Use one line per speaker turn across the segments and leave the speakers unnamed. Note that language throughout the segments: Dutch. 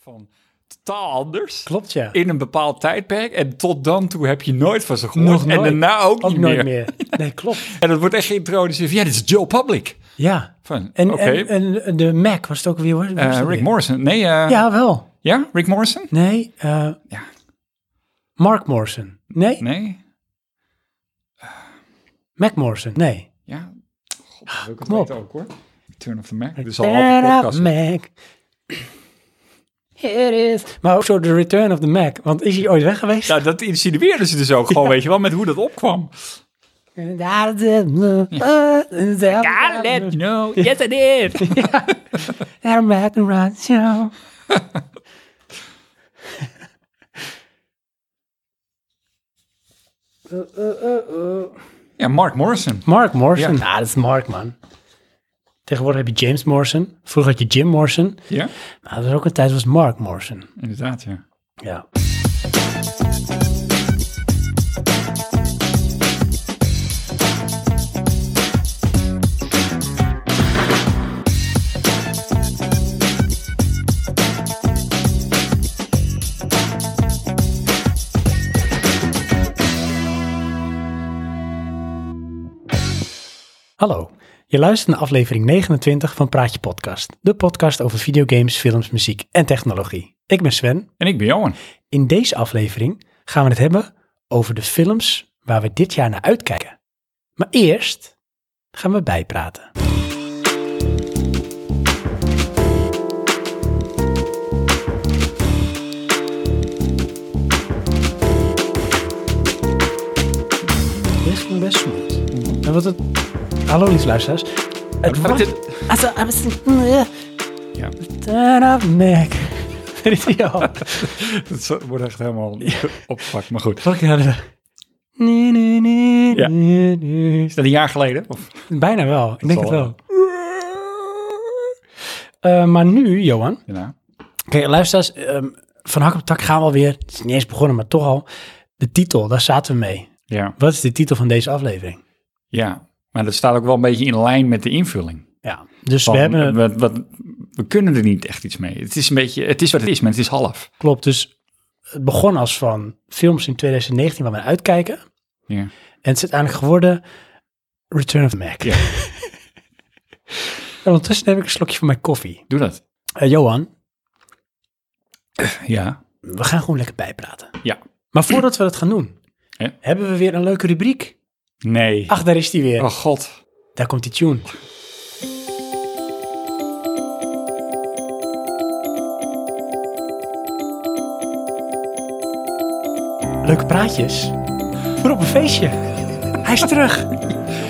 van totaal anders.
Klopt, ja.
In een bepaald tijdperk. En tot dan toe heb je nooit van ze gehoord.
Nog nooit.
En daarna ook,
Ook
niet
nooit
meer.
meer. Nee, klopt.
En dat wordt echt geïntroduceerd. van, Ja, dit is Joe Public.
Ja.
Van,
En,
oké.
en, en de Mac was het ook weer, hoor. Wie was
Eh,
dat
Rick
weer?
Morrison. Nee, eh, ja.
Ja, wel.
Rick Morrison?
Nee. eh,
Ja.
Mark Morrison. Nee.
Nee.
Mac Morrison. Nee.
Ja. God, dat wil ik het
kom op.
weten ook hoor. Turn of the Mac. Dit is al half een
Return
podcast.
of Mac. Here is. Maar ook zo de Return of the Mac. Want is hij ooit weg geweest?
Nou, dat insinueerden ze dus ook gewoon, weet je wel, met hoe dat opkwam.
Daar is het. Eh,
Ah, let you know. Yes, I did.
Daar Mac and Run Show.
ja, Mark Morrison.
Mark Morrison.
Ja.
Ja, dat is Mark, man. Tegenwoordig heb je James Morrison. Vroeger had je Jim Morrison.
Ja,
Maar er was ook een tijd was Mark Morrison.
inderdaad, ja.
Ja. Hallo, je luistert naar aflevering 29 van Praatje Podcast. De podcast over videogames, films, muziek en technologie. Ik ben Sven.
En ik ben Johan.
In deze aflevering gaan we het hebben over de films waar we dit jaar naar uitkijken. Maar eerst gaan we bijpraten. Dit ging best smooth. En wat het... Hallo lieve luisteraars. Het
Wat
was...
is
Also, aber es ist... Turn up, Mac. Dat is hij al.
Dat wordt echt helemaal opgepakt, maar goed.
Fucking hadden we- Nee, nee, nee,
Ja.
nee, nee.
Is dat een jaar geleden? Of?
Bijna wel, ik denk
zal
het wel. Eh, maar nu, Johan.
Ja.
Kijk, luisteraars, ehm, van hak op tak gaan we alweer. Het is niet eens begonnen, maar toch al. De titel, daar zaten we mee.
ja.
Wat is de titel van deze aflevering?
Ja, maar dat staat ook wel een beetje in lijn met de invulling.
Ja, dus
Van,
we hebben...
wat, wat, we kunnen er niet echt iets mee. Het is een beetje, het is wat het is, maar het is half.
Klopt, dus het begon als van films in 2019 waar we naar uitkijken.
Ja.
En het is uiteindelijk geworden Return of the Mac.
Ja.
En ondertussen neem ik een slokje van mijn koffie.
Doe dat.
Eh, Johan,
Ja.
we gaan gewoon lekker bijpraten.
Ja.
Maar voordat we dat gaan doen,
Ja.
hebben we weer een leuke rubriek.
Nee.
Ach, daar is die weer.
Oh god.
Daar komt die tune. Leuke praatjes. Voor op een feestje. Hij is terug.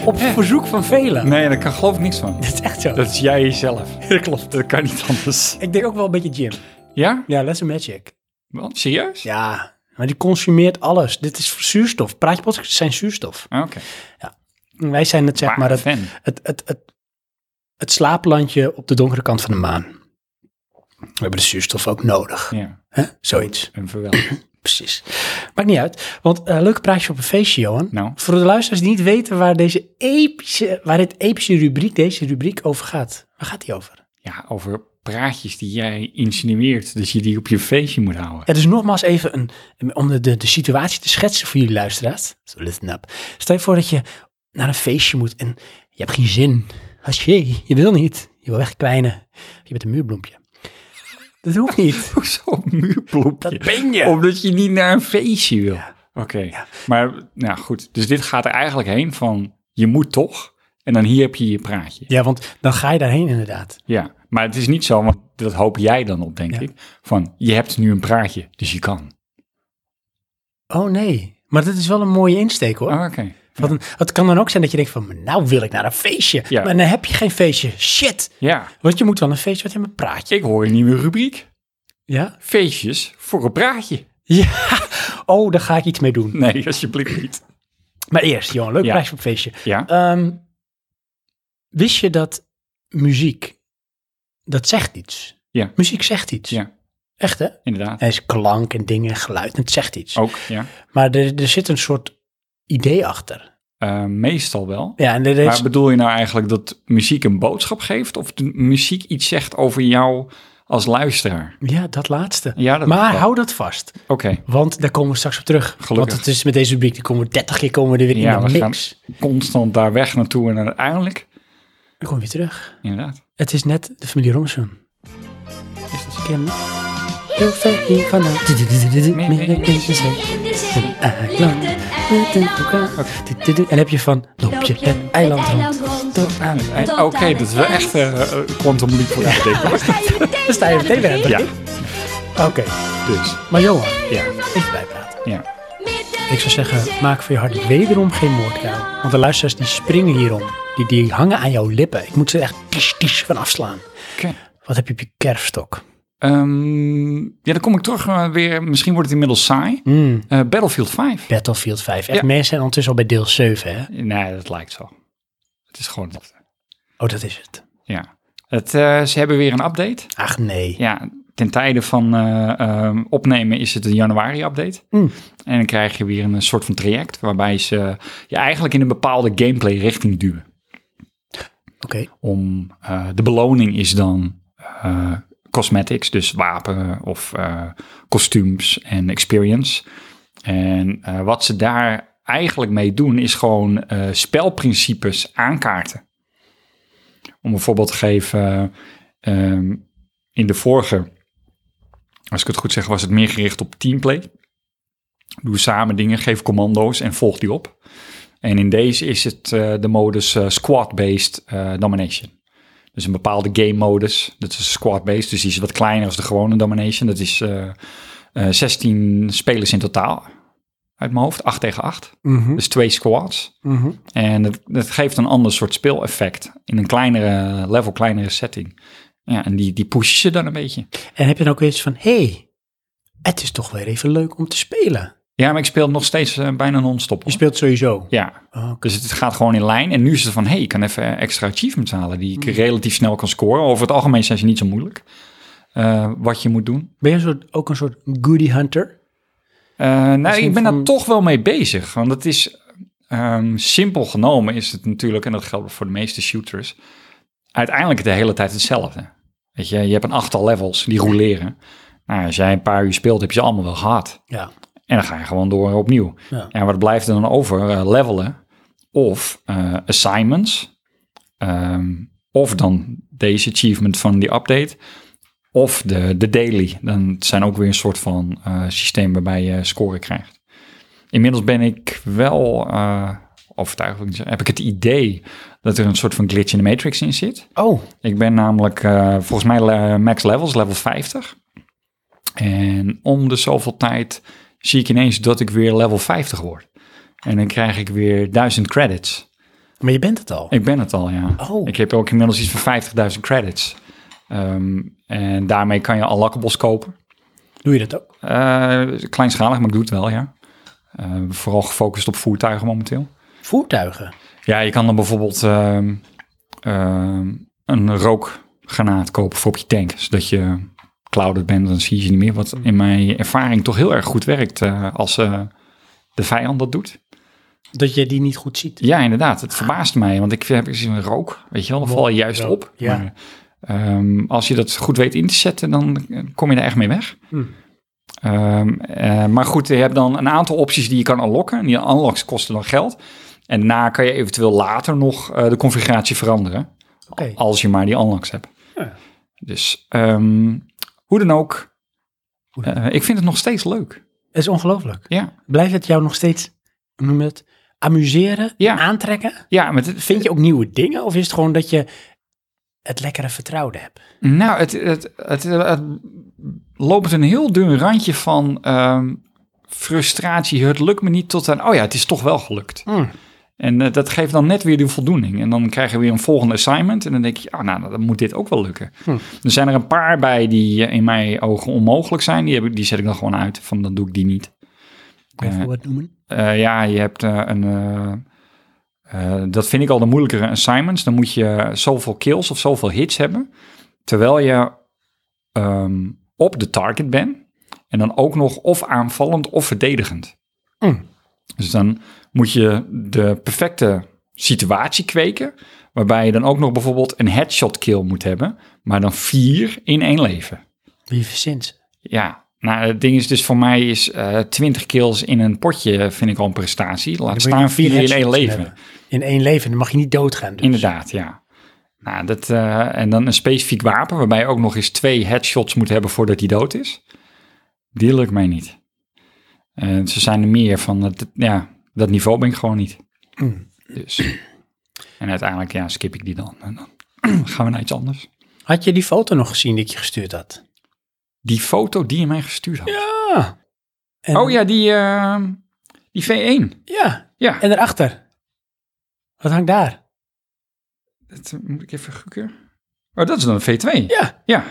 Op verzoek van velen.
Nee, daar kan geloof ik niks van.
Dat is echt zo.
Dat is jij zelf. Dat klopt. Dat kan niet anders.
Ik denk ook wel een beetje Jim.
Ja?
Ja, Lesser Magic.
Wel? Serieus?
Ja, maar die consumeert alles. Dit is zuurstof. Praatjepodcasts zijn zuurstof.
Ah, Oké.
Wij zijn het, zeg maar,
Maar
het,
fan.
het, het, het, het slaaplandje op de donkere kant van de maan. We hebben de zuurstof ook nodig.
Ja.
Hè? Zoiets,
Een verwelkomd.
precies. Maakt niet uit, want eh leuk praatje op een feestje, Johan.
Nou.
Voor de luisteraars die niet weten waar, deze epische, waar dit epische rubriek, deze rubriek over gaat. Waar gaat die over?
Ja, over praatjes die jij insinueert dat je die op je feestje moet houden.
Ja, dus nogmaals even een, om de, de, de situatie te schetsen voor jullie luisteraars. So listen up. Stel je voor dat je naar een feestje moet en je hebt geen zin. Haché, je wil niet. Je wil wegkwijnen. Je bent een muurbloempje. Dat hoeft niet.
Zo'n muurploepje.
Dat ben je.
Omdat je niet naar een feestje wil. Oké, maar nou goed. Dus dit gaat er eigenlijk heen van je moet toch. En dan hier heb je je praatje. Ja.
Ja, want dan ga je daarheen inderdaad.
maar het is niet zo, want dat hoop jij dan op, denk
Ja.
ik. Van je hebt nu een praatje, dus je kan.
Oh nee. Maar dat is wel een mooie insteek hoor.
Ah, Oké.
Want een- het kan dan ook zijn dat je denkt van, nou wil ik naar een feestje.
Ja.
Maar dan heb je geen feestje. Shit.
Ja,
Want je moet wel een feestje, wat hebben een praatje.
ik hoor een nieuwe rubriek.
Ja?
Feestjes voor een praatje.
Ja. Oh, daar ga ik iets mee doen.
Nee, alsjeblieft niet.
Maar eerst, Johan, leuk
Ja.
prijs op feestje.
Ja,
Ehm, wist je dat muziek, dat zegt iets?
Ja.
Muziek zegt iets.
Ja.
Echt, hè?
inderdaad.
Er is klank en dingen en geluid en het zegt iets.
Ook, ja.
Maar er, er zit een soort idee achter.
Eh, meestal wel.
Ja, en er is...
Maar bedoel je nou eigenlijk dat muziek een boodschap geeft? Of de muziek iets zegt over jou als luisteraar.
Ja, dat laatste.
Ja, dat-
maar
ja.
hou dat vast.
Oké,
Want daar komen we straks op terug.
Gelukkig.
Want het is met deze rubriek, die komen we 30 keer komen we er weer
Ja,
in de
we gaan-
mix.
constant daar weg naartoe en uiteindelijk,
Dan komen we weer terug.
inderdaad.
Het is net de familie Robinson.
Is dat zo?
Ken je hem? Heel ver hier vandaan. Meer kindjes uit
In de
een
zee
eiland. Met een vulkaan. En dan heb je van, loop je het eiland rond. Tot aan het eind.
Oké, dat is wel echt eh, eh, quantum leap vooruit, denk ik.
Dan sta je meteen weer aan het
Ja,
begin. Oké,
dus.
maar Johan,
Ja,
even bijpraten.
ja.
Ik zou zeggen, maak van je hart wederom geen moordkuil. Want de luisteraars die springen hierom. Die, die hangen aan jouw lippen. Ik moet ze echt tisch, tisch van afslaan.
Oké.
Wat heb je op je kerfstok?
Ehm, ja, dan kom ik terug eh, weer. Misschien wordt het inmiddels saai.
Hmm,
Eh, Battlefield 5.
Battlefield 5. Echt,
Ja.
mensen zijn ondertussen al bij deel 7, hè?
Nee, dat lijkt zo. Het is gewoon hetzelfde.
Oh, dat is het.
Ja. Het, eh, ze hebben weer een update.
Ach, nee.
Ja, ten tijde van eh, ehm, opnemen is het een januari-update.
Mm.
En dan krijg je weer een soort van traject waarbij ze je eigenlijk in een bepaalde gameplay-richting duwen.
Oké.
Om, eh, de beloning is dan eh, cosmetics, dus wapen of eh, kostuums en experience. En eh, wat ze daar eigenlijk mee doen is gewoon eh, spelprincipes aankaarten. Om een voorbeeld te geven, eh, ehm, in de vorige, als ik het goed zeg, was het meer gericht op teamplay. Doe samen dingen, geef commando's en volg die op. En in deze is het eh, de modus eh, squad-based eh, domination. Dus een bepaalde game modus. Dat is squad-based, dus die is wat kleiner als de gewone domination. Dat is eh, eh, 16 spelers in totaal uit mijn hoofd, 8 tegen 8.
Mhm,
Dus twee squads.
mhm.
En dat, dat geeft een ander soort speeleffect in een kleinere level, kleinere setting. Ja, en die, die pushen ze dan een beetje.
En heb je dan ook eens van, hé, hey, het is toch weer even leuk om te spelen.
Ja, maar ik speel nog steeds eh, bijna non-stop.
Je
hoor.
speelt sowieso.
Ja,
Oh, oké.
dus het gaat gewoon in lijn. En nu is het van, hé, hey, ik kan even extra achievements halen die ik relatief snel kan scoren. Over het algemeen zijn ze niet zo moeilijk, eh, wat je moet doen.
Ben je een soort, ook een soort goody hunter?
Eh, nou, ik ben daar
van-
toch wel mee bezig. Want het is ehm, simpel genomen is het natuurlijk, en dat geldt voor de meeste shooters, uiteindelijk de hele tijd hetzelfde. Weet je, je hebt een aantal levels die roleren. Nou, als jij een paar uur speelt, heb je ze allemaal wel gehad.
Ja.
En dan ga je gewoon door opnieuw.
Ja.
En wat blijft er dan over? Eh, levelen of eh, assignments. Ehm, of dan deze achievement van die update. Of de, de daily. Dan zijn ook weer een soort van eh, systeem waarbij je scoren krijgt. Inmiddels ben ik wel eh overtuigd, wil ik niet zeggen, heb ik het idee dat er een soort van glitch in de matrix in zit.
Oh,
Ik ben namelijk eh, volgens mij le- max levels, level 50. En om de zoveel tijd zie ik ineens dat ik weer level 50 word. En dan krijg ik weer 1000 credits.
maar je bent het al.
Ik ben het al, ja.
Oh.
Ik heb ook inmiddels iets van 50.000 credits. Ehm, en daarmee kan je al lockables kopen.
Doe je dat ook?
Eh, kleinschalig, maar ik doe het wel, ja. Eh, vooral gefocust op voertuigen momenteel.
Voertuigen.
Ja, je kan dan bijvoorbeeld ehm, ehm, een rookgranaat kopen voor op je tank. Zodat je clouded bent, dan zie je ze niet meer. Wat in mijn ervaring toch heel erg goed werkt eh, als eh, de vijand dat doet.
Dat je die niet goed ziet.
Ja, inderdaad. Het verbaast mij, want ik heb eens een rook. Weet je wel, dan val je juist
rook,
op.
Ah. ja.
Maar, ehm, als je dat goed weet in te zetten, dan eh, kom je er echt mee weg.
Hmm.
Ehm, eh, maar goed, je hebt dan een aantal opties die je kan unlocken. En die unlocks kosten dan geld. En daarna kan je eventueel later nog eh, de configuratie veranderen.
Oké.
Als je maar die unlocks hebt.
Ja.
Dus ehm, hoe dan ook,
Hoe dan
eh, ik vind het nog steeds leuk.
Dat is ongelooflijk.
Ja,
Blijft het jou nog steeds, hoe noem je het, amuseren,
Ja.
aantrekken?
ja maar het,
Vind je ook nieuwe dingen? Of is het gewoon dat je het lekkere vertrouwde hebt?
Nou, het, het, het, het loopt een heel dun randje van ehm, frustratie. Het lukt me niet tot aan, oh ja, het is toch wel gelukt.
Hmm.
En eh, dat geeft dan net weer de voldoening. En dan krijg je weer een volgende assignment. En dan denk je, ah, nou, dan moet dit ook wel lukken.
Hm.
Er zijn er een paar bij die eh, in mijn ogen onmogelijk zijn. Die, heb ik, die zet ik dan gewoon uit, van dan doe ik die niet.
Kun je
Eh,
even wat noemen?
Eh, ja, je hebt eh, een. eh, eh, dat vind ik al de moeilijkere assignments. Dan moet je zoveel kills of zoveel hits hebben. Terwijl je ehm, op de target bent. En dan ook nog of aanvallend of verdedigend.
Mm.
Dus dan moet je de perfecte situatie kweken. Waarbij je dan ook nog bijvoorbeeld een headshot kill moet hebben. Maar dan vier in één leven.
Wie verzint ze?
Ja, nou het ding is dus voor mij is eh 20 kills in een potje vind ik al een prestatie. Laat
Dan moet je
staan vier in
headshots
één leven.
hebben. In één leven, dan mag je niet doodgaan. Dus.
Inderdaad, ja. Nou, dat, eh, en dan een specifiek wapen waarbij je ook nog eens twee headshots moet hebben voordat hij dood is. Die lukt mij niet. En ze zijn er meer van, dat, ja, dat niveau ben ik gewoon niet.
Hmm.
Dus. En uiteindelijk, ja, skip ik die dan. En dan gaan we naar iets anders.
Had je die foto nog gezien die ik je gestuurd had?
Die foto die je mij gestuurd had.
Ja. En,
Oh ja, die, eh, die V1.
Ja.
Ja,
En daarachter? Wat hangt daar?
dat eh, moet ik even gokken. Oh, dat is dan een V2.
Ja.
Ja,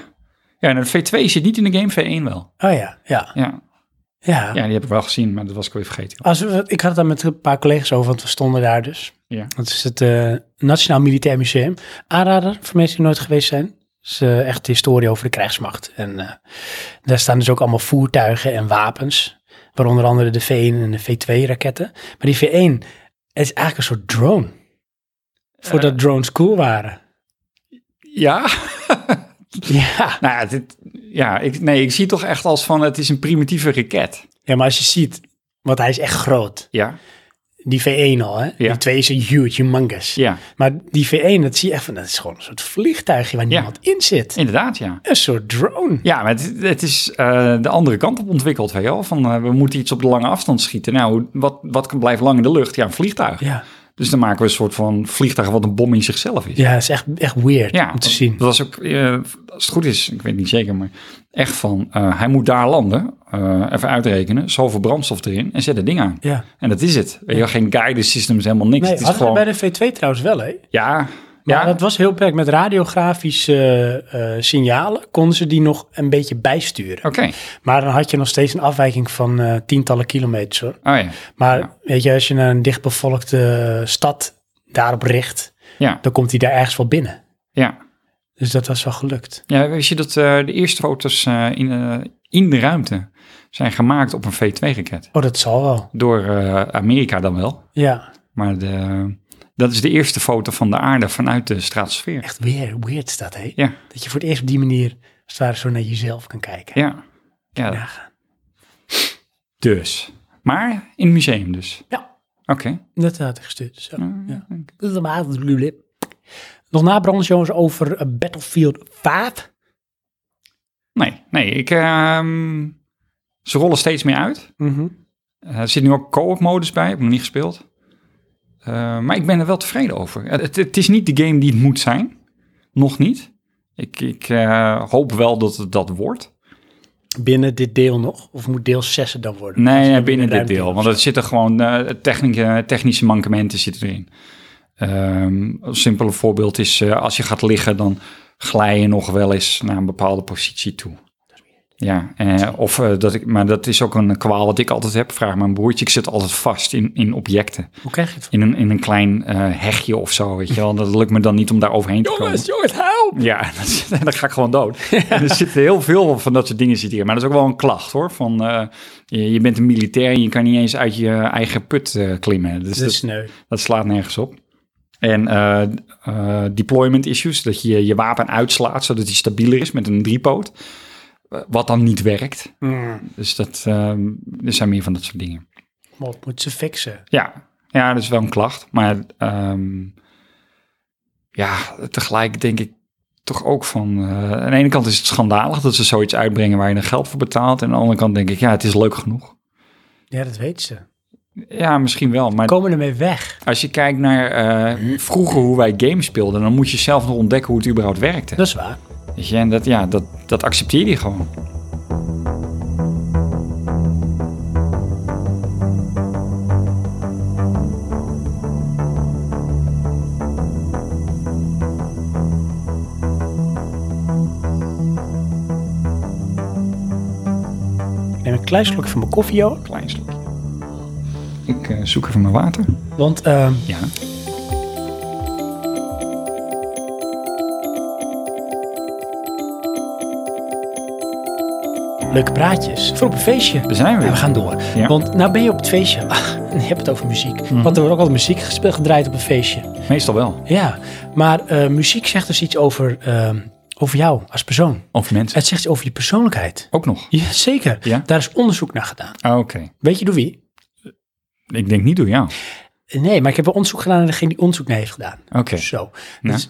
ja en een V2 zit niet in de game, V1 wel.
Oh ja, ja.
Ja,
Ja.
Ja, die heb ik wel gezien, maar dat was ik alweer vergeten.
Als we, ik had het daar met een paar collega's over, want we stonden daar dus.
Ja.
Dat is het eh, Nationaal Militair Museum. Aanrader voor mensen die nooit geweest zijn. Het is eh, echt historie over de krijgsmacht. En eh, daar staan dus ook allemaal voertuigen en wapens. Waaronder andere de V1 en de V2 raketten. Maar die V1 het is eigenlijk een soort drone. Voordat drones cool waren.
Ja,
Ja.
nou ja, dit, ja ik, nee, ik zie het toch echt als van het is een primitieve raket.
ja, maar als je ziet, want hij is echt groot.
Ja,
Die V1 al, hè? Die 2 is een huge, humongous.
ja
Maar die V1, dat zie je echt van, dat is gewoon een soort vliegtuigje waar niemand in zit.
inderdaad, ja.
Een soort drone.
Ja, maar het, het is eh, de andere kant op ontwikkeld, weet je wel. Van, eh, we moeten iets op de lange afstand schieten. Nou, hoe- wat, wat kan blijven lang in de lucht? Ja, een vliegtuig.
Ja,
Dus dan maken we een soort van vliegtuig wat een bom in zichzelf is.
ja dat is echt, echt weird om te
dat-
zien.
Dat was ook, eh, als het goed is, ik weet niet zeker, maar echt van, eh, hij moet daar landen, eh, even uitrekenen, zoveel brandstof erin en zet het ding aan.
Ja.
En dat is het. Je hebt geen guidance systems, helemaal niks.
Nee,
het is
hadden we
gewoon,
bij de V2 trouwens wel, hè?
ja,
Maar
ja,
dat was heel beperkt. Met radiografische eh, eh, signalen konden ze die nog een beetje bijsturen.
oké. Oh
Maar dan had je nog steeds een afwijking van eh, tientallen kilometers, hoor.
Oh ja,
Maar
Ja.
weet je, als je naar een dichtbevolkte stad daarop richt,
ja,
dan komt hij daar ergens wel binnen.
ja.
Dus dat was wel gelukt.
Ja, weet je dat eh, de eerste foto's eh, in, eh, in de ruimte zijn gemaakt op een V2-raket?
Oh, dat zal wel.
Door eh, Amerika dan wel.
Ja,
Maar de, dat is de eerste foto van de aarde vanuit de stratosfeer.
echt weer weird is dat, hè?
Ja,
Dat je voor het eerst op die manier, als het ware, zo naar jezelf kan kijken.
ja, ja.
Nagaan.
Dus. Maar in het museum dus.
Ja.
Oké.
Dat had ik gestuurd. Zo. Ja.
oké.
Dat is een maand, blue lip. Nog nabranden, jongens, over eh, Battlefield 5.
Nee, nee. Ik, ehm, ze rollen steeds meer uit. Eh, er zit nu ook co-op modus bij, heb ik nog niet gespeeld. Eh, maar ik ben er wel tevreden over. Het, het, het is niet de game die het moet zijn. Nog niet. Ik, ik eh, hoop wel dat het dat wordt.
Binnen dit deel nog? Of moet deel 6 er dan worden?
Nee,
Als je
nee
dan
binnen
weer
dit
ruimte
deel.
hebt.
Want er zitten gewoon eh, technische, technische mankementen zitten erin. Ehm, een simpele voorbeeld is eh, als je gaat liggen, dan glij je nog wel eens naar een bepaalde positie toe. Ja, eh, of, eh, dat ik, maar dat is ook een kwaal wat ik altijd heb. Vraag mijn broertje, ik zit altijd vast in, in objecten.
Hoe krijg je het?
in een, in een klein eh hegje of zo, weet je wel. Dat lukt me dan niet om daar overheen te komen.
jongens, help!
Ja, dan, zit- dan ga ik gewoon dood. En er zitten heel veel van dat soort dingen zitten hier. Maar dat is ook wel een klacht hoor. Van, eh, je, je bent een militair en je kan niet eens uit je eigen put eh, klimmen. Dus
Dat
dat,
is sneu.
dat slaat nergens op. En eh, eh, deployment issues, dat je je wapen uitslaat zodat hij stabieler is met een driepoot. Eh, Wat dan niet werkt.
Mm.
Dus dat, eh, er zijn meer van dat soort dingen.
Wat moet ze fixen?
Ja, ja, dat is wel een klacht. Maar ehm, ja, tegelijk denk ik toch ook van... eh, aan de ene kant is het schandalig dat ze zoiets uitbrengen waar je dan geld voor betaalt. En aan de andere kant denk ik, ja, het is leuk genoeg.
Ja, dat weet ze.
Ja, misschien wel. Maar
Komen ermee weg.
als je kijkt naar eh, vroeger hoe wij games speelden, dan moet je zelf nog ontdekken hoe het überhaupt werkte.
Dat is waar.
Weet je, en dat, ja, dat, dat accepteer je gewoon.
Ik neem een klein slokje van mijn koffie, joh.
Klein slokje. Ik eh, zoek even mijn water.
Want ehm,
Ja.
leuke praatjes. Voor op een feestje.
We zijn
Ja, we
weer.
gaan door.
Ja.
Want nou ben je op het feestje. Ach, en je hebt het over muziek.
Mhm.
Want er wordt ook altijd muziek gespeeld, gedraaid op een feestje.
Meestal wel.
Ja, maar eh, muziek zegt dus iets over, eh, over jou als persoon.
Of mensen.
Het zegt iets over je persoonlijkheid.
Ook nog.
Ja, zeker.
Ja?
Daar is onderzoek naar gedaan.
Ah, Oké.
Weet je door wie?
Ik denk niet door jou.
Nee, maar ik heb wel onderzoek gedaan naar degene die onderzoek naar heeft gedaan.
Oké.
Zo.
Nou.
Dat is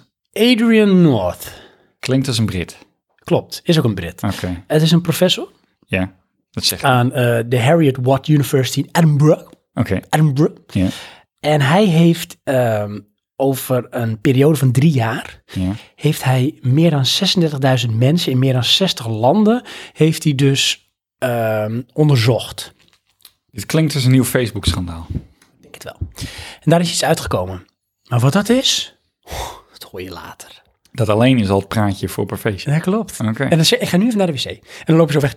Adrian North.
Klinkt als een Brit.
Klopt, is ook een Brit.
Oké.
Het is een professor
Ja. Ah. Dat zegt.
aan eh, de Harriet Watt University in Edinburgh.
Oké.
Edinburgh.
Ja.
En hij heeft ehm, over een periode van drie jaar...
Ja.
heeft hij meer dan 36.000 mensen in meer dan 60 landen... heeft hij dus ehm, onderzocht.
Dit klinkt als een nieuw Facebook-schandaal.
Ik denk het wel. En daar is iets uitgekomen. Maar wat dat is, oh, dat hoor je later.
Dat alleen is al het praatje voor per feestje.
Dat klopt.
Oké.
En dan zeg ik ga nu even naar de wc. En dan loop je zo weg.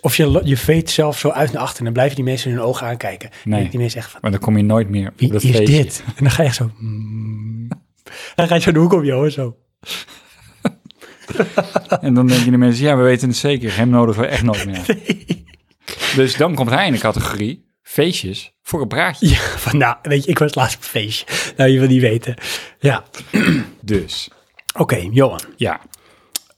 Of je, lo- je veet zelf zo uit naar achter. En dan blijven die mensen hun ogen aankijken.
Nee.
En die mensen zeggen van,
Maar dan kom je nooit meer op
wie
dat
is
feestje.
dit? En dan ga je echt zo... mm. Dan ga je zo de hoek om je hoor, zo.
En dan denken de mensen, ja, we weten het zeker. Hem nodigen we echt nooit meer. Dus dan komt hij in de categorie feestjes voor een praatje.
Ja, van nou, weet je, ik was laatst op een feestje. Nou, je wil niet weten. Ja,
Dus,
oké, Johan.
ja.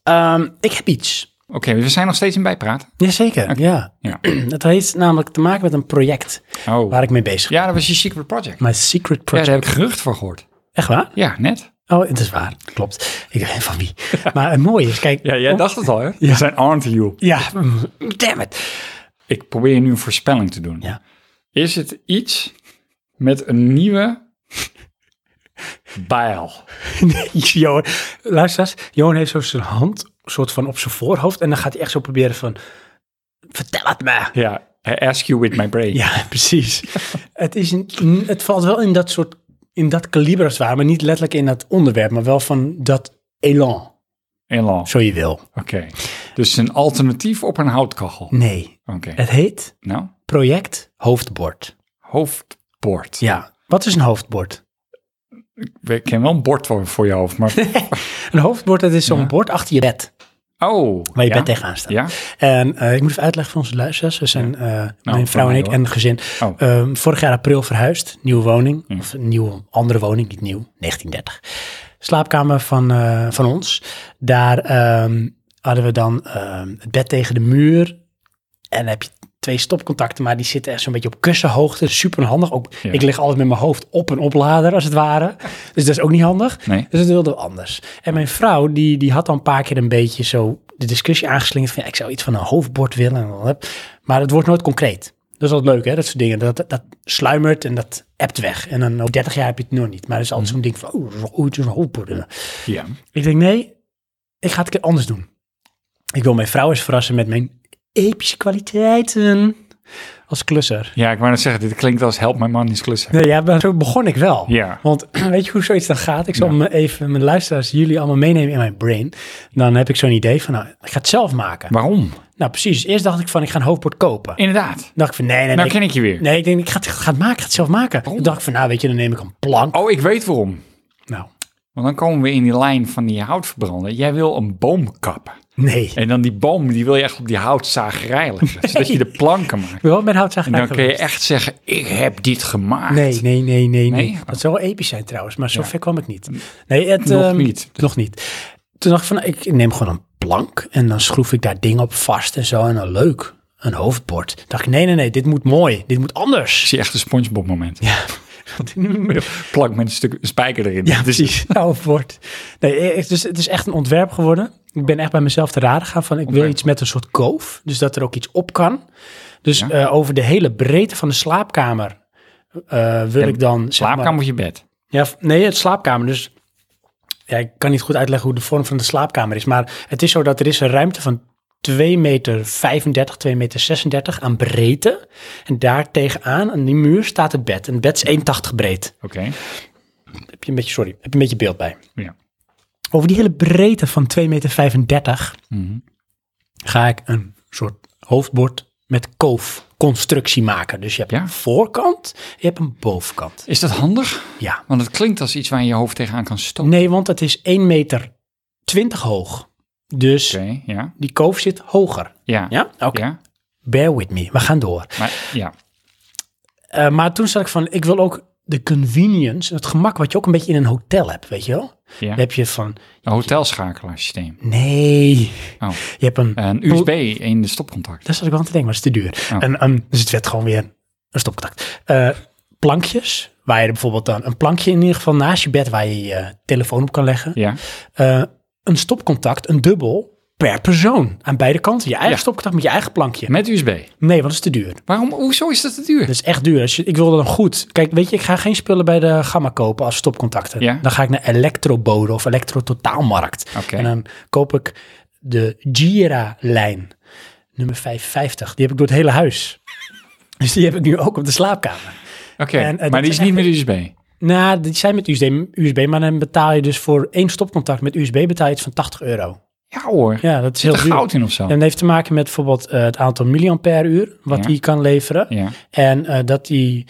Ehm, ik heb iets.
Oké, we zijn nog steeds in bijpraat.
Jazeker, ja.
Ja.
Dat heeft namelijk te maken met een project
Oh.
waar ik mee bezig ben.
Ja, dat was je secret project.
My secret
Ja,
project.
daar heb ik gerucht voor gehoord.
Echt waar?
Ja, net.
Oh, het is waar. Klopt. Ik weet van wie. Maar het mooie is, kijk. om-
dacht het al, hè? Ja. zijn aren't you.
Ja, mm, damn it.
Ik probeer nu een voorspelling te doen.
Ja.
Is het iets met een nieuwe bijl?
Nee, Johan, luister eens. Johan heeft zo zijn hand soort van op zijn voorhoofd. En dan gaat hij echt zo proberen van, vertel het me.
Ja, I ask you with my brain.
Ja, precies. het, is een, het valt wel in dat soort, in dat kaliber als het ware. Maar niet letterlijk in dat onderwerp. Maar wel van dat elan,
In law. Oké.
zo je wil.
Dus een alternatief op een houtkachel.
Nee,
Oké.
Mm. het heet
Nou,
project hoofdbord.
hoofdbord.
Ja, wat is een hoofdbord?
Ik ken wel een bord voor, voor je hoofd, maar...
Een hoofdbord, dat is zo'n bord achter je bed.
Oh.
Waar je
ja?
bed tegenaan staat.
Ja?
En eh, ik moet even uitleggen voor onze luisteraars. We zijn, eh, mijn vrouw
Nou,
en
mij
ik
hoor.
en gezin,
Oh. Mm.
ehm, vorig jaar april verhuisd. Nieuwe woning, of een nieuwe, andere woning, niet nieuw, 1930. Slaapkamer van, eh, van ons. Daar ehm, hadden we dan ehm, het bed tegen de muur. En dan heb je twee stopcontacten, maar die zitten echt zo'n beetje op kussenhoogte. Super handig. Ook,
Ja.
Ik lig altijd met mijn hoofd op een oplader, als het ware. Dus dat is ook niet handig.
Nee.
Dus dat wilden we anders. En mijn vrouw, die, die had al een paar keer een beetje zo de discussie aangeslingerd van ja, ik zou iets van een hoofdbord willen. en dan heb- Maar het wordt nooit concreet. Dat is altijd leuk, hè? Dat soort dingen. Dat, dat sluimert en dat ebt weg. En dan over 30 jaar heb je het nog niet. Maar dat is altijd zo'n ding van, oh, zo- ooit zo'n hoofdbord. willen.
Ja.
Ik denk, nee, ik ga het een keer anders doen. Ik wil mijn vrouw eens verrassen met mijn epische kwaliteiten als klusser.
Ja, ik wou net zeggen, dit klinkt als help my man is klussen.
Nee, ja, maar zo begon ik wel.
Ja.
Want weet je hoe zoiets dan gaat? Ik zal
Ja.
me even mijn luisteraars, jullie allemaal meenemen in mijn brain. Dan heb ik zo'n idee van, nou, ik ga het zelf maken.
Waarom?
Nou, precies. Eerst dacht ik van, ik ga een hoofdbord kopen. Dan
Inderdaad.
dacht ik van, nee, nee, nee.
Nou ken ik je weer.
Nee, ik denk, ik ga het, ga het maken, ik ga het zelf maken. Toen dacht ik van, nou, weet je, dan neem ik een plank.
Oh, ik weet waarom.
Nou,
Want dan komen we in die lijn van die houtverbranden. Jij wil een boom kappen.
nee. Ik
En dan die boom, die wil je echt op die houtzagerij leggen. Zodat je de planken maakt.
ben wel met houtzaag
En dan kun je echt zeggen, ik heb dit gemaakt.
Nee, nee, nee, nee, nee.
Nee?
Dat zou wel episch zijn trouwens, maar zover kwam ik niet. Nee, het,
Nog
ehm,
niet.
Nog niet. Toen dacht ik van, ik neem gewoon een plank en dan schroef ik daar dingen op vast en zo. En dan leuk, een hoofdbord. Toen dacht ik, nee, nee, nee, dit moet mooi. Dit moet
Ik
anders.
zie echt een Spongebob moment. Plak met een stuk spijker erin.
ja,
Dat is-
precies. Een hoofdbord. Nee, het is, het is echt een ontwerp geworden. Ik ben echt bij mezelf te raden gaan van, ik wil
Ontwerp.
iets met een soort koof. Dus dat er ook iets op kan. Dus eh, over de hele breedte van de slaapkamer eh, wil
Ja,
ik dan... zeg maar-
Slaapkamer of je bed.
Ja, v- nee, het slaapkamer. Dus ja, ik kan niet goed uitleggen hoe de vorm van de slaapkamer is. Maar het is zo dat er is een ruimte van 2 meter 35, 2 meter 36 aan breedte. En daar tegenaan, aan die muur, staat het bed. En het bed is 1,80 breed.
Oké.
Heb je een beetje, sorry, heb je een beetje beeld bij.
Ja.
Over die hele breedte van 2 meter 35
Mhm.
ga ik een soort hoofdbord met koofconstructie maken. Dus je hebt
Ja.
een voorkant, je hebt een bovenkant.
Is dat handig?
Ja.
Want het klinkt als iets waar je hoofd tegenaan kan stoten.
Nee, want het is 1 meter 20 hoog. Dus
Oké, ja.
die koof zit hoger.
Ja.
Ja? Oké.
Ja,
Bear with me. We gaan door.
maar ja.
Eh, maar toen zat ik van, ik wil ook de convenience, het gemak wat je ook een beetje in een hotel hebt, weet je wel?
Ja.
Dan heb je van,
Een hotelschakelaarsysteem.
nee,
Oh.
je hebt een,
Een USB in de stopcontact.
daar zat ik wel aan te denken, maar het is te duur.
Oh.
En, ehm, dus het werd gewoon weer een stopcontact. Eh, plankjes, waar je er bijvoorbeeld dan een plankje in ieder geval naast je bed waar je je telefoon op kan leggen.
Ja.
Eh, een stopcontact, een dubbel, per persoon. Aan beide kanten. Je eigen
Ja.
stopcontact met je eigen plankje.
Met USB.
Nee, want dat is te duur.
Waarom? Hoezo is dat te duur?
Dat is echt duur. Als je, ik wilde dan goed. Kijk, weet je, ik ga geen spullen bij de Gamma kopen als stopcontacten.
Ja.
Dan ga ik naar Electrobode of Electro Totaalmarkt.
Oké.
En eh, dan koop ik de Gira-lijn, nummer 550. Die heb ik door het hele huis. Dus die heb ik nu ook op de slaapkamer.
Oké,
en, eh, dat
maar die is
zijn
niet met USB.
Nou, die zijn met USB, USB, maar dan betaal je dus voor één stopcontact met USB betaal je iets van 80 euro.
Ja hoor.
Ja, dat is heel
er
duur.
goud in of zo.
En dat heeft te maken met bijvoorbeeld eh, het aantal milliampère uur wat
Ja.
die kan leveren.
Ja.
En eh, dat die,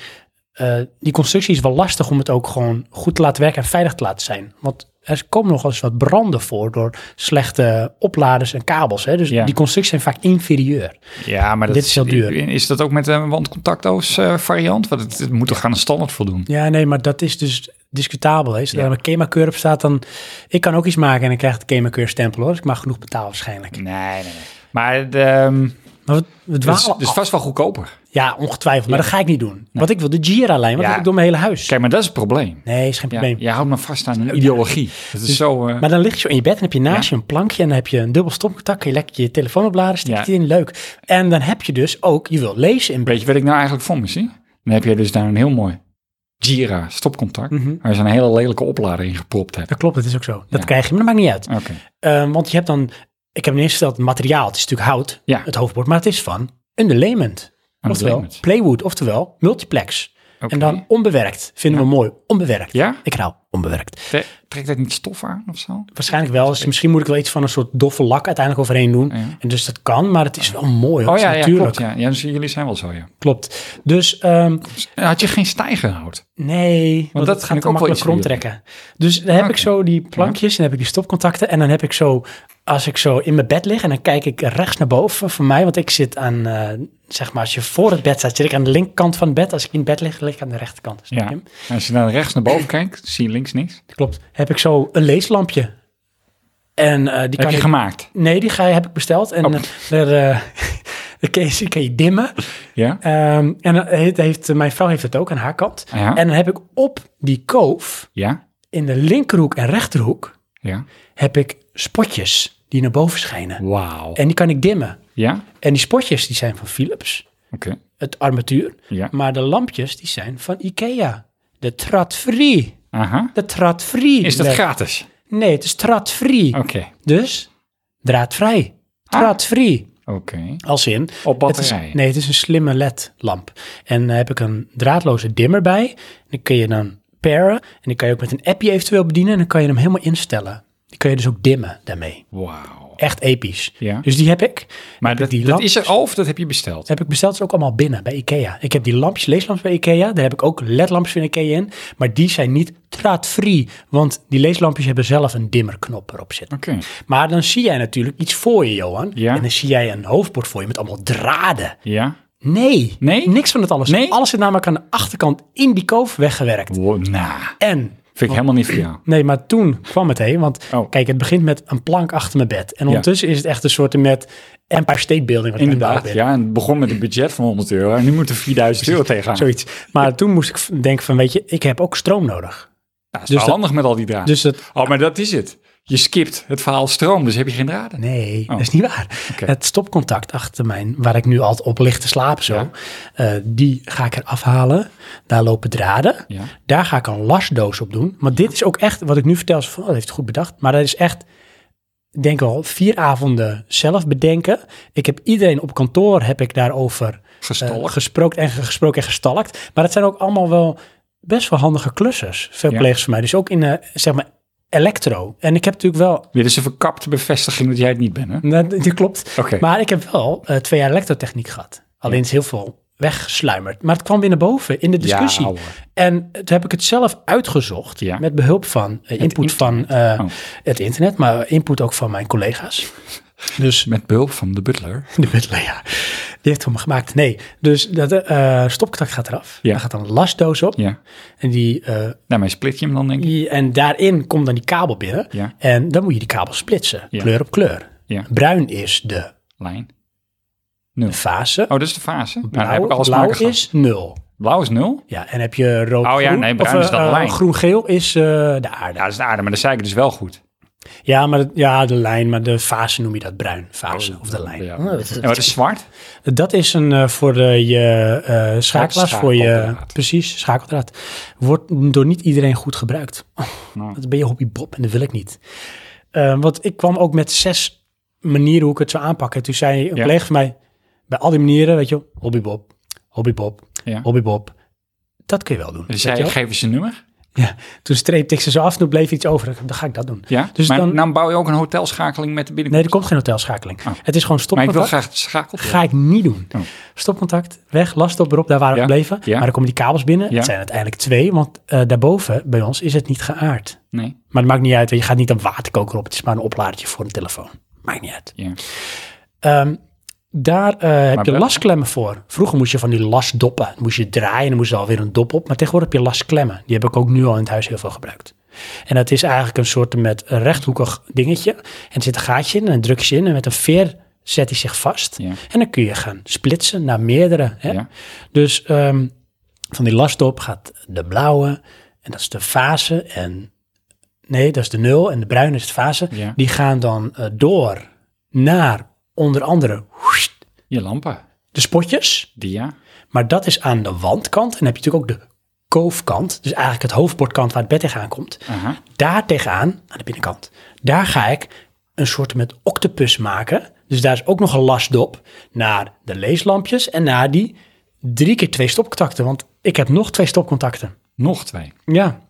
eh, die constructie is wel lastig om het ook gewoon goed te laten werken en veilig te laten zijn. Want er komen nog wel eens wat branden voor door slechte opladers en kabels. Hè? Dus
Ja.
die constructies zijn vaak inferieur.
ja, maar dat
Dit is heel duur.
Is dat ook met een wandcontactloos eh, variant? Want het, het moet toch aan een standaard voldoen?
Ja, nee, maar dat is dus discutabel. Hè? Als
Ja.
er een KEMA-keur op staat, dan... Ik kan ook iets maken en dan krijg ik de KEMA-keur stempel hoor. Dus ik mag genoeg betalen waarschijnlijk.
Nee, nee, nee. Maar de, ehm,
Maar we, we
het is,
dwalen
het is
af.
vast wel goedkoper.
Ja, ongetwijfeld. Maar dat ga ik niet doen. Wat ik wil, de Jira-lijn, wat
Ja.
heb ik door mijn hele huis.
Kijk, maar dat is het probleem.
Nee, is geen
Ja,
probleem.
je houdt me vast aan een ideologie. Dat is zo... eh,
Maar dan lig je zo in je bed en heb je naast je een plankje en dan heb je een dubbel stopcontact. Kun je lekker je telefoon opladen, stik
Ja.
het in, leuk. En dan heb je dus ook, je wil lezen in bed.
Weet je wat ik nou eigenlijk vond, misschien? Dan heb je dus daar een heel mooi Jira stopcontact.
Mhm.
Waar ze een hele lelijke oplader in gepropt hebben.
Dat klopt, dat is ook zo. Dat
Ja.
krijg je, maar dat maakt niet uit.
Oké.
Ehm, want je hebt dan, ik heb ineens gesteld, materiaal, het is natuurlijk hout,
Ja.
het hoofdbord, maar het is van underlayment. Oftewel,
Underlayment.
playwood, oftewel multiplex.
Oké.
En dan onbewerkt, vinden we mooi, onbewerkt.
Ja?
Ik hou onbewerkt.
Tre- Trekt dat niet stof aan of zo?
Waarschijnlijk wel, dus misschien moet ik wel iets van een soort doffe lak uiteindelijk overheen doen.
Ja.
En dus dat kan, maar het is wel mooi. hoor.
Oh
Het is
ja, ja
natuurlijk.
klopt. Ja. Ja, dus jullie zijn wel zo, ja.
Klopt. Dus ehm,
Had je geen stijgerhout?
nee,
dat
want, dat
vind
gaat
ik
te
ook wel
makkelijk
iets voor
krom trekken. Dus dan heb
Oké.
ik zo die plankjes en heb ik die stopcontacten. En dan heb ik zo, als ik zo in mijn bed lig en dan kijk ik rechts naar boven voor mij. Want ik zit aan, eh, zeg maar, als je voor het bed staat, zit ik aan de linkerkant van het bed. Als ik in het bed lig, lig ik aan de rechterkant. Snap je
Ja.
hem?
En als je naar rechts naar boven kijkt, zie je links niks.
Klopt. Heb ik zo een leeslampje. En eh, die
Heb
kan
je
ik...
gemaakt?
Nee, die ga, heb ik besteld. En
Oh.
eh, daar, eh, daar kun je- kun je dimmen.
Ja?
Ehm, en het heeft, heeft- mijn vrouw heeft het ook aan haar kant.
Ja.
En dan heb ik op die koof,
Ja?
in de linkerhoek en rechterhoek,
Ja?
heb ik spotjes die naar boven schijnen.
Wauw.
En die kan ik dimmen.
Ja?
En die spotjes die zijn van Philips,
Oké.
het armatuur.
Ja.
Maar de lampjes die zijn van Ikea. De Tradfree.
Aha.
De Tradfree.
Is dat Oh.
Le-
gratis?
Nee, het is Tradfree.
Oké.
Dus draadvrij.
Ah.
Draadvrij.
Oké.
Als in,
Op
Het
batterij.
is, nee, het is een slimme LED-lamp. En daar heb ik een draadloze dimmer bij. Die kun je dan paren. En die kan je ook met een appje eventueel bedienen. En dan kan je hem helemaal instellen. Die kun je dus ook dimmen daarmee.
Wauw.
Echt episch.
Ja.
Dus die heb ik.
Maar dat,
die
dat
lamp-
is er al of dat heb je besteld?
Heb ik besteld, is ook allemaal binnen bij Ikea. Ik heb die lampjes, leeslampjes bij Ikea. Daar heb ik ook ledlampjes van Ikea in. Maar die zijn niet draadvrij. Want die leeslampjes hebben zelf een dimmerknop erop zitten.
Oké.
Maar dan zie jij natuurlijk iets voor je, Johan.
Hm. Ja.
En dan zie jij een hoofdbord voor je met allemaal draden.
Ja?
Nee.
Nee?
Niks van het alles.
Nee?
Alles zit namelijk aan de achterkant in die koof weggewerkt.
Wow, nou,
En,
vind ik helemaal niet voor jou.
nee, maar toen kwam het heen. Want
Oh.
kijk, het begint met een plank achter mijn bed. En ondertussen is het echt een soort met Empire State Building. Wat ik aan het
Inderdaad,
bouwen ben.
ja. En het begon met een budget van 100 euro en nu moet er 4000 euro tegenaan.
Zoiets. Maar toen moest ik v- denken van, weet je, ik heb ook stroom nodig.
Dat is
Dus
wel
dat-
handig met al die draden.
Dus dat,
oh, maar dat is het. Je skipt het verhaal stroom, dus heb je geen draden.
nee, dat is niet waar.
Oké.
Het stopcontact achter mijn, waar ik nu altijd op lig te slapen zo,
Ja.
eh, die ga ik eraf halen. Daar lopen draden.
Ja.
Daar ga ik een lasdoos op doen. Maar dit is ook echt, wat ik nu vertel, is van, oh, dat heeft het goed bedacht. Maar dat is echt, ik denk wel, vier avonden zelf bedenken. Ik heb iedereen op kantoor, heb ik daarover eh,
Gestalkt.
gesproken en ge- gesproken en gestalkt. Maar dat zijn ook allemaal wel best wel handige klussers, veel
Ja.
collega's van mij. Dus ook in, eh, zeg maar, elektro. En ik heb natuurlijk wel
Dit is een verkapte bevestiging dat jij het niet bent, hè?
nou, dat dat klopt.
Oké.
Maar ik heb wel eh, twee jaar elektrotechniek gehad. Alleen is heel veel weggesluimerd. Maar het kwam weer naar boven in de discussie.
Ja, ouwe.
en toen heb ik het zelf uitgezocht
Ja.
met behulp van eh, input van eh,
Oh.
het internet, maar input ook van mijn collega's. Dus
Met behulp van de butler.
de butler, ja. heeft hem gemaakt. Nee, dus dat eh, stopcontact gaat eraf.
Ja.
Daar gaat dan een lastdoos op.
Ja.
En, die, eh,
Daarmee Nou, split je hem dan, denk ik.
die- en daarin komt dan die kabel binnen.
Ja,
En dan moet je die kabel splitsen,
Ja.
kleur op kleur.
Ja.
Bruin is de
lijn.
fase.
Oh, dat is de fase. Nou, daar
Blauw,
heb ik alles
blauw
maken gehad.
is nul.
Blauw is nul.
Ja, en heb je rood
Oh ja,
groen,
nee,
of
bruin is dan
eh,
lijn.
groen-geel is eh, de aarde.
Ja, dat is de aarde, maar de zeiken dus wel goed.
Ja, maar dat- ja, de lijn, maar de fase noem je dat bruin, fase of de lijn.
Ja.
Oh, dat-
En wat is zwart?
Dat is een eh, voor eh, je eh schakelaars, voor je
Schakeldraad.
precies schakeldraad. Wordt door niet iedereen goed gebruikt. Oh,
Nou.
Dat ben je hobby Bob en dat wil ik niet. Eh, want ik kwam ook met zes manieren hoe ik het zou aanpakken. Toen zei een
Ja.
collega van mij, bij al die manieren, weet je, wel, hobby Bob, hobby Bob,
Ja.
hobby Bob. Dat kun je wel doen.
Dus
weet
jij
je wel.
geef eens een nummer.
ja. Toen streepte ik ze zo af, toen bleef iets over. Dan ga ik dat doen.
Ja?
Dus
maar
dan-
dan... bouw je ook een hotelschakeling met de binnenkomst.
Nee, er komt geen hotelschakeling.
Oh.
Het is gewoon
maar ik wil
stopcontact.
graag het schakelt.
Ga ik niet doen.
Oh.
Stopcontact, weg, laststop erop, daar waren we
Ja,
gebleven.
ja.
Maar er komen die kabels binnen.
Ja.
Het zijn uiteindelijk twee, want eh, daarboven bij ons is het niet geaard.
Nee.
Maar het maakt niet uit, want je gaat niet een waterkoker op. Het is maar een opladertje voor een telefoon. Maakt niet uit.
Ja.
Ehm, daar eh, heb je
wel-
lasklemmen voor. Vroeger moest je van die lasdoppen. Dan moest je draaien en dan moest er alweer een dop op. Maar tegenwoordig heb je lasklemmen. Die heb ik ook nu al in het huis heel veel gebruikt. En dat is eigenlijk een soort met een rechthoekig dingetje. En er zit een gaatje in en dan druk je ze in. En met een veer zet hij zich vast.
Ja.
En dan kun je gaan splitsen naar meerdere. Hè?
Ja.
Dus ehm, van die lastdop gaat de blauwe. En dat is de fase. En nee, dat is de nul. En de bruine is de fase.
Ja.
Die gaan dan eh, door naar onder andere whoest,
Je lampen.
de spotjes.
Dia.
Maar dat is aan de wandkant. En dan heb je natuurlijk ook de koofkant. Dus eigenlijk het hoofdbordkant waar het bed tegenaan komt.
Aha.
Daar tegenaan, aan de binnenkant, daar ga ik een soort met octopus maken. Dus daar is ook nog een lastdop naar de leeslampjes en naar die drie keer twee stopcontacten. Want ik heb nog twee stopcontacten.
Nog twee.
Ja,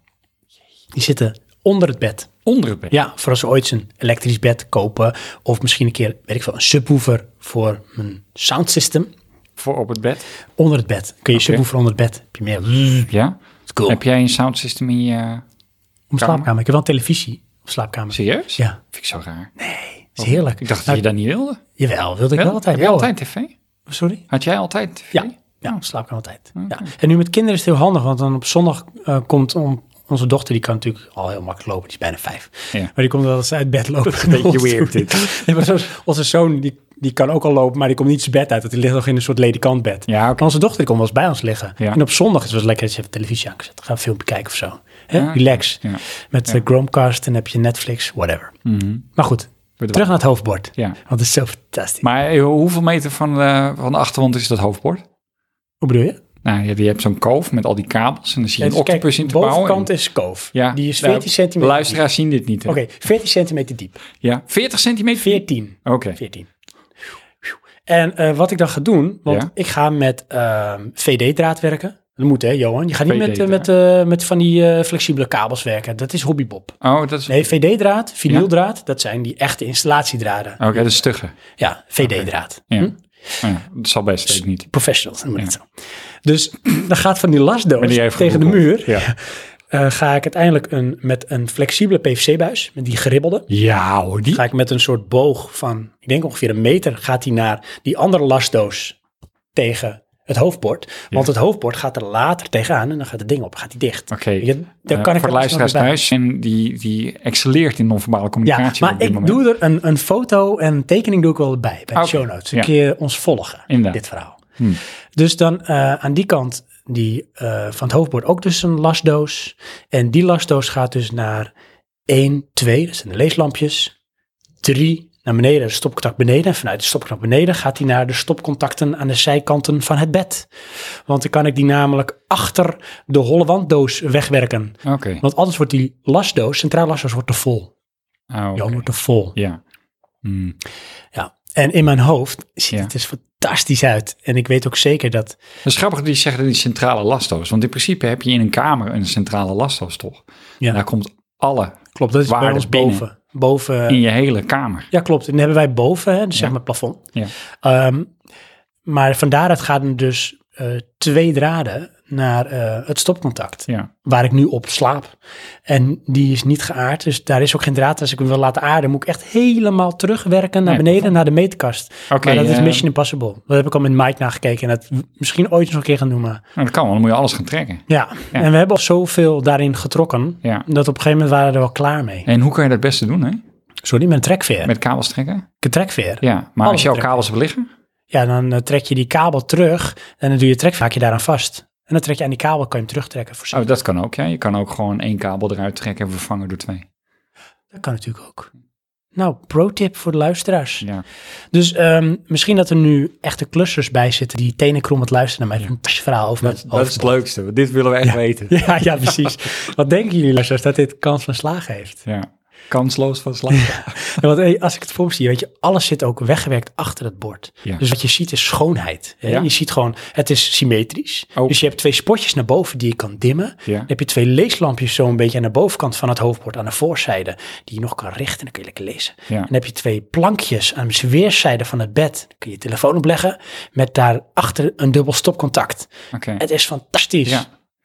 die zitten onder het bed.
Onder het bed.
Ja, voor als we ooit een elektrisch bed kopen. Of misschien een keer, weet ik veel, een subwoofer voor mijn soundsystem.
Voor op het bed.
Onder het bed. Kun je subwoofer onder het bed. Heb je meer
Ja.
cool.
Heb jij een soundsystem in je...
om slaapkamer. Ik heb wel een televisie op slaapkamer.
Serieus?
Ja,
Vind ik zo raar.
is heerlijk.
Ik dacht dat
Nou,
je dat niet wilde.
Jawel, wilde ik wel altijd.
Heb je
Ja,
altijd tv?
hoor. Sorry? Oh,
Had jij altijd tv?
Ja, ja slaapkamer altijd. Ja. En nu met kinderen is het heel handig, want dan op zondag eh, komt om, onze dochter, die kan natuurlijk al heel makkelijk lopen, die is bijna vijf.
Ja.
Maar die komt wel eens uit bed lopen. Dat is
beetje weird dit.
Nee, maar zoals onze zoon, die, die kan ook al lopen, maar die komt niet zijn bed uit, want die ligt nog in een soort ledikant bed.
Ja, oké.
Maar Onze dochter die komt wel eens bij ons liggen.
Ja.
En op zondag is het wel lekker dat je even televisie aan kan zetten, gaan een filmpje kijken of zo. Hè?
Ja,
Relax.
ja.
Met de Chromecast en heb je Netflix, whatever.
Mhm.
Maar goed, terug naar het hoofdbord.
Ja.
Want het is zo fantastisch.
Maar eh, hoeveel meter van de, van de achterwand is dat hoofdbord?
Hoe bedoel je?
Nou, je, je hebt zo'n koof met al die kabels en dan zie je
Ja,
een
dus kijk,
octopus in te
De
bouwen.
bovenkant
en-
is koof.
ja,
die is
nou,
14 centimeter.
Luisteraars zien dit niet. hè?
diep. Oké, 14 centimeter diep.
Ja, 40 centimeter?
14.
Oké.
14. En eh, wat ik dan ga doen, want
Ja.
ik ga met ehm, VD-draad werken. Dat moet hè, Johan. Je gaat niet met, eh, met,
VD-draad.
eh, met van die eh, flexibele kabels werken. Dat is hobbybob.
Oh, dat is...
Nee, VD-draad, vinyldraad, dat zijn die echte installatiedraden.
Oké, dat is stugge.
Ja, VD-draad.
Ah. Ja. ja. Dat zal best steek niet.
Professionals, noem maar niet zo. Dus dan gaat van die
Maar
lastdoos
die heeft
tegen de
gegoogeld.
muur... eh, ga ik uiteindelijk een, met een flexibele PVC-buis, met die geribbelde,
Ja hoor, die...
ga ik met een soort boog van, ik denk ongeveer een meter, gaat die naar die andere lastdoos tegen het hoofdbord. Want het hoofdbord gaat er later tegaan en dan gaat het ding op, gaat die dicht.
Oké,
Je- daar
eh,
kan ik
voor de
alles nog
luisteraars
bij.
thuis, en die, die excelleert in non-verbale
Ja,
communicatie
maar
op dit
ik
moment. Ah,
doe er een, een foto en een tekening doe ik wel bij, bij de
Oké,
show notes. Dan
ja.
kun je ons volgen,
Inderdaad. Hmm.
dit verhaal. Dus dan eh, aan die kant die, eh, van het hoofdbord ook dus een lastdoos. En die lastdoos gaat dus naar 1, 2, dat zijn de leeslampjes. 3, naar beneden, de stopcontact beneden. En vanuit de stopcontact beneden gaat hij naar de stopcontacten aan de zijkanten van het bed. Want dan kan ik die namelijk achter de holle wanddoos wegwerken.
Oké.
Want anders wordt die lastdoos, centraal lastdoos, wordt te vol.
Ah, oké.
Jan wordt te vol.
Ja. Hmm.
Ja. En in mijn hoofd ziet
Ja.
het dus fantastisch uit. En ik weet ook zeker dat...
Het is grappig dat die zeggen dat die centrale lastdoos. Want in principe heb je in een kamer een centrale lastdoos, toch?
Ja.
Daar komt alle
Klopt, dat is bij
Waarde
ons
binnen.
boven. Boven
in je hele kamer.
Ja, klopt. En dan hebben wij boven, hè, dus zeg maar het plafond.
Ja.
Ehm, maar van daaruit gaat hem dus eh, twee draden naar eh, het stopcontact.
Ja.
Waar ik nu op slaap. En die is niet geaard. Dus daar is ook geen draad. Als ik hem wil laten aarden, moet ik echt helemaal terugwerken naar
Nee,
beneden, naar de meetkast.
Oké,
maar dat
eh,
is Mission Impossible. Dat heb ik al met Mike nagekeken. En dat w- misschien ooit eens een keer gaan doen. Maar
Nou, dat kan wel. Dan moet je alles gaan trekken.
ja. en we hebben al zoveel daarin getrokken.
Ja.
Dat op een gegeven moment waren we er wel klaar mee.
En hoe kan je dat het beste doen, hè?
Sorry, met een trekveer.
Met kabels trekken?
Met een trekveer. Ja,
Ja, maar
Alles
als jouw
trekken.
kabels hebben liggen?
dan eh, trek je die kabel terug. En dan doe je trekveer, haak je daaraan vast. En dan trek je aan die kabel, kan je hem terugtrekken. Voor
Oh, dat kan ook, ja. Je kan ook gewoon één kabel eruit trekken en vervangen door twee.
Dat kan natuurlijk ook. Nou, pro-tip voor de luisteraars.
Ja,
Dus ehm, misschien dat er nu echte clusters bij zitten die tenenkrommend luisteren naar mijn verhaal over mijn hoofd.
leukste. want Dit willen we echt weten.
Ja, ja, precies. Wat denken jullie luisteraars dat dit kans van slagen heeft?
Ja. Kansloos van slag.
Ja, want hey, als ik het voor me zie, weet je, alles zit ook weggewerkt achter het bord.
Ja.
Dus wat je ziet is schoonheid. Hè?
Ja.
Je ziet gewoon, het is symmetrisch.
Ook.
Dus je hebt twee spotjes naar boven die je kan dimmen.
Ja.
Dan heb je twee leeslampjes zo een beetje aan de bovenkant van het hoofdbord, aan de voorzijde, die je nog kan richten en dan kun je lekker lezen.
Ja.
En dan heb je twee plankjes aan de weerszijde van het bed. Dan kun je je telefoon opleggen met daarachter een dubbel stopcontact.
Oké.
Het is fantastisch.
Ja.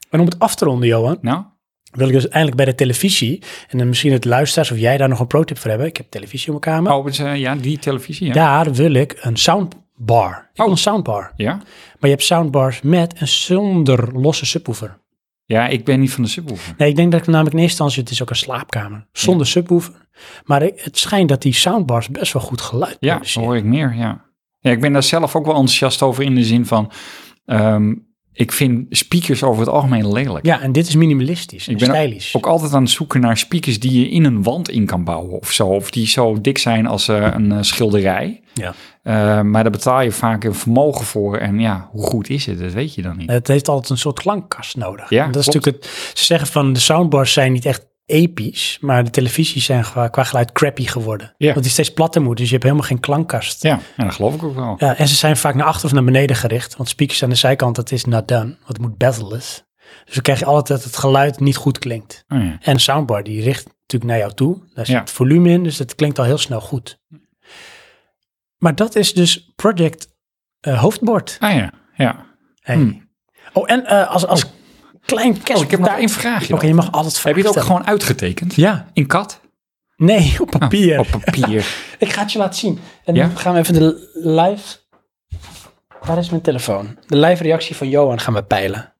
En om het af te ronden, Johan,
Nou,
wil ik dus eindelijk bij de televisie. En dan misschien het luisteraars of jij daar nog een pro-tip voor hebben. Ik heb televisie op mijn kamer.
oh, dus, eh, ja, die televisie, ja.
Daar wil ik een soundbar. Ik wil
Oh.
een soundbar.
Ja,
Maar je hebt soundbars met en zonder losse subwoofer.
Ja, ik ben niet van de subwoofer.
Nee, ik denk dat ik namelijk in eerste instantie, het is ook een slaapkamer. Zonder subwoofer. Maar ik- het schijnt dat die soundbars best wel goed geluid
Ja,
produceren.
hoor ik meer, ja. ja. Ik ben daar zelf ook wel enthousiast over in de zin van... ehm, ik vind speakers over het algemeen lelijk.
Ja, en dit is minimalistisch en
Ik ben
stylisch.
Ook altijd aan het zoeken naar speakers die je in een wand in kan bouwen of zo. Of die zo dik zijn als eh, een eh, schilderij.
Ja.
Eh, maar daar betaal je vaak een vermogen voor. En ja, hoe goed is het? Dat weet je dan niet.
Het heeft altijd een soort klankkast nodig.
Ja,
En dat is
klopt.
natuurlijk het. Ze zeggen van de soundbars zijn niet echt episch, maar de televisies zijn qua, qua geluid crappy geworden.
Ja.
Want die steeds platter moet, dus je hebt helemaal geen klankkast.
Ja, en dat geloof ik ook wel.
Ja, en ze zijn vaak naar achter of naar beneden gericht, want speakers aan de zijkant, dat is not done, want het moet battleless. Dus dan krijg je altijd dat het geluid niet goed klinkt.
Oh, ja.
En een soundbar die richt natuurlijk naar jou toe. Daar zit
Ja.
het volume in, dus dat klinkt al heel snel goed. Maar dat is dus project eh, hoofdbord.
Ah ja, ja.
Hey. Oh, en eh, als, als klein kerst.
Hmm. Oh, ik heb nog één vraagje.
Oké,
dan.
je mag alles vragen.
Heb je het ook
stellen.
gewoon uitgetekend?
Ja.
In kat?
Nee, op
Ah,
papier.
Op papier.
Ik ga het je laten zien. En
Ja?
dan gaan we even de live... Waar is mijn telefoon? De live reactie van Johan gaan we peilen.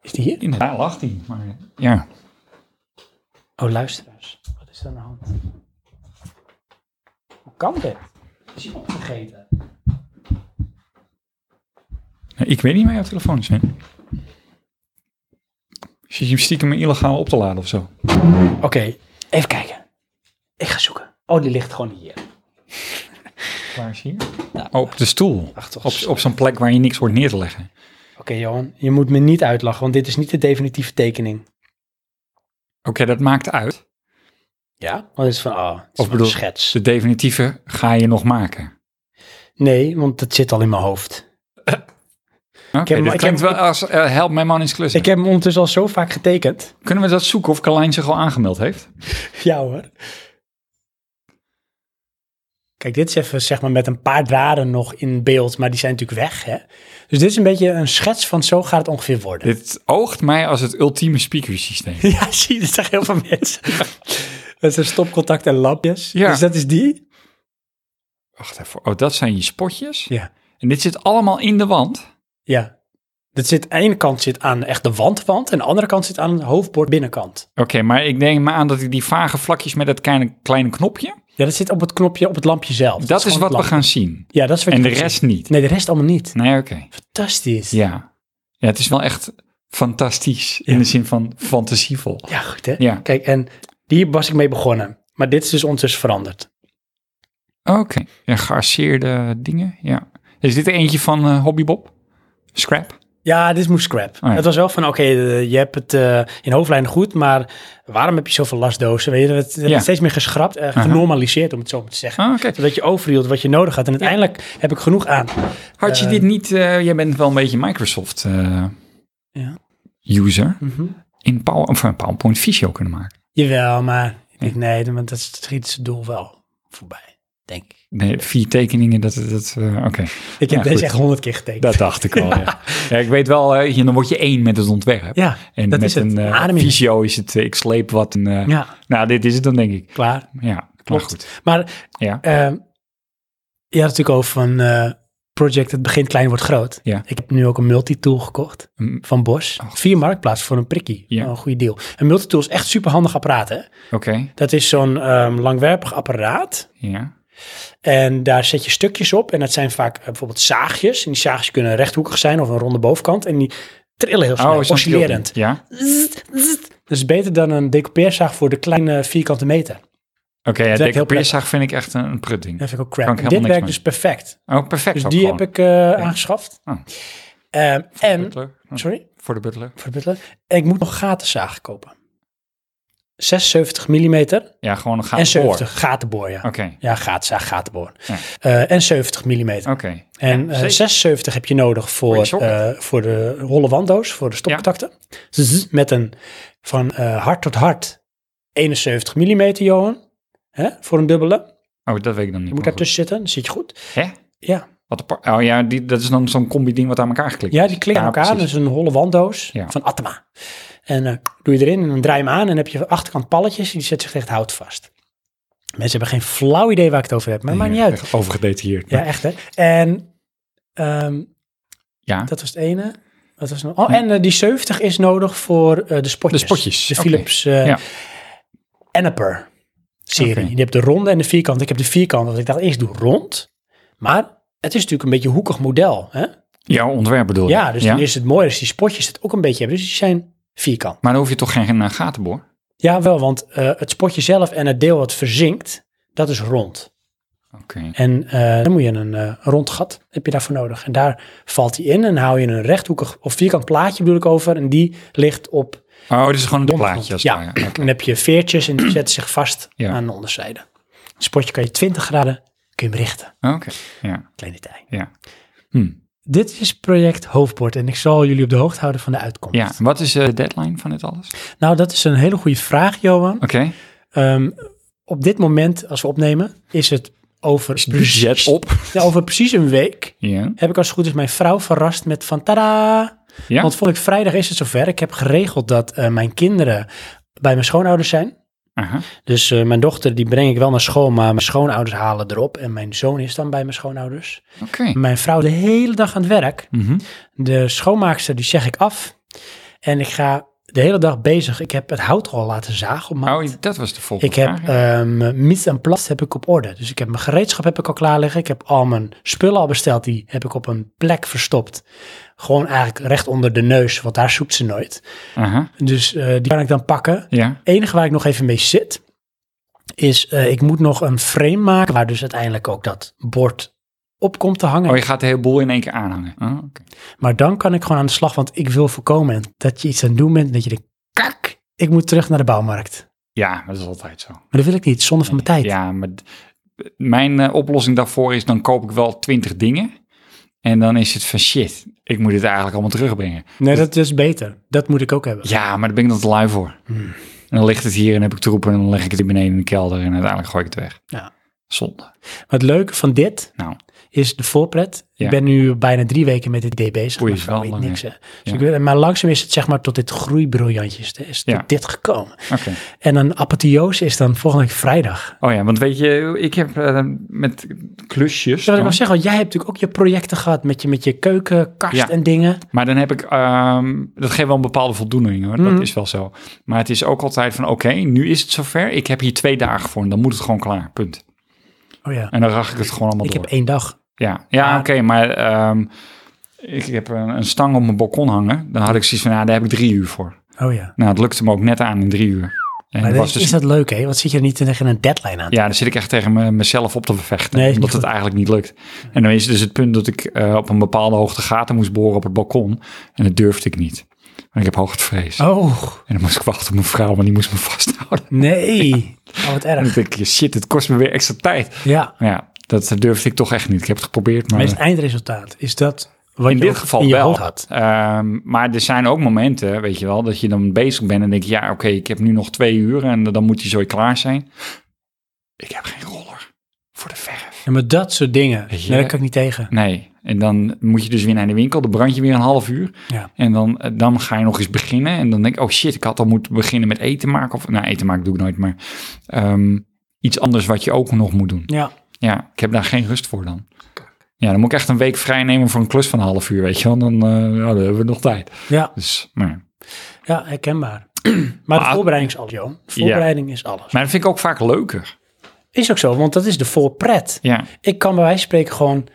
Is die hier?
Inderdaad, lacht hij. Maar ja.
Oh, luisteraars. Wat is er aan de hand? Hoe kan dit? Is hij opgegeten?
Nou, Ik weet niet waar jouw telefoon is, hè? Zit je hem stiekem illegaal op te laden of zo?
Oké, even kijken. Ik ga zoeken. Oh, die ligt gewoon hier.
Waar is hier? Oh, op de stoel.
Ach, toch.
Op, op zo'n plek waar je niks hoort neer te leggen.
Oké, Johan. Je moet me niet uitlachen, want dit is niet de definitieve tekening.
Oké, dat maakt uit.
Ja? Want het is van, ah, het
Of
is maar
bedoel-
een schets.
De definitieve ga je nog maken.
Nee, want dat zit al in mijn hoofd.
Oké,
heb-
dit
ik
klinkt
heb-
wel als eh, help mijn man is klussen.
Ik heb hem ondertussen al zo vaak getekend.
Kunnen we dat zoeken of Carlijn zich al aangemeld heeft?
Ja hoor. Kijk, dit is even zeg maar met een paar draden nog in beeld, maar die zijn natuurlijk weg. Hè? Dus dit is een beetje een schets van zo gaat het ongeveer worden.
Dit oogt mij als het ultieme speakersysteem.
Ja, zie je, dat zeggen heel veel mensen. Dat zijn stopcontact en lampjes.
Ja.
Dus dat is die.
Wacht even. Oh, dat zijn je spotjes?
Ja.
En dit zit allemaal in de wand?
Ja. Dat zit, aan de ene kant zit aan echt de wandwand en de andere kant zit aan het hoofdbord binnenkant.
Oké, maar ik denk maar aan dat ik die vage vlakjes met dat kleine, kleine knopje...
Ja, dat zit op het knopje, op het lampje zelf.
Dat, is
gewoon
wat
het
we
lampje.
gaan zien.
Ja, dat is wat
En
je
de
gaat zien.
rest niet.
Nee, de rest allemaal niet.
Nee, oké.
Fantastisch.
Ja. ja, het is wel echt fantastisch in de zin van fantasievol.
Ja, goed hè?
Ja.
Kijk, en hier was ik mee begonnen. Maar dit is dus ondertussen veranderd.
Oké, ja, gearseerde dingen, ja. Is dit er eentje van eh, Hobby Bob? Scrap?
Ja, dit moest scrap.
Oh ja.
Het was wel van, oké, eh, je hebt het eh, in hoofdlijnen goed, maar waarom heb je zoveel lastdozen? Weet je, het, het
Ja.
is steeds meer geschrapt, eh, genormaliseerd om het zo maar te zeggen.
Ah, oké.
Zodat je overhield wat je nodig had. En uiteindelijk heb ik genoeg aan.
Had je dit niet... eh, jij bent wel een beetje Microsoft eh,
Ja.
user.
Mhm.
In Power, of, een PowerPoint visio kunnen maken.
Jawel, maar ik denk, nee, want dat schiet zijn doel wel voorbij. denk ik.
Nee, vier tekeningen, dat... dat eh, Oké,
Ik heb
Ja,
deze
goed.
echt honderd keer getekend.
dat dacht ik al. ja. Ja, ik weet wel, eh, weet je, dan word je één met het ontwerp.
ja,
en
dat
met
is het.
een eh,
Adem in.
visio is het, eh, ik sleep wat. En, eh,
ja,
Nou, dit is het dan, denk ik.
klaar.
Ja,
Klopt.
Maar goed.
Maar
Ja.
ehm, je had het natuurlijk over van eh, project, het begint klein, wordt groot.
Ja.
Ik heb nu ook een multitool gekocht
Mm,
van Bosch.
Ach.
Vier marktplaatsen voor een prikkie.
Ja.
Wel Een goede deal. Een multitool is echt superhandig apparaat, hè?
Oké,
Dat is zo'n ehm, langwerpig apparaat.
ja.
En daar zet je stukjes op. En dat zijn vaak eh, bijvoorbeeld zaagjes. En die zaagjes kunnen rechthoekig zijn of een ronde bovenkant. En die trillen heel snel,
Oh, is dat
oscillerend.
heel- Ja,
Dat is beter dan een decoupeerzaag voor de kleine vierkante meter.
oké.
werkt
ja,
heel
decoupeerzaag vind ik echt een, een prutding.
Dat vind ik ook
Kan
crap.
ik
En
helemaal
dit
niks
werkt
mee.
dus perfect.
Oh, perfect.
Dus
ook
die
gewoon.
heb ik eh, aangeschaft.
Ah.
Ehm, en,
Butler. Hm,
sorry,
Voor de butler.
voor de butler. En ik moet nog gatenzaag kopen. 76 mm en
Ja, gewoon een gaten
70
voor. Oké,
gatenboor, ja. Ja, gaatzaag, gatenboor.
Ah. Ja.
Eh, en 70 mm.
oké.
En eh,
zeker.
76 heb je nodig
Voor je
voor,
socket.
eh, voor de holle wanddoos, voor de stopcontacten. Zzz, Met een van eh, hart tot hart 71 mm, Johan. Hè, voor een dubbele.
Oh, dat weet ik dan niet.
Je moet
maar
daar tussen zitten, dan zit je goed.
goed. Hè?
Ja,
Wat apart. Oh ja, die, dat is dan zo'n combi-ding wat aan elkaar geklikt
ja
is.
die klikt aan elkaar.
precies.
Dus een holle wanddoos
Ja.
van Atma. En eh, doe je erin en dan draai je hem aan. En dan heb je achterkant palletjes. Die zet zich tegen het hout vast. Mensen hebben geen flauw idee waar ik het over heb. Maar
Ja,
maakt niet uit.
echt Overgedetailleerd.
Ja, echt hè. En ehm,
Ja.
dat was het ene. Wat was het nog? Oh, en eh, die 70 is nodig voor eh, de spotjes.
De spotjes,
De
oké.
Philips eh
Ja.
Enneper serie.
Oké.
Je hebt de ronde en de vierkant. Ik heb de vierkant, want ik dacht eerst doe rond. Maar het is natuurlijk een beetje een hoekig model. Hè?
Jouw ontwerp bedoel je?
Ja, dus dan is het mooi als die spotjes het ook een beetje hebben. Dus die zijn vierkant.
Maar dan hoef je toch geen eh, gatenboor?
Ja, wel, want eh, het spotje zelf en het deel wat verzinkt, dat is rond.
Oké.
En eh, dan moet je een eh, rond gat, heb je daarvoor nodig. En daar valt hij in en hou je een rechthoekig of vierkant plaatje bedoel ik over. En die ligt op,
Oh, dit is gewoon een
Domgrond,
plaatje. Als
ja.
het ware. Oké.
dan heb je veertjes en die zetten zich vast
Ja.
aan de onderzijde. Een spotje kan je 20 graden, kun je hem richten.
Oké, ja.
Klein detail.
ja. Hm.
Dit is project Hoofdbord en ik zal jullie op de hoogte houden van de uitkomst.
Ja, wat is eh, de deadline van dit alles?
Nou, dat is een hele goede vraag, Johan.
Oké.
Ehm, op dit moment, als we opnemen, is het over,
Budget op.
Ja, over precies een week.
Ja.
Heb ik als het goed is mijn vrouw verrast met van tada!
Ja?
Want volgende week vrijdag is het zover. Ik heb geregeld dat eh, mijn kinderen bij mijn schoonouders zijn.
Aha.
Dus eh, mijn dochter die breng ik wel naar school, maar mijn schoonouders halen erop. En mijn zoon is dan bij mijn schoonouders.
Oké.
Mijn vrouw de hele dag aan het werk.
Mhm.
De schoonmaakster die zeg ik af. En ik ga de hele dag bezig. Ik heb het hout al laten zagen op maand.
Oh, dat was de volgende
Ik heb
vraag, ja.
ehm mis en plas heb ik op orde. Dus ik heb mijn gereedschap heb ik al klaar liggen. Ik heb al mijn spullen al besteld. Die heb ik op een plek verstopt. Gewoon eigenlijk recht onder de neus, want daar zoekt ze nooit.
Aha.
Dus eh, die kan ik dan pakken. Het
Ja.
enige waar ik nog even mee zit, is eh, ik moet nog een frame maken waar dus uiteindelijk ook dat bord op komt te hangen.
Oh, je gaat de hele boel in één keer aanhangen. Oh, oké.
Maar dan kan ik gewoon aan de slag, want ik wil voorkomen dat je iets aan het doen bent en dat je denkt, kak, ik moet terug naar de bouwmarkt.
Ja, dat is altijd zo.
Maar dat wil ik niet, zonde van mijn tijd.
Ja, maar d- mijn eh, oplossing daarvoor is, dan koop ik wel twintig dingen. En dan is het van shit, ik moet dit eigenlijk allemaal terugbrengen.
Nee, Dus dat is beter. Dat moet ik ook hebben.
Ja, maar daar ben ik dan te lui voor.
Hmm.
En dan ligt het hier en heb ik troepen en dan leg ik het hier beneden in de kelder en uiteindelijk gooi ik het weg.
Ja.
Zonde.
Maar het leuke van dit
Nou.
is de voorpret.
Ja.
Ik ben nu bijna drie weken met dit idee bezig.
Oei,
maar
is wel
ik weet
lang,
niks, hè. Dus
Ja.
ik weet- maar langzaam is het zeg maar tot dit groeibriljantje is, is
Ja.
tot dit gekomen.
Oké.
En een apotheose is dan volgende week vrijdag.
Oh ja, want weet je, ik heb eh, met klusjes.
Zou
dan-
ik wel zeggen, want jij hebt natuurlijk ook je projecten gehad met je, met je keuken, kast
Ja.
en dingen.
Maar dan heb ik, ehm, dat geeft wel een bepaalde voldoening hoor,
Mhm.
dat is wel zo. Maar het is ook altijd van, oké, nu is het zover. Ik heb hier twee dagen voor en dan moet het gewoon klaar, punt.
Oh ja,
En dan rach ik het gewoon allemaal
ik
door.
heb één dag.
Ja, ja
Maar-
oké, maar ehm, ik heb een, een stang op mijn balkon hangen. Dan had ik zoiets van, nou, daar heb ik drie uur voor.
Oh ja.
Nou, het lukte me ook net aan in drie uur. En
Maar
het
dat
was
is,
dus,
is dat leuk, hè? Want zit je er niet tegen een deadline aan?
Ja, dan zit ik echt tegen me- mezelf op te vechten,
Nee, is niet
omdat het
goed.
eigenlijk niet lukt. En dan is dus het punt dat ik eh, op een bepaalde hoogte gaten moest boren op het balkon. En dat durfde ik niet, want ik heb hoogtevrees.
Oh,
En dan moest ik wachten op mijn vrouw, want die moest me vasthouden.
nee. Oh, wat
En dan
erg.
denk je, shit, het kost me weer extra tijd.
Ja,
Maar ja, dat durfde ik toch echt niet. Ik heb het geprobeerd, maar...
maar is het eindresultaat, is dat wat
in
je
dit
ook
geval
in je
wel.
hoofd had?
Ehm, maar er zijn ook momenten, weet je wel, dat je dan bezig bent en denk je, ja, oké, ik heb nu nog twee uur en dan moet die zooi klaar zijn. Ik heb geen roller. voor de verf.
Ja, maar dat soort dingen,
Weet je?
nee, daar kan ik niet tegen.
Nee, en dan moet je dus weer naar de winkel. Dan brand je weer een half uur.
Ja.
En dan, eh, dan ga je nog eens beginnen. En dan denk ik, oh shit, ik had al moeten beginnen met eten maken. Of, nou, eten maken doe ik nooit, maar ehm, iets anders wat je ook nog moet doen.
Ja,
Ja, ik heb daar geen rust voor dan. Ja, dan moet ik echt een week vrij nemen voor een klus van een half uur, weet je wel. Dan, eh, ja, dan hebben we nog tijd.
ja,
Dus, maar.
ja herkenbaar. Maar de
Maar-
voorbereiding is alles, Johan. De voorbereiding is alles.
maar dat vind ik ook vaak leuker.
Is ook zo, want dat is de voorpret.
Ja,
Ik kan bij wijze van spreken gewoon,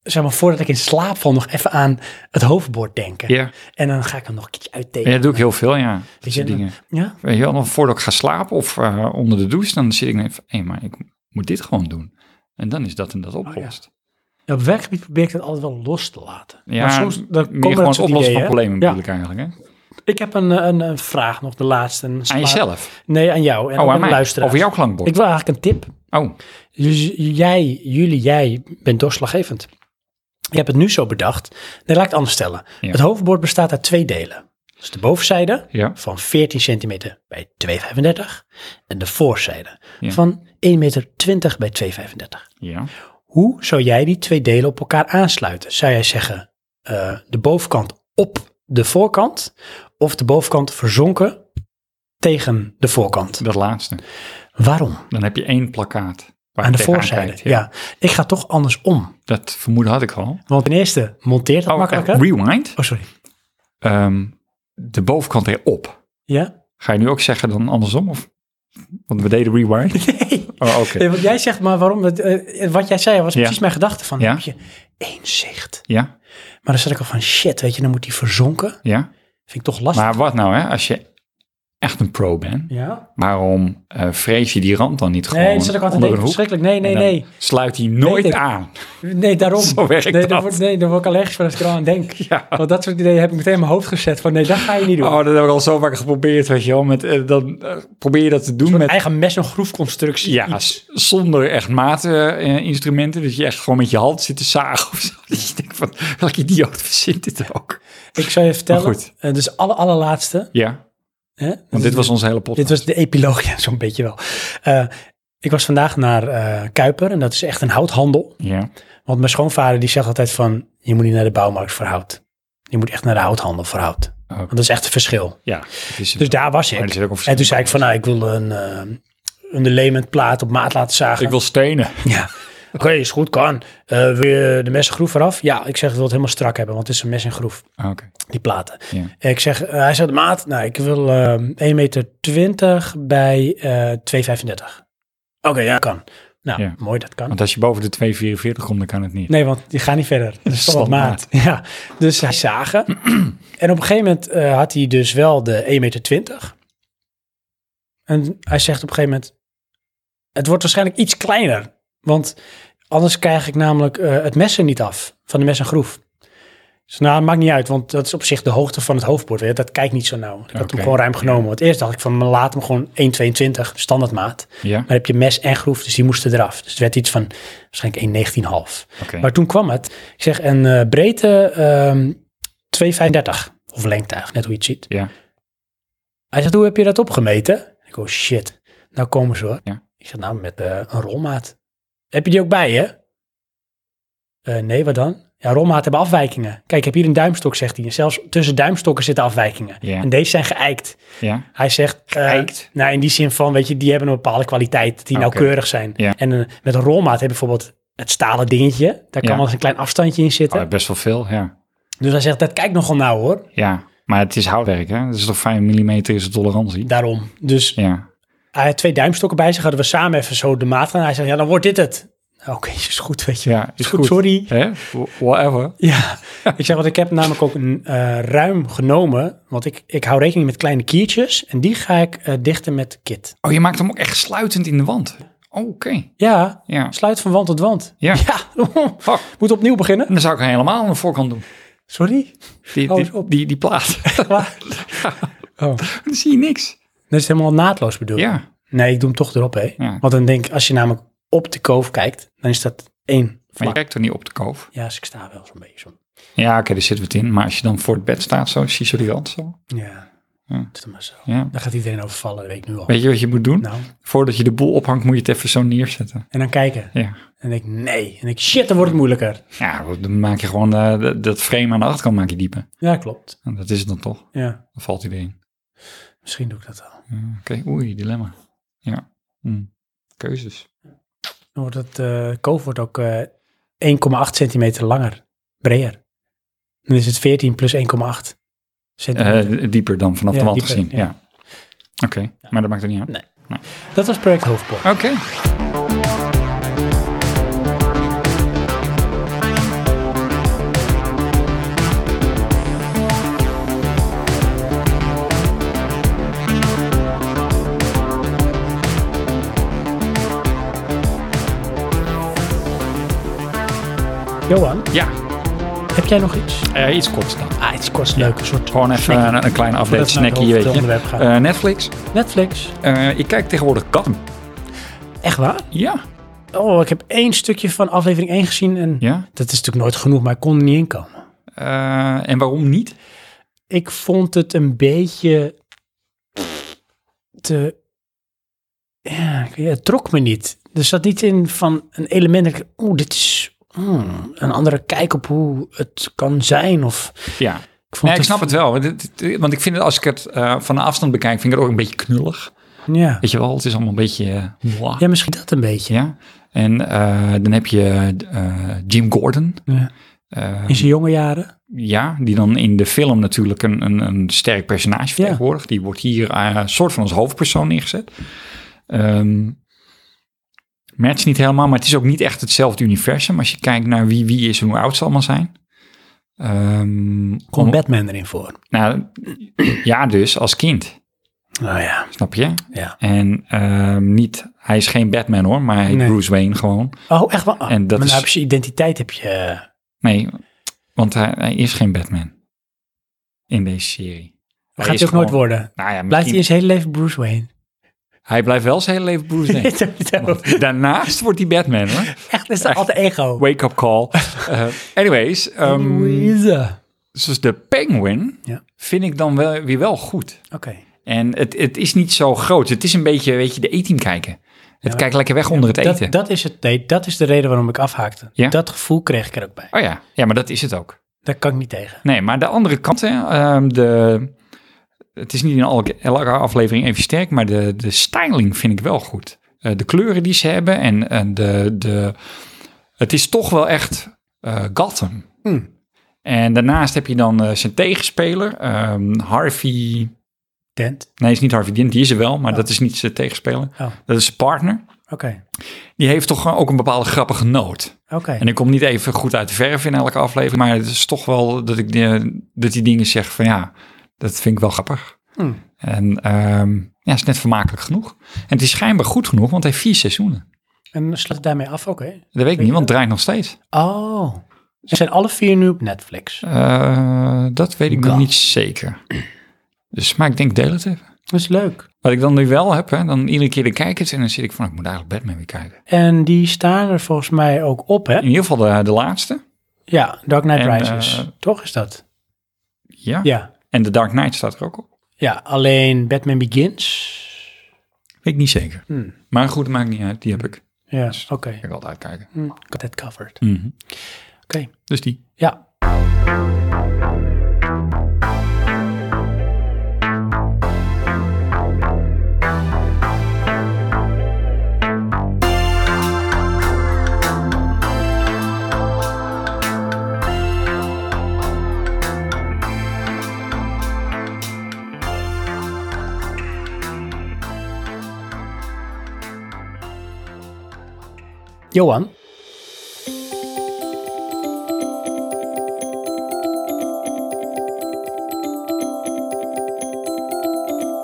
zeg maar, voordat ik in slaap val, nog even aan het hoofdbord denken.
ja.
En dan ga ik hem nog een keertje uittekenen.
ja dat doe ik heel veel, ja. Dat soort
je,
dingen.
Ja,
Weet je wel, dan voordat ik ga slapen of eh, onder de douche, dan zit ik net van, hé, maar ik moet dit gewoon doen. En dan is dat en dat
Oh,
opgelost.
Ja, op werkgebied probeer ik dat altijd wel los te laten.
Ja,
maar soms dan dus
meer
komen
gewoon
dat
het
soort
oplossen
ideeën.
van problemen
Ja.
natuurlijk eigenlijk. Hè?
Ik heb een, eh, een, een vraag nog, de laatste. Een
Aan
sla-
jezelf.
Nee, aan jou en
Oh, aan
ook aan de
mij.
luisteraars.
Over jouw klankbord.
Ik wil eigenlijk een tip.
Oh,
Dus jij, jullie, jij bent doorslaggevend. Je hebt het nu zo bedacht. Nee, laat ik het anders stellen.
Ja.
Het hoofdbord bestaat uit twee delen. Dus de bovenzijde
ja.
van 14 centimeter bij 2,35 en de voorzijde
Ja.
van 1,20 meter bij 2,35.
Ja.
Hoe zou jij die twee delen op elkaar aansluiten? Zou jij zeggen eh, de bovenkant op de voorkant of de bovenkant verzonken tegen de voorkant?
Dat laatste.
Waarom?
Dan heb je één plakkaat. Waar
Aan
je
de
tegenaan
voorzijde.
kijkt,
ja. ik ga toch andersom.
Dat vermoeden had ik al.
Want ten eerste monteert dat
Oh,
makkelijker.
eh, rewind.
oh, sorry.
Ehm, de bovenkant erop.
Ja?
Ga je nu ook zeggen dan andersom? Of? Want we deden rewind.
Nee.
Oh, oké.
Nee, Want jij zegt maar waarom. het, eh, wat jij zei was
Ja.
precies mijn gedachte van.
Ja.
Heb je één zicht.
Ja,
Maar dan zat ik al van shit, weet je, dan moet die verzonken.
ja.
Vind ik toch lastig.
Maar wat nou hè, als je echt een pro bent.
ja?
Waarom eh, vrees je die rand dan niet gewoon
Nee, dan zat ik altijd te
onder een
denken,
hoek?
verschrikkelijk. Nee, nee,
En dan
nee.
sluit hij nooit
Nee, nee.
aan.
Nee, daarom.
Zo werkt
nee,
dat.
Dan word, nee, dan word ik allergisch voor als ik er al aan denk.
Ja.
Want dat soort ideeën heb ik meteen in mijn hoofd gezet. Van nee, dat ga je niet doen.
Oh, dat heb ik al zo vaak geprobeerd, weet je wel. Met, eh, dan eh, probeer je dat te doen
Een
met...
eigen mes- en groefconstructie.
Ja,
iets.
s- zonder echt maatinstrumenten. dus je echt gewoon met je hand zit te zagen of zo. Dat je denkt van, welk idioot verzint dit ook?
Ik zou je vertellen.
Maar goed.
eh, dus alle allerlaatste.
Ja,
Hè?
want Dus- dit was onze hele podcast.
dit was de epiloog, ja, zo'n beetje wel. Eh, ik was vandaag naar eh, Kuiper en dat is echt een houthandel.
Ja,
Want mijn schoonvader die zegt altijd van, je moet niet naar de bouwmarkt voor hout. Je moet echt naar de houthandel voor hout.
Oké.
Want dat is echt een verschil.
ja. het is-
Dus daar was
Oh. maar er
ik.
zit ook een
En toen
verschil.
zei ik van, nou, ik wil een, eh een layment plaat op maat laten zagen.
Ik wil stenen.
Ja. Oké, is goed, kan. Eh wil je de mes en groef eraf? Ja, ik zeg, ik wil het helemaal strak hebben, want het is een mes en groef,
Ah, Oké,
die platen.
ja.
En ik zeg, eh, hij zegt, maat, nou, ik wil ehm 1,20 meter bij eh 2,35. Oké, ja, kan. Nou,
Ja.
mooi, dat kan.
Want als je boven de 244 komt, dan kan het niet.
Nee, want die gaan niet verder. Dat is toch wat maat. Ja, dus hij zagen. en op een gegeven moment eh, had hij dus wel de 1,20 meter. En hij zegt op een gegeven moment, het wordt waarschijnlijk iets kleiner. Want anders krijg ik namelijk eh, het mes er niet af, van de mes en groef. Dus nou, maakt niet uit, want dat is op zich de hoogte van het hoofdbord. Weet je, dat kijkt niet zo nauw. Ik had
Oké.
hem gewoon ruim genomen. Want eerst dacht ik van, laat hem gewoon 1,22, standaard maat.
Ja,
Maar dan heb je mes en groef, dus die moesten eraf. Dus het werd iets van waarschijnlijk 1,19,5.
oké.
Maar toen kwam het, ik zeg, een eh, breedte ehm 2,35 of lengte eigenlijk, net hoe je het ziet.
Ja,
Hij zegt, hoe heb je dat opgemeten? Ik oh shit, nou komen ze hoor.
Ja.
Ik zeg, nou met eh, een rolmaat. Heb je die ook bij je? "Eh, nee, wat dan? Ja, rolmaat hebben afwijkingen. Kijk, ik heb hier een duimstok, zegt hij. En zelfs tussen duimstokken zitten afwijkingen.
Ja.
En deze zijn geëikt.
ja,
Hij zegt, eh,
Geëikt?
nou in die zin van, weet je, die hebben een bepaalde kwaliteit, die
Oké.
nauwkeurig zijn.
Ja.
En eh, met een rolmaat heb je bijvoorbeeld het stalen dingetje. Daar kan
Ja.
wel eens een klein afstandje in zitten.
Oh, best wel veel, ja.
Dus hij zegt, dat kijkt nogal nauw hoor.
Ja, maar het is houtwerk, hè. Dat is toch 5 mm is de tolerantie?
Daarom. Dus
Ja,
hij had twee duimstokken bij zich. Hadden we samen even zo de maat gaan. Hij zegt, ja, dan wordt dit het. Oké, is dus goed, weet je.
ja is goed.
sorry.
Hè? Whatever.
Ja. ik zeg, want ik heb namelijk ook een, eh, ruim genomen. Want ik, ik hou rekening met kleine kiertjes. En die ga ik eh, dichten met kit.
Oh, je maakt hem ook echt sluitend in de wand. Oh, Oké,
Ja,
ja.
sluit van wand tot wand.
Ja. Fuck.
Moet opnieuw beginnen.
En dan zou ik helemaal aan de voorkant doen.
Sorry.
Die,
Oh,
die,
is op.
die, die plaat.
Klaar. Oh.
dan zie je niks.
Dat is helemaal naadloos bedoeld.
Ja,
Nee, ik doe hem toch erop, hè.
Ja.
Want dan denk ik, als je namelijk op de koof kijkt, dan is dat één
maar je
vlak.
kijkt er niet op de koof.
Ja, dus ik sta wel zo'n beetje zo.
Ja, oké, daar zitten we het in. Maar als je dan voor het bed staat, zo, zie je die rand zo.
Ja. Doe het maar zo.
Ja.
Dan gaat iedereen overvallen, dat weet ik nu al.
Weet je wat je moet doen?
Nou,
Voordat je de boel ophangt, moet je het even zo neerzetten.
en dan kijken.
Ja,
En ik, nee. En ik, shit, dan wordt het moeilijker.
ja dan maak je gewoon eh, dat- dat frame aan de achterkant maak je dieper.
Ja, klopt.
En dat is het dan toch?
Ja,
Dan valt hij erin.
misschien doe ik dat wel.
Ja, Oké, oei, dilemma. Ja, Hm. keuzes.
Dan wordt het eh, koof wordt ook eh, 1,8 centimeter langer, breder. Dan is het 14 plus 1,8 centimeter.
Eh, dieper dan vanaf
Ja,
de wand
dieper,
gezien.
ja.
Ja. Oké, maar dat maakt er niet uit.
Nee. dat was project Hoofdpoort.
Oké.
Johan,
Ja,
heb jij nog iets?
eh, iets korts dan.
Ah, iets korts leuk. Een soort
Gewoon even
snackie.
een, een kleine update
Voordat we naar het
snackie, weet je.
hoofdonderwerp gaan.
Eh, Netflix.
Netflix.
Eh, ik kijk tegenwoordig katten.
Echt waar?
Ja,
Oh, ik heb één stukje van aflevering 1 gezien en
ja.
dat is natuurlijk nooit genoeg, maar ik kon er niet in komen.
Eh, en waarom niet?
Ik vond het een beetje te... Ja, ik weet- het trok me niet. Er zat niet in van een element dat ik... Oeh, dit is hmm, een andere kijk op hoe het kan zijn. Of,
Ja,
ik, vond
nee, ik snap het wel. Want, het- het- want ik vind het, als ik het eh, van een afstand bekijk, vind ik het ook een beetje knullig.
Ja.
Weet je wel, het is allemaal een beetje... eh, blah.
ja, misschien dat een beetje.
Ja. En eh, dan heb je eh, Jim Gordon.
Ja.
Eh,
In zijn jonge jaren.
Ja, die dan in de film natuurlijk een, een, een sterk personage vertegenwoordigt. Die wordt hier eh, een soort van als hoofdpersoon neergezet. Ehm matcht niet helemaal, maar het is ook niet echt hetzelfde universum. Als je kijkt naar wie wie is en hoe oud ze allemaal zijn. Ehm,
Komt
om-
Batman erin voor.
nou, ja, dus als kind,
Nou ja,
snap je?
ja.
En ehm, niet, hij is geen Batman hoor, maar hij heet
Nee.
Bruce Wayne gewoon.
Oh, echt wel? Oh,
En dat
maar nou
is-
heb je identiteit heb je... eh,
Nee, want hij, hij is geen Batman in deze serie.
gaat
is
hij ook nooit
gewoon-
worden.
Nou ja,
Blijft
misschien-
hij in zijn hele leven Bruce Wayne?
Hij blijft wel zijn hele leven Bruce Wayne. Want Daarnaast wordt hij Batman, hoor.
Echt, is dat altijd ego.
Wake-up call. Eh, anyways, ehm,
Louise.
dus de Penguin
Ja.
vind ik dan wel, weer wel goed.
Oké.
En het, het is niet zo groot. Het is een beetje, weet je, de eten kijken. Het kijkt lekker weg onder het eten.
Dat, dat, is het, nee, dat is de reden waarom ik afhaakte.
Ja?
Dat gevoel kreeg ik er ook bij.
Oh ja. ja, maar dat is het ook.
Daar kan ik niet tegen.
Nee, maar de andere kant, hè, ehm, de, het is niet in elke, elke aflevering even sterk, maar de, de styling vind ik wel goed. Eh, de kleuren die ze hebben en, en de, de, het is toch wel echt eh, Gotham.
Hmm.
En daarnaast heb je dan eh, zijn tegenspeler, ehm, Harvey.
Dent.
Nee, is niet Harvey Dent, die is er wel, maar dat is niet zijn tegenspeler.
Oh.
Dat is zijn partner.
Oké.
Die heeft toch eh, ook een bepaalde grappige noot.
Oké.
En ik kom niet even goed uit de verf in elke aflevering, maar het is toch wel dat ik die, dat die dingen zeg van ja, dat vind ik wel grappig.
Hmm.
En ehm, ja, is net vermakelijk genoeg. En het is schijnbaar goed genoeg, want hij heeft vier seizoenen.
En sluit het daarmee af. Oké.
Dat weet ik niet, want het draait nog steeds.
Oh. Ze zijn alle vier nu op Netflix.
Eh, dat weet ik nog
God.
niet zeker. Dus, maar ik denk deel het even.
Dat is leuk.
Wat ik dan nu wel heb, hè, dan iedere keer de kijkers en dan zit ik van, ik moet eigenlijk Batman weer kijken.
En die staan er volgens mij ook op, hè?
In ieder geval de, de laatste.
Ja, Dark Knight
En,
Rises.
eh,
Toch is dat?
Ja.
Ja.
En The Dark Knight staat er ook op.
Ja, alleen Batman Begins.
Weet ik niet zeker.
Hmm.
Maar goed, maakt niet uit. Die heb ik.
Ja, oké.
Ik kan altijd kijken.
Hmm. Got that covered. Oké.
Dus die.
Ja. Johan,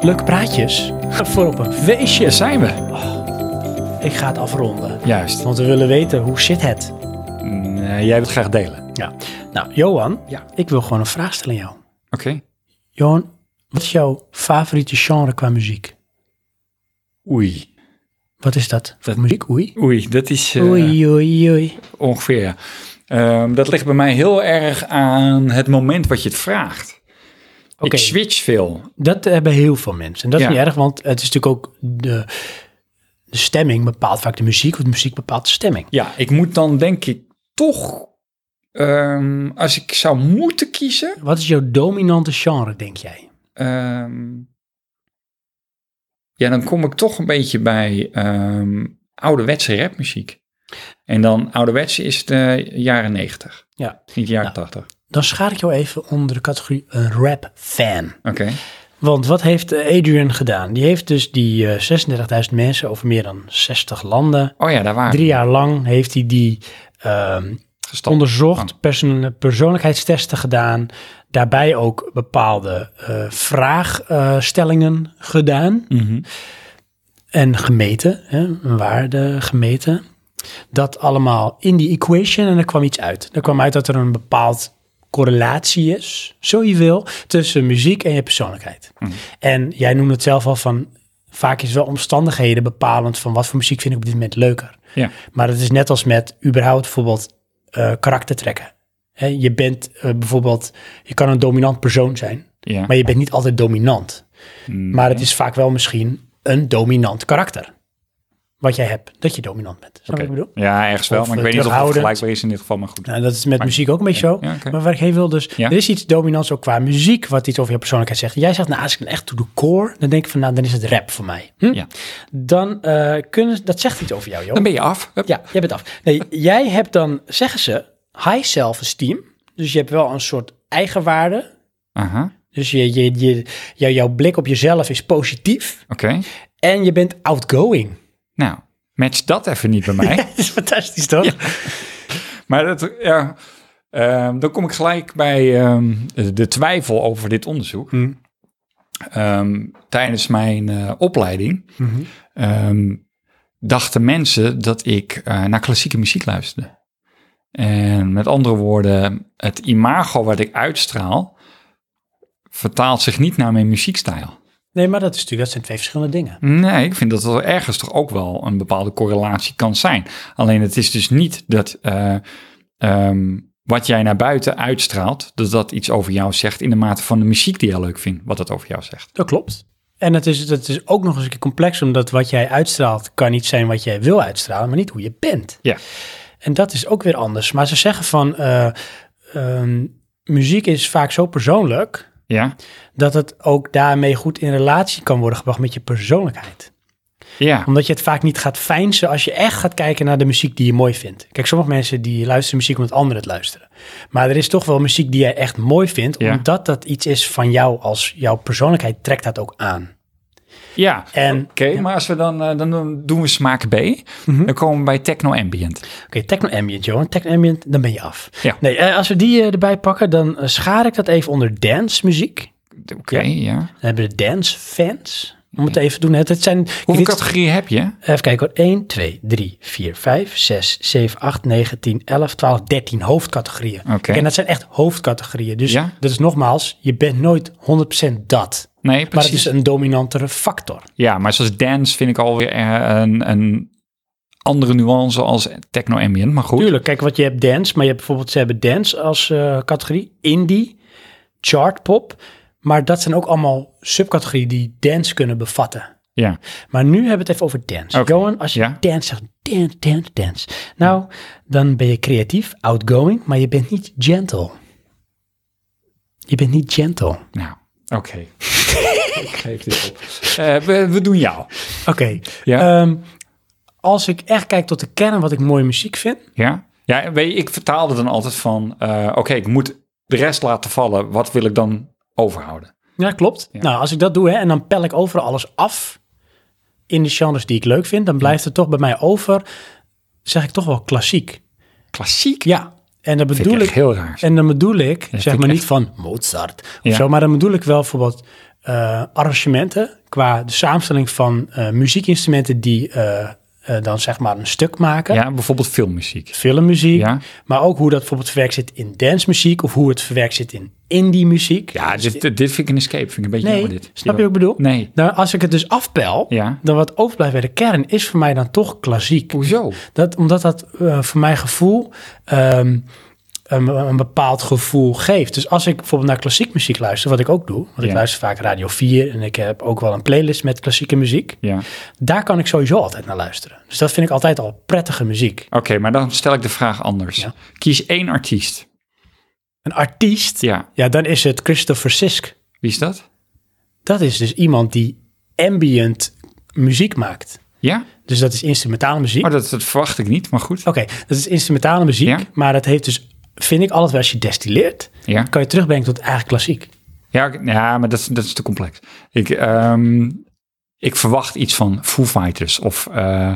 leuke praatjes voor op een feestje.
Daar zijn we.
Ik ga het afronden.
Juist.
Want we willen weten, hoe zit het?
Nee, jij wilt graag delen.
Ja. Nou, Johan,
Ja.
ik wil gewoon een vraag stellen aan jou.
Oké.
Johan, wat is jouw favoriete genre qua muziek?
Oei.
Wat is dat? Wat muziek? Oei.
Oei, dat is eh,
Oei, oei, oei.
ongeveer. ja. Ehm, dat ligt bij mij heel erg aan het moment wat je het vraagt.
Oké.
Ik switch veel.
Dat hebben heel veel mensen. En dat is
Ja.
niet erg, want het is natuurlijk ook de, de stemming bepaalt vaak de muziek, of de muziek bepaalt de stemming.
Ja, ik moet dan denk ik toch, ehm, als ik zou moeten kiezen,
Wat is jouw dominante genre, denk jij?
ehm, ja, dan kom ik toch een beetje bij ehm ouderwetse rapmuziek. En dan ouderwetse is de jaren 90,
Ja.
niet de jaren 80.
Dan schaar ik jou even onder de categorie een rap fan.
Oké.
Want wat heeft eh, Adrian gedaan? Die heeft dus die eh, 36.000 mensen over meer dan 60 landen.
Oh ja, daar waren
Drie
we.
jaar lang heeft hij die ehm,
Gestapt.
onderzocht, persoon- persoonlijkheidstesten gedaan. Daarbij ook bepaalde eh, vraagstellingen gedaan
Mhm.
en gemeten, hè, een waarde gemeten. Dat allemaal in die equation en er kwam iets uit. Er kwam uit dat er een bepaald correlatie is, zo je wil, tussen muziek en je persoonlijkheid. En jij noemde het zelf al van, vaak is wel omstandigheden bepalend van wat voor muziek vind ik op dit moment leuker.
Ja.
Maar het is net als met überhaupt bijvoorbeeld eh karaktertrekken. Hè, je bent eh, bijvoorbeeld, je kan een dominant persoon zijn,
ja.
maar je bent niet altijd dominant.
Mm.
Maar het is vaak wel misschien een dominant karakter. Wat jij hebt, dat je dominant bent. Snap je wat ik bedoel?
Ja, ergens wel,
Of,
maar ik
eh,
weet niet of het
terughoudend.
vergelijkbaar is in dit geval, maar goed.
Nou, dat is met muziek ook een beetje zo.
ja, oké.
Maar waar ik heen wil, dus
Ja.
er is iets dominants ook qua muziek, wat iets over je persoonlijkheid zegt. Jij zegt, nou, als ik dan echt to the core, dan denk ik van, nou, dan is het rap voor mij. Hm?
Ja.
Dan eh, kunnen, dat zegt iets over jou, joh.
Dan ben je af. Hup.
Ja, jij bent af. Nee, jij hebt dan, zeggen ze, high self-esteem. Dus je hebt wel een soort eigenwaarde.
Aha,
Dus je, je, je, jou- jouw blik op jezelf is positief.
oké.
En je bent outgoing.
Nou, match dat even niet bij mij.
Dat is fantastisch, toch?
Maar dat, ja, ehm, dan kom ik gelijk bij ehm, de twijfel over dit onderzoek.
Hmm.
Ehm, tijdens mijn eh, opleiding ehm, dachten mensen dat ik eh, naar klassieke muziek luisterde. En met andere woorden, het imago wat ik uitstraal vertaalt zich niet naar mijn muziekstijl.
Nee, maar dat, is natuurlijk, dat zijn twee verschillende dingen.
Nee, ik vind dat er ergens toch ook wel een bepaalde correlatie kan zijn. Alleen het is dus niet dat eh, ehm, wat jij naar buiten uitstraalt, dat dat iets over jou zegt in de mate van de muziek die jij leuk vindt, wat dat over jou zegt.
Dat klopt. En het is, het is ook nog eens een keer complex, omdat wat jij uitstraalt kan niet zijn wat jij wil uitstralen, maar niet hoe je bent.
Ja.
En dat is ook weer anders. Maar ze zeggen van, eh, ehm, muziek is vaak zo persoonlijk
Ja?
dat het ook daarmee goed in relatie kan worden gebracht met je persoonlijkheid.
Ja.
Omdat je het vaak niet gaat fijnsen als je echt gaat kijken naar de muziek die je mooi vindt. Kijk, sommige mensen die luisteren muziek omdat anderen het luisteren. Maar er is toch wel muziek die jij echt mooi vindt,
Ja.
omdat dat iets is van jou als jouw persoonlijkheid trekt dat ook aan.
ja.
En
Oké, maar als we dan, eh, dan doen- doen we smaak B,
Mhm.
dan komen we bij techno ambient.
Oké, Techno Ambient, Johan. Techno Ambient, dan ben je af.
Ja.
Nee, eh, als we die eh, erbij pakken, dan eh, schaar ik dat even onder dance muziek.
Oké, ja.
Dan hebben we de dance fans. Om het even te doen. hè. Het zijn,
Hoeveel
dit-
categorieën heb je?
even kijken hoor. 1, 2, 3, 4, 5, 6, 7, 8, 9, 10, 11, 12, 13 hoofdcategorieën.
Oké.
En dat zijn echt hoofdcategorieën. Dus
Ja.
dat is nogmaals, je bent nooit 100% dat.
Nee,
Maar het
precies.
is een dominantere factor.
Ja, maar zoals dance vind ik alweer eh, een, een andere nuance als techno ambient, maar goed.
Tuurlijk, kijk, wat je hebt dance, maar je hebt bijvoorbeeld, ze hebben dance als eh, categorie, indie, chartpop. Maar dat zijn ook allemaal subcategorieën die dance kunnen bevatten.
Ja.
Maar nu hebben we het even over dance.
Oké,
Johan, als je
ja.
dance zegt, dance, dance, dance. Nou, dan ben je creatief, outgoing, maar je bent niet gentle. Je bent niet gentle.
Nou, oké. ik geef dit op. Eh, we, we doen jou.
Oké,
Ja.
ehm, als ik echt kijk tot de kern wat ik mooie muziek vind,
Ja? Ja, weet je, ik vertaalde dan altijd van... eh, oké, ik moet de rest laten vallen. Wat wil ik dan overhouden?
Ja, klopt. Nou, als ik dat doe hè, en dan pel ik overal alles af in de genres die ik leuk vind, dan blijft het toch bij mij over, zeg ik toch wel klassiek.
Klassiek?
Ja, en dat
Vind ik
bedoel
echt
ik.
heel raar.
En dan bedoel ik, zeg
ik
maar
echt-
niet van Mozart of
Ja.
zo, maar dan bedoel ik wel bijvoorbeeld eh arrangementen qua de samenstelling van eh, muziekinstrumenten die eh, eh, dan zeg maar een stuk maken.
Ja, bijvoorbeeld filmmuziek.
Filmmuziek,
Ja.
maar ook hoe dat bijvoorbeeld verwerkt zit in dancemuziek of hoe het verwerkt zit in indie muziek.
Ja, dit, dit dit vind ik een escape. Vind ik een beetje
Nee,
jammer dit.
snap je wat ik bedoel?
Nee.
Nou, als ik het dus afpel,
Ja.
dan wat overblijft bij de kern is voor mij dan toch klassiek.
Hoezo?
Dat, omdat dat eh, voor mijn gevoel ehm, eh, een, een bepaald gevoel geeft. Dus als ik bijvoorbeeld naar klassiek muziek luister, wat ik ook doe, want ik
Ja.
luister vaak Radio 4 en ik heb ook wel een playlist met klassieke muziek,
Ja.
daar kan ik sowieso altijd naar luisteren. Dus dat vind ik altijd al prettige muziek.
Oké, maar dan stel ik de vraag anders.
Ja.
Kies één artiest.
Een artiest, ja,
Ja,
dan is het Christopher Sisk.
wie is dat?
Dat is dus iemand die ambient muziek maakt.
Ja?
Dus dat is instrumentale muziek.
Oh, dat, dat verwacht ik Oh. niet, maar goed.
Oké, dat is instrumentale muziek,
Ja.
maar dat heeft dus, vind ik, alles wat als je destilleert,
Ja,
kan je terugbrengen tot eigenlijk klassiek.
ja, oké. ja maar dat, is- dat is te complex. Ik, ehm, ik verwacht iets van Foo Fighters of eh,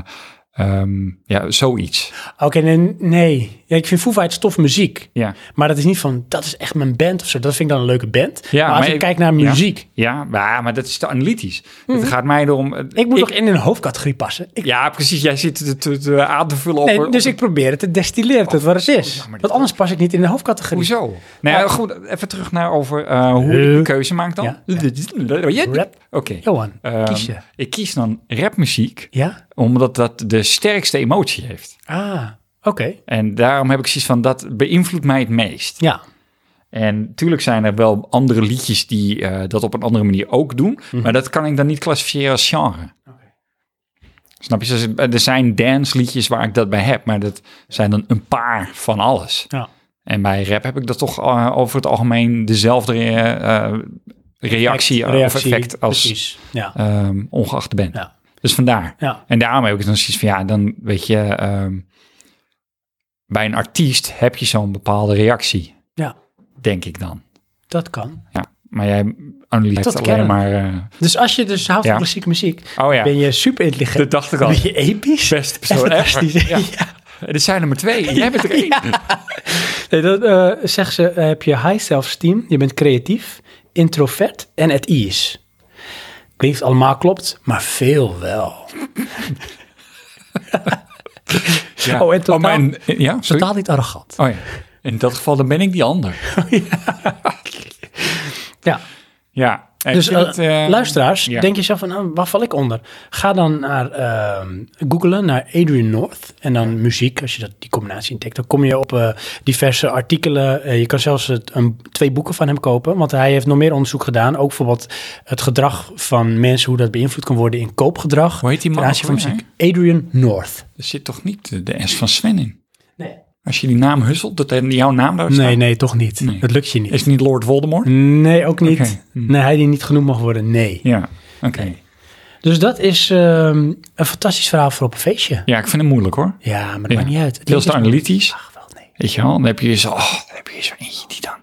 ehm, ja, zoiets.
Oké, nee, nee. Ja, ik vind Foo Fighters tof muziek,
Ja,
maar dat is niet van, dat is echt mijn band of zo. Dat vind ik dan een leuke band.
Ja,
maar als
maar
ik,
ik-
kijk naar
ja.
muziek,
ja maar, maar dat is te analytisch. Het gaat mij erom... eh,
Mhm. ik moet toch in een hoofdcategorie passen. Ik,
Ja, precies. Jij zit het het- het aan te vullen op...
nee,
op-
dus ik probeer het te destilleren tot wat het is.
Oh, maar dit-
Want anders pas ik Oh. niet in de hoofdcategorie.
Hoezo? Nou ja,
Maar-
goed, even terug naar over eh, hoe ik
Eh.
de keuze maak dan.
Ja,
Oké.
Rap. Johan,
Ehm,
kies je.
Ik kies dan rapmuziek,
Ja?
omdat dat de sterkste emotie heeft.
Ah, oké.
En daarom heb ik zoiets van, dat beïnvloedt mij het meest.
Ja.
En natuurlijk zijn er wel andere liedjes die eh, dat op een andere manier ook doen.
Mhm.
Maar dat kan ik dan niet classificeren als genre. Snap je? Dus Er zijn dance liedjes waar ik dat bij heb. Maar dat zijn dan een paar van alles.
Ja.
En bij rap heb ik dat toch eh, over het algemeen dezelfde eh, eh, reactie, eh,
Effect,
of effect als
Precies. Ja.
ehm, ongeacht de band.
Ja.
Dus vandaar.
ja.
En daarom heb ik dan zoiets van, ja, dan weet je, ehm, bij een artiest heb je zo'n bepaalde reactie.
Ja.
Denk ik dan.
Dat kan.
Ja. Maar jij analyseert
Tot
alleen
kern.
maar... eh,
Dus als je dus houdt
Ja.
van klassieke muziek,
oh ja,
ben je super intelligent.
dat dacht ik al.
Ben je episch?
Beste
Echt
persoon
fantastisch.
ever. Ja.
Ja.
Dit zijn er maar twee. Jij bent er één.
Nee, dat eh, zegt ze, eh, heb je high self-esteem, je bent creatief, introvert en at ease. Ik weet niet of het allemaal klopt, maar veel wel.
Ja.
Oh, en totaal-
maar en- ja, sorry.
Totaal niet arrogant.
Oh ja. In dat geval, dan ben ik die ander.
Ja,
Ja. En
dus
ik vind
eh,
het, eh,
luisteraars,
ja.
denk jezelf van, nou, waar val ik onder? Ga dan naar ehm googlen naar Adrian North en dan muziek. Als je dat, die combinatie intikt, dan kom je op eh, diverse artikelen. Eh, je kan zelfs het, een, twee boeken van hem kopen, want hij heeft nog meer onderzoek gedaan. Ook bijvoorbeeld het gedrag van mensen, hoe dat beïnvloed kan worden in koopgedrag.
Hoe heet die man
ten aanzien
ook
van
alweer,
muziek? Adrian North.
Er zit toch niet eh, de- de S van Sven in?
Nee,
Als je die naam husselt, dat hij jouw naam daar staat?
nee, toch niet.
Nee.
Dat lukt je niet.
Is het niet Lord Voldemort?
Nee, ook niet.
Oké. Hm.
Nee, hij die niet genoemd mag worden, nee.
Ja, oké.
Dus dat is ehm, een fantastisch verhaal voor op een feestje.
Ja, ik vind het moeilijk hoor.
Ja, maar dat
Ja.
maakt niet uit. Het
Heel te
liedje is-
analytisch.
Ach, wel, nee.
Weet je wel, dan heb je zo, oh, dan heb je zo eentje die dan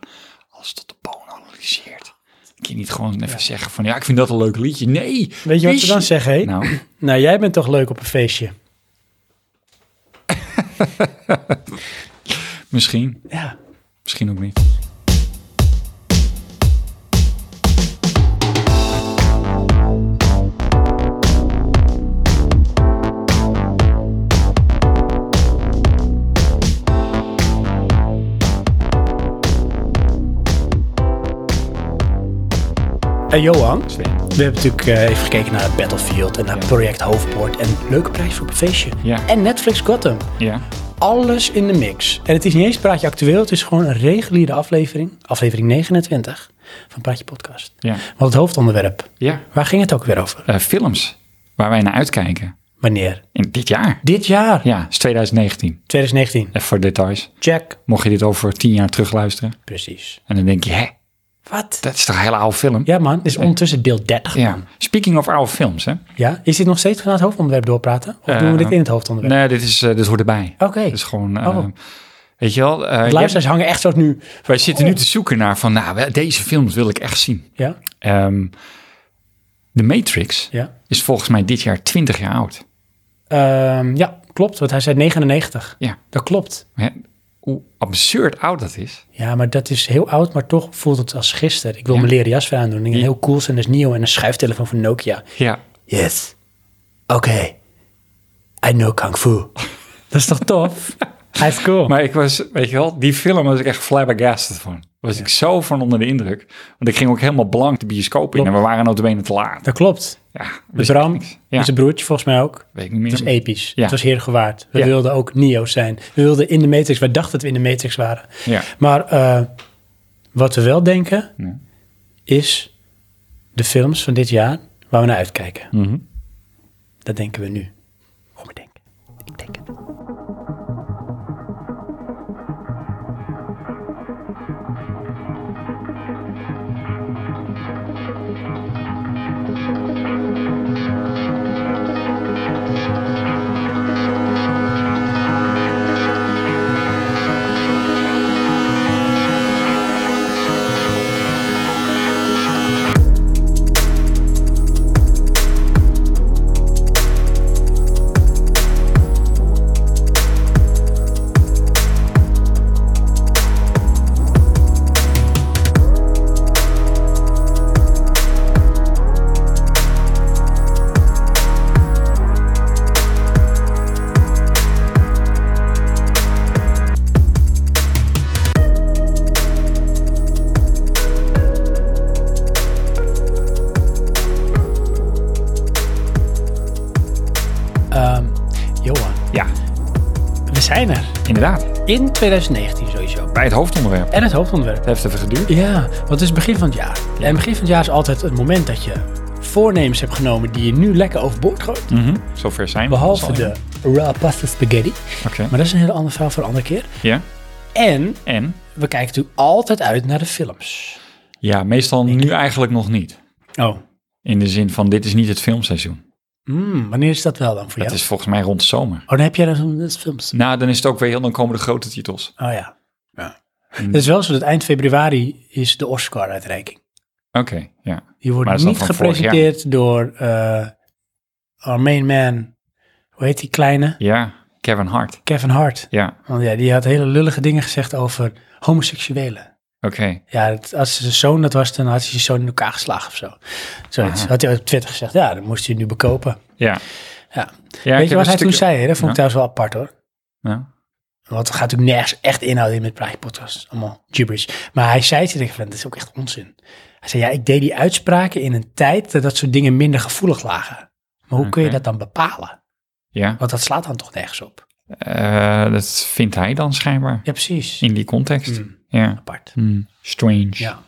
alles tot de boon analyseert. Kun je niet gewoon even zeggen van, ja, ik vind dat een leuk liedje. Nee.
Weet je wat ze dan
liedje.
zeggen? hé? Nou.
Nou,
jij bent toch leuk op een feestje?
misschien.
Ja.
Misschien ook niet.
En Johan,
Sven.
we hebben natuurlijk eh, even gekeken naar Battlefield en naar Project Hoofdpoort. En leuke prijs voor op een feestje.
Ja.
En Netflix Gotham.
Ja.
Alles in de mix. En het is niet eens Praatje Actueel, het is gewoon een reguliere aflevering. Aflevering 29 van Praatje Podcast.
Ja.
Want het hoofdonderwerp,
Ja.
waar ging het ook weer over?
Eh, films waar wij naar uitkijken.
Wanneer?
In dit jaar.
Dit jaar,
Ja, is 2019.
2019.
Even voor details.
Jack.
Mocht je dit over tien jaar terugluisteren.
Precies.
En dan denk je, hè,
Wat?
dat is toch een hele oude film?
Ja man, dit is ondertussen deel 30.
Ja. Speaking of oude films, hè?
Ja, is dit nog steeds vanuit het hoofdonderwerp doorpraten? Of doen we
Eh,
dit in het hoofdonderwerp?
Nee, dit, is, eh, dit hoort erbij.
Oké,
Het is gewoon, eh,
Oh.
weet je wel, eh,
de
jij-
luisteraars hangen echt zo nu.
wij zitten nu te zoeken naar van, nou, wel, deze films wil ik echt zien.
Ja,
Ehm The Matrix
ja.
is volgens mij dit jaar 20 jaar oud.
Ehm, ja, klopt, want hij zei 99.
Ja.
Dat klopt.
Hè? Hoe absurd oud dat is.
Ja, maar dat is heel oud, maar toch voelt het als gisteren. Ik wil
Ja.
mijn leren jas weer aandoen. En
Ja.
heel cool zijn, dat is nieuw. En een schuiftelefoon van Nokia.
Ja,
Yes. Oké. I know kung fu. Dat is toch tof? Hij is cool.
Maar ik was, weet je wel, die film was ik echt flabbergasted van. Was ik zo van onder de indruk. Want ik ging ook helemaal blank de bioscoop in.
Klopt.
En we waren notabene te laat.
dat klopt.
Ja,
De
wist ik
Bram,
niks. Ja,
zijn broertje volgens mij ook.
weet ik niet meer.
Het was episch.
Ja.
Het was heer gewaard. We
Ja.
wilden ook Nio's zijn. We wilden in de Matrix. Wij dachten dat we in de Matrix waren.
ja.
Maar eh, wat we wel denken,
Ja.
is de films van dit jaar waar we naar uitkijken.
Mhm.
Dat denken we nu. Gewoon maar denken. Ik denk het. Ehm, Johan,
ja,
we zijn er.
inderdaad.
In 2019 sowieso.
Bij het hoofdonderwerp.
En het hoofdonderwerp.
Het heeft even geduurd.
Ja, want het is begin van het jaar. En begin van het jaar is altijd het moment dat je voornemens hebt genomen die je nu lekker overboord gooit.
Mhm. Zover zijn we.
Behalve
Dat is al-
de raw pasta spaghetti.
Oké.
Maar dat is een hele andere verhaal voor een andere keer.
Ja.
En
En?
we kijken natuurlijk altijd uit naar de films.
Ja, meestal nu eigenlijk nog niet.
Oh.
In de zin van, dit is niet het filmseizoen.
Mm, wanneer is dat wel dan voor
Het
jou?
is volgens mij rond zomer.
Oh, dan heb jij dan zo'n dat is films.
Nou, dan is het ook weer heel, dan komen de grote titels.
Oh ja. ja.
Mm.
Het is wel zo dat eind februari is de Oscar-uitreiking.
Oké, ja.
Die wordt
Maar dat is
niet
dan van vorig
gepresenteerd door eh our main man, hoe heet die kleine?
Ja, Kevin Hart.
Kevin Hart.
Ja,
Want ja, die had hele lullige dingen gezegd over homoseksuelen.
oké.
Ja, dat- als zijn zoon dat was, dan had hij zijn zoon in elkaar geslagen of zo. Zoiets. Had hij op Twitter gezegd, ja, dan moest hij nu bekopen.
Ja.
Ja.
ja
Weet je wat hij toen
toen
zei? hè? Dat vond ik trouwens wel apart hoor.
Ja.
Want er gaat natuurlijk nergens echt inhoud in met Praatje Podcast. Allemaal gibberish. Maar hij zei tegen van, dat is ook echt onzin. Hij zei, ja, ik deed die uitspraken in een tijd dat dat soort dingen minder gevoelig lagen. Maar hoe kun je
Oké.
dat dan bepalen?
ja.
Want dat slaat dan toch nergens op.
Eh, dat vindt hij dan schijnbaar.
Ja, precies.
In die context.
Mm.
Ja.
Apart.
Hmm, Strange.
Ja.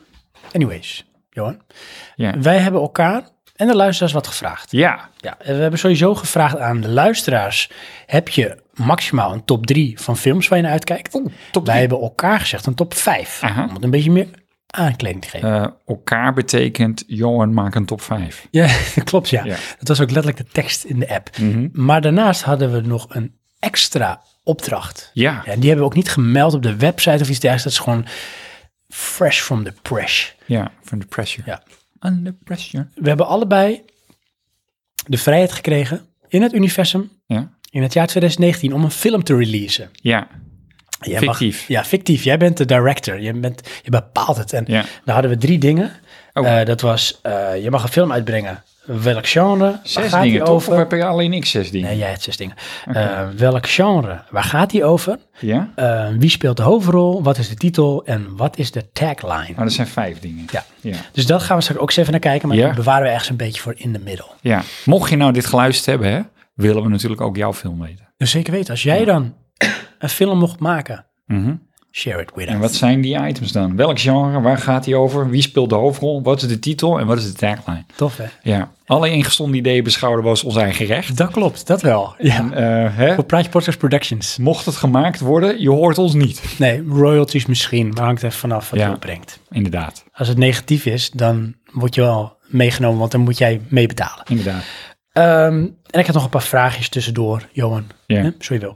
Anyways, Johan.
Ja.
Wij hebben elkaar en de luisteraars wat gevraagd.
Ja.
Ja, en we hebben sowieso gevraagd aan de luisteraars. Heb je maximaal een top 3 van films waar je naar uitkijkt?
top
Wij
drie.
hebben elkaar gezegd een top 5.
Aha.
Om het een beetje meer aankleding te geven.
Eh, elkaar betekent, Johan, maak een top 5.
Ja, dat klopt ja.
Ja. Mhm.
Dat was ook letterlijk de tekst in de app. Maar daarnaast hadden we nog een extra opdracht.
Ja.
En die hebben we ook niet gemeld op de website of iets dergelijks. Dat is gewoon fresh from the press.
Ja, van de pressure.
Ja.
Under pressure.
We hebben allebei de vrijheid gekregen in het universum
Ja.
in het jaar 2019 om een film te releasen.
Ja.
Jij mag-
Fictief.
ja, fictief. Jij bent de director. Je, bent, je bepaalt het. En
Ja.
daar hadden we drie dingen.
Oh.
Eh, dat was, eh, je mag een film uitbrengen. Welk genre? Waar
Zes
gaat die
dingen, toch?
over?
Of heb je alleen ik zes dingen?
Nee, jij hebt zes dingen. Eh, welk genre? Waar gaat die over?
Ja?
Eh, wie speelt de hoofdrol? Wat is de titel? En wat is de tagline?
Maar dat zijn vijf dingen.
Ja.
Ja.
Dus dat gaan we straks ook eens even naar kijken. Maar
Ja.
die bewaren we ergens een beetje voor in de middel.
Ja. Mocht je nou dit geluisterd hebben, hè, willen we natuurlijk ook jouw film weten.
Dus zeker weten, als jij dan een film mocht maken, share it with
Mhm. En
us.
wat zijn die items dan? Welk genre? Waar gaat die over? Wie speelt de hoofdrol? Wat is de titel? En wat is de tagline?
Tof, hè?
Ja. Alle ingestonden ideeën beschouwden we als ons eigen recht.
Dat klopt, dat wel. Ja.
En, eh, hè,
Voor Praatje Podcast Productions.
mocht het gemaakt worden, je hoort ons niet.
Nee, royalties misschien, maar hangt er vanaf wat
Ja.
je opbrengt.
Inderdaad.
Als het negatief is, dan word je wel meegenomen, want dan moet jij meebetalen.
Inderdaad.
Ehm, en ik had nog een paar vraagjes tussendoor, Johan.
Ja.
Hè, Zo je wil.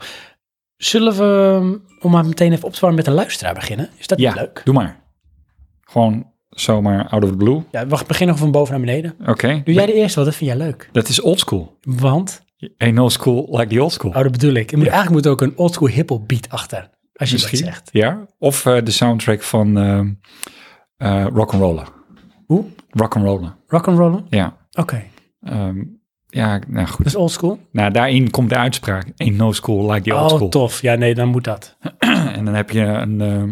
Zullen we, ehm, om maar meteen even op te warmen, met de luisteraar beginnen? Is dat
Ja,
niet leuk?
doe maar. Gewoon zomaar out of the blue.
Ja, we beginnen van boven naar beneden.
Oké.
Doe jij de eerste, want dat vind jij leuk.
Dat is old school.
Want,
Ain't no school like the old school.
oh, dat bedoel ik. Er moet, Eigenlijk moet er ook een oldschool hiphop beat achter, als je dat zegt.
Ja. Of eh, de soundtrack van ehm eh rock and roller.
Hoe?
Rock and roller.
Rock'n'rollen?
Ja.
Oké.
Ehm, ja, nou goed.
Dat is old school.
Nou, daarin komt de uitspraak. Ain't no school like the old
Oh,
school.
tof. Ja, nee, dan moet dat.
En dan heb je een... eh,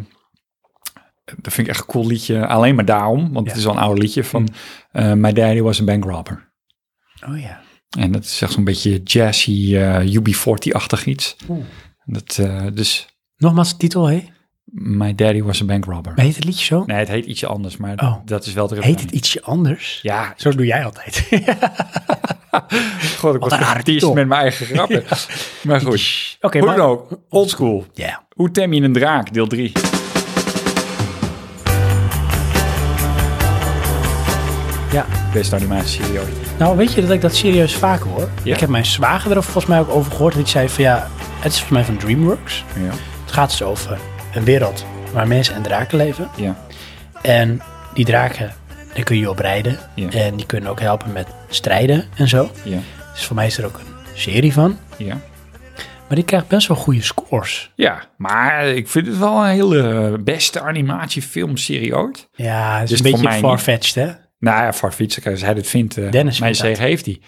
dat vind ik echt een cool liedje. Alleen maar daarom. Want
Ja. Mm.
het is al een oud liedje van... eh, My Daddy Was a Bank Robber.
Oh ja.
En dat is echt zo'n beetje jazzy, eh UB40-achtig iets.
Oeh.
Dat, eh, dus
Nogmaals, de titel, hé?
My Daddy Was a Bank Robber.
Heet het liedje zo?
Nee, het heet ietsje anders, maar
Oh.
dat is wel de
Heet het
refrein.
ietsje anders?
Ja,
Zo doe jij altijd.
god, ik
Wat
was
een rare
geartiest
titel.
met mijn eigen grappen. Maar goed,
Oké,
hoe
maar...
dan ook, old school.
Ja.
Hoe tem je een draak, deel 3.
Ja.
Beste animatieserie ooit.
Nou, weet je dat ik dat serieus vaak hoor?
Ja.
Ik heb mijn zwager er volgens mij ook over gehoord. Dat ik zei van ja, het is volgens mij van DreamWorks.
Ja,
Het gaat dus over een wereld waar mensen en draken leven.
ja,
En die draken, daar kun je op rijden.
Ja.
En die kunnen ook helpen met strijden en zo.
ja,
Dus voor mij is er ook een serie van.
ja.
Maar die krijgt best wel goede scores.
Ja, maar ik vind het wel een hele beste animatiefilmserie ooit.
Ja, het is
Dus
een
voor
beetje
mij
farfetched, hè?
Nou ja, Farfetch, als hij dit vindt, eh,
Dennis
mijn
vindt
zegen heeft hij.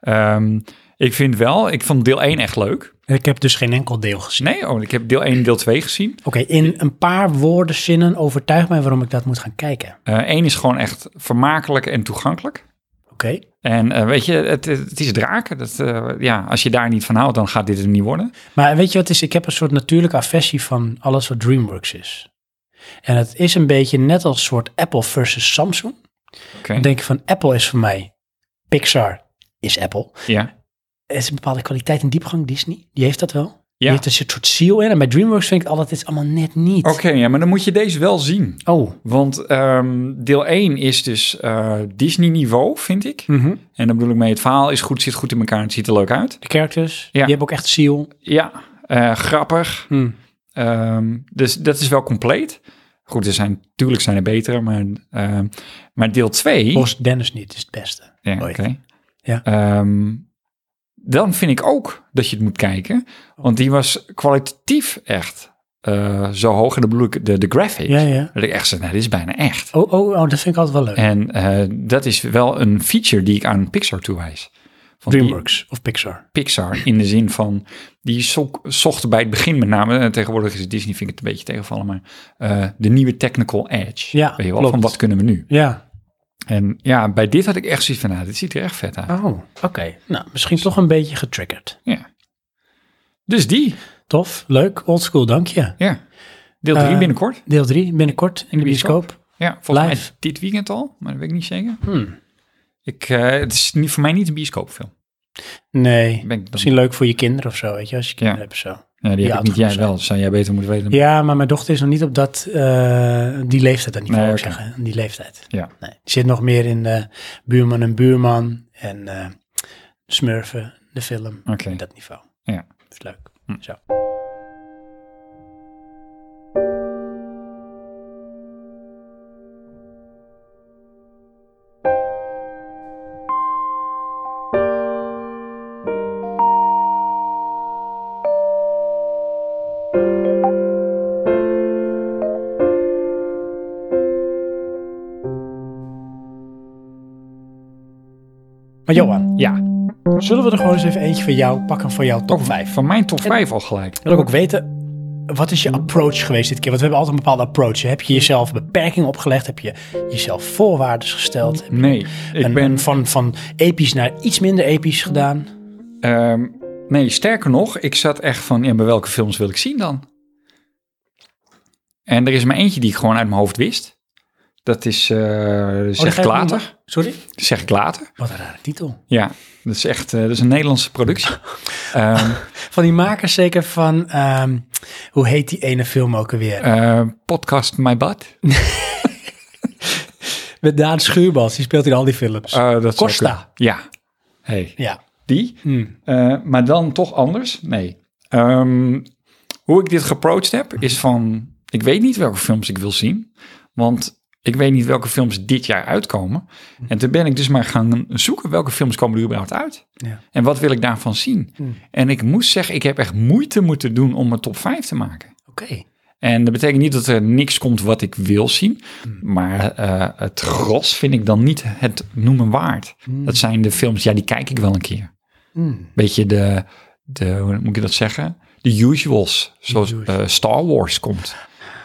Ehm, ik vind wel, ik vond deel 1 echt leuk.
Ik heb dus geen enkel deel gezien.
Nee, oh, ik heb deel 1 en deel 2 gezien.
Oké, in een paar woorden, zinnen overtuig mij waarom ik dat moet gaan kijken.
Eh 1 is gewoon echt vermakelijk en toegankelijk.
Oké,
En eh, weet je, het, het is draken. Dat, eh, ja, als je daar niet van houdt, dan gaat dit het niet worden.
maar weet je wat het is? Ik heb een soort natuurlijke aversie van alles wat DreamWorks is. En het is een beetje net als soort Apple versus Samsung.
Oké,
Dan denk ik van Apple is voor mij, Pixar is Apple.
ja.
Er is een bepaalde kwaliteit en diepgang, Disney, die heeft dat wel. Die
Ja.
heeft er een soort ziel in. En bij DreamWorks vind ik altijd, het is allemaal net niet.
Oké, ja, maar dan moet je deze wel zien.
Oh,
Want ehm, deel 1 is dus eh, Disney-niveau, vind ik.
mhm.
En dan bedoel ik mee, het verhaal is goed, zit goed in elkaar, het ziet er leuk uit.
de characters, die
Ja.
hebben ook echt ziel.
Ja, eh, grappig.
Hm.
Ehm, dus dat is wel compleet. Goed, er zijn, natuurlijk zijn er betere, maar, ehm, maar deel 2...
Los Dennis niet, is het beste.
Ja, oké.
Ooit. Ja.
Ehm, dan vind ik ook dat je het moet kijken, want die was kwalitatief echt eh, zo hoog. En dan bedoel ik de, de graphics.
Ja, ja.
Dat ik echt zei, nou, dit is bijna echt.
Oh, oh, oh, dat vind ik altijd wel leuk.
En eh, dat is wel een feature die ik aan Pixar toewijs. Want die-
DreamWorks of Pixar.
Pixar in de zin van die zo zochten bij het begin met name en tegenwoordig is Disney vind ik het een beetje tegenvallen maar eh, de nieuwe technical edge
Ja,
weet je wel,
klopt.
van wat kunnen we nu
Ja.
en ja bij dit had ik echt zoiets van nou dit ziet er echt vet uit
Oh, oké. Nou, misschien toch een beetje getriggerd.
ja dus die
Tof, leuk, oldschool, dank je.
ja deel 3
Eh,
binnenkort
Deel 3 binnenkort in de
bioscoop.
bioscoop.
ja volgens
live.
mij dit weekend al maar dat weet ik niet zeker
Hmm.
ik eh, het is niet voor mij niet een bioscoopfilm
Nee,
ben ik dan-
misschien leuk voor je kinderen of zo, weet je, als je kinderen
Ja.
hebt of zo.
ja, die
ja,
heb ik niet
het
jij
moet
wel zou jij beter moeten weten
Ja, maar mijn dochter is nog niet op dat, eh, die leeftijd dan niet,
Nee,
wou ik
oké.
zeggen. Die leeftijd.
Ja.
Nee, die zit nog meer in eh, Buurman en Buurman en eh, Smurfen, de film,
oké
dat niveau.
Ja.
Is leuk.
Hm.
Zo. Maar Johan,
ja
zullen we er gewoon eens even eentje van jou pakken voor jouw top
top
5?
5 van mijn top 5 al gelijk
Wil ik ook weten, wat is je approach geweest dit keer? Want we hebben altijd een bepaalde approach. hè? Heb je jezelf beperkingen opgelegd? Heb je jezelf voorwaarden gesteld? Heb je
nee ik
een-
ben
van, van episch naar iets minder episch gedaan. Oh,
Ehm, nee, sterker nog, ik zat echt van, ja, maar welke films wil ik zien dan? En er is maar eentje die ik gewoon uit mijn hoofd wist. Dat is, eh, zeg
Oh, ga
ik
je
later.
Sorry?
Zeg ik later.
Wat een rare titel.
Ja, dat is echt, eh, dat is een Nederlandse productie. Ehm,
Van die makers zeker van, ehm, hoe heet die ene film ook alweer?
eh, podcast My Butt.
Met Daan Schuurbals, die speelt in al die films.
Eh, dat zou
Costa.
kunnen. Ja. Hey,
ja.
die.
Hmm.
Eh, maar dan toch anders? Nee. Ehm, hoe ik dit geapproached heb, is
Hmm.
van... Ik weet niet welke films ik wil zien. Want ik weet niet welke films dit jaar uitkomen.
Hmm.
En toen ben ik dus maar gaan zoeken... welke films komen er überhaupt uit?
Ja.
En wat wil ik daarvan zien?
Hmm.
En ik moest zeggen, ik heb echt moeite moeten doen... om mijn top 5 te maken.
Oké.
En dat betekent niet dat er niks komt wat ik wil zien.
Hmm.
Maar eh, het gros vind ik dan niet het noemen waard.
Hmm.
Dat zijn de films, ja, die kijk ik wel een keer.
Mm.
Beetje de, de hoe moet ik dat zeggen? De usuals. Zoals
usuals.
eh, Star Wars komt.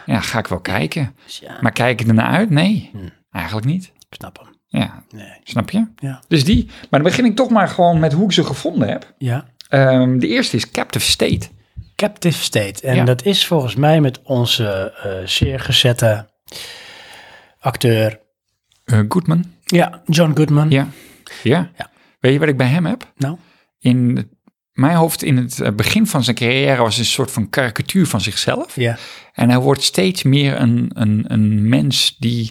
Ja, ga ik wel kijken.
Dus ja,
Maar kijk ik ernaar uit? Nee,
Hmm.
eigenlijk niet.
ik snap hem.
Ja,
Nee.
snap je?
Ja.
Dus die. Maar dan begin ik toch maar gewoon met hoe ik ze gevonden heb.
ja.
Ehm, de eerste is Captive State.
Captive State. En
Ja.
dat is volgens mij met onze eh, zeer gezette acteur.
Eh, Goodman.
Ja, John Goodman.
Ja. ja.
Ja.
Weet je wat ik bij hem heb?
Nou,
In mijn hoofd, in het eh, begin van zijn carrière, was hij een soort van karikatuur van zichzelf.
ja.
En hij wordt steeds meer een, een, een mens die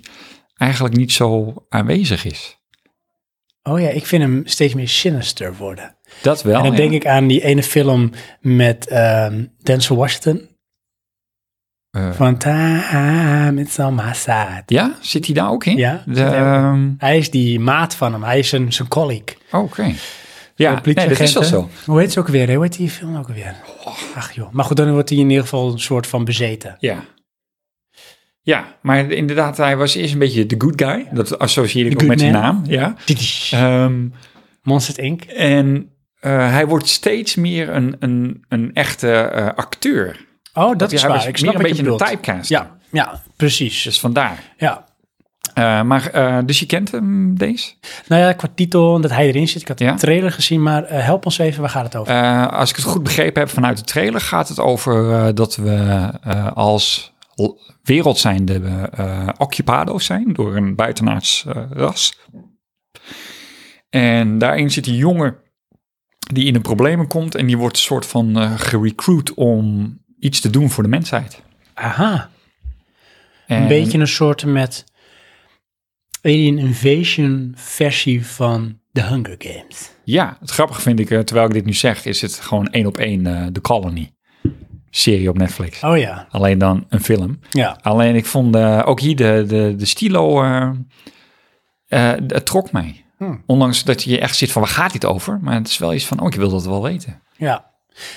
eigenlijk niet zo aanwezig is.
Oh ja, ik vind hem steeds meer sinister worden.
Dat wel.
en dan
Oh ja.
denk ik aan die ene film met ehm Denzel Washington.
Eh.
Van Time It's on my side.
Ja? Zit hij daar ook in?
Ja,
De,
zit hij ook in.
ehm,
Hij is die maat van hem. Hij is een, zijn colleague.
oh, Oké. Ja,
Een
nee, dat is wel zo. Oh.
politieagent, hè? Hoe heet ze ook weer? hè? Hoe heet die film ook weer? Ach joh. Maar goed, dan wordt hij in ieder geval een soort van bezeten.
Ja. Ja, maar inderdaad, hij was eerst een beetje de good guy. Dat associeer
The
ik ook
good
met zijn
man.
naam. Ja.
Titisch.
Ehm,
Monsters Inc.
en eh, hij wordt steeds meer een, een, een echte eh, acteur.
Oh, dat
hij
is waar.
was
Ik snap
meer
wat
een
je
beetje een
bedoelt.
typecast.
Ja, ja, precies.
Dus vandaar.
Ja.
Eh, maar, eh, dus je kent hem, deze?
Nou ja, qua titel en dat hij erin zit. Ik had
Ja.
de trailer gezien, maar eh, help ons even. Waar gaat het over?
Eh, als ik het goed begrepen heb vanuit de trailer, gaat het over eh, dat we eh, als l- wereld zijnde eh, occupado's zijn door een buitenaards eh, ras. En daarin zit een jongen die in de problemen komt en die wordt een soort van eh gerecruit om iets te doen voor de mensheid.
Aha.
En,
Een beetje een soort met Alien Invasion versie van The Hunger Games.
Ja, het grappige vind ik, eh, terwijl ik dit nu zeg, is het gewoon één op één eh The Colony. Serie op Netflix.
Oh ja,
Alleen dan een film.
ja.
Alleen ik vond eh, ook hier de, de, de stilo, eh, eh, het trok mij.
Hmm.
Ondanks dat je echt zit van, waar gaat dit over? Maar het is wel iets van, oh, ik wil dat wel weten.
Ja.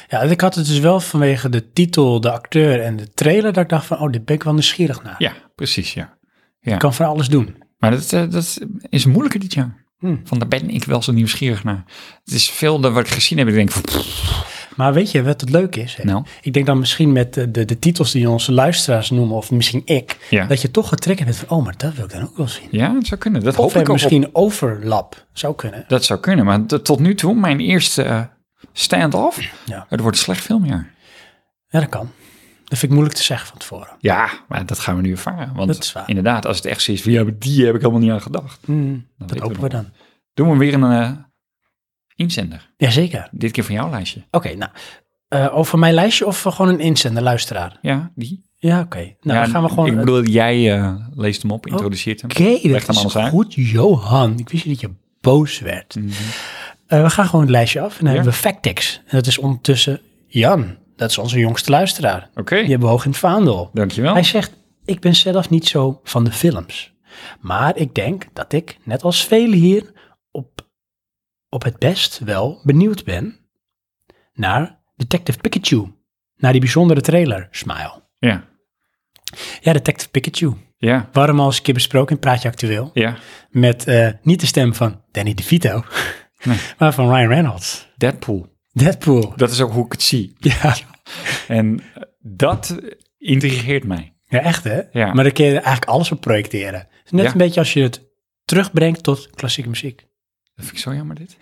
Ja, ik had het dus wel vanwege de titel, de acteur en de trailer dat ik dacht van, oh, dit ben ik wel nieuwsgierig naar.
Ja, precies, ja.
Ik kan van alles doen.
Maar dat, eh, dat is moeilijker dit jaar.
Hmm.
Van, daar ben ik wel zo nieuwsgierig naar. Het is veel dat wat ik gezien heb, ik denk, van, pff,
Maar weet je wat het leuk is? hè?
nou,
Ik denk dan misschien met de, de, de titels die onze luisteraars noemen, of misschien ik,
Ja.
dat je toch getriggerd bent van, oh, maar dat wil ik dan ook wel zien.
ja, het zou kunnen. Dat
Of
hoop ik
we
ook op-
misschien overlap zou kunnen.
Dat zou kunnen, maar t- tot nu toe, mijn eerste eh, stand-off,
Ja.
het wordt een slecht filmjaar.
Ja, dat kan. Dat vind ik moeilijk te zeggen van tevoren.
Ja, maar dat gaan we nu ervaren. Want
Dat is waar.
inderdaad, als het echt zo is, van, ja, maar die heb ik helemaal niet aan gedacht.
Hmm,
Dan
dat
Nou, weten
hopen
we
we dan.
Doen we weer een eh, inzender.
Jazeker.
Dit keer van jouw lijstje.
Oké, nou. eh, over mijn lijstje of gewoon een inzender, luisteraar?
Ja, die.
Ja, oké. Nou,
Ja,
dan gaan we gewoon...
Ik bedoel, jij eh, leest hem op, introduceert hem.
Oké,
Leg
dat
hem
is
anders uit.
goed, Johan. Ik wist niet dat je boos werd.
Mhm.
Eh, we gaan gewoon het lijstje af en dan
Ja.
hebben we Factix. En dat is ondertussen Jan. Dat is onze jongste luisteraar.
Oké,
Die hebben we hoog in het vaandel.
dankjewel.
Hij zegt, ik ben zelf niet zo van de films. Maar ik denk dat ik, net als velen hier, op, op het best wel benieuwd ben naar Detective Pikachu. Naar die bijzondere trailer, Smile.
Ja,
Ja, Detective Pikachu.
ja,
Waarom al eens een keer besproken in Praatje Actueel?
ja.
Met eh, niet de stem van Danny DeVito,
Nee.
maar van Ryan Reynolds.
Deadpool.
Deadpool.
Dat is ook hoe ik het zie.
Ja,
En eh, dat intrigeert mij.
ja echt hè?
Ja.
Maar daar kun je eigenlijk alles op projecteren. Het is net
Ja.
een beetje als je het terugbrengt tot klassieke muziek.
Dat vind ik zo jammer, dit.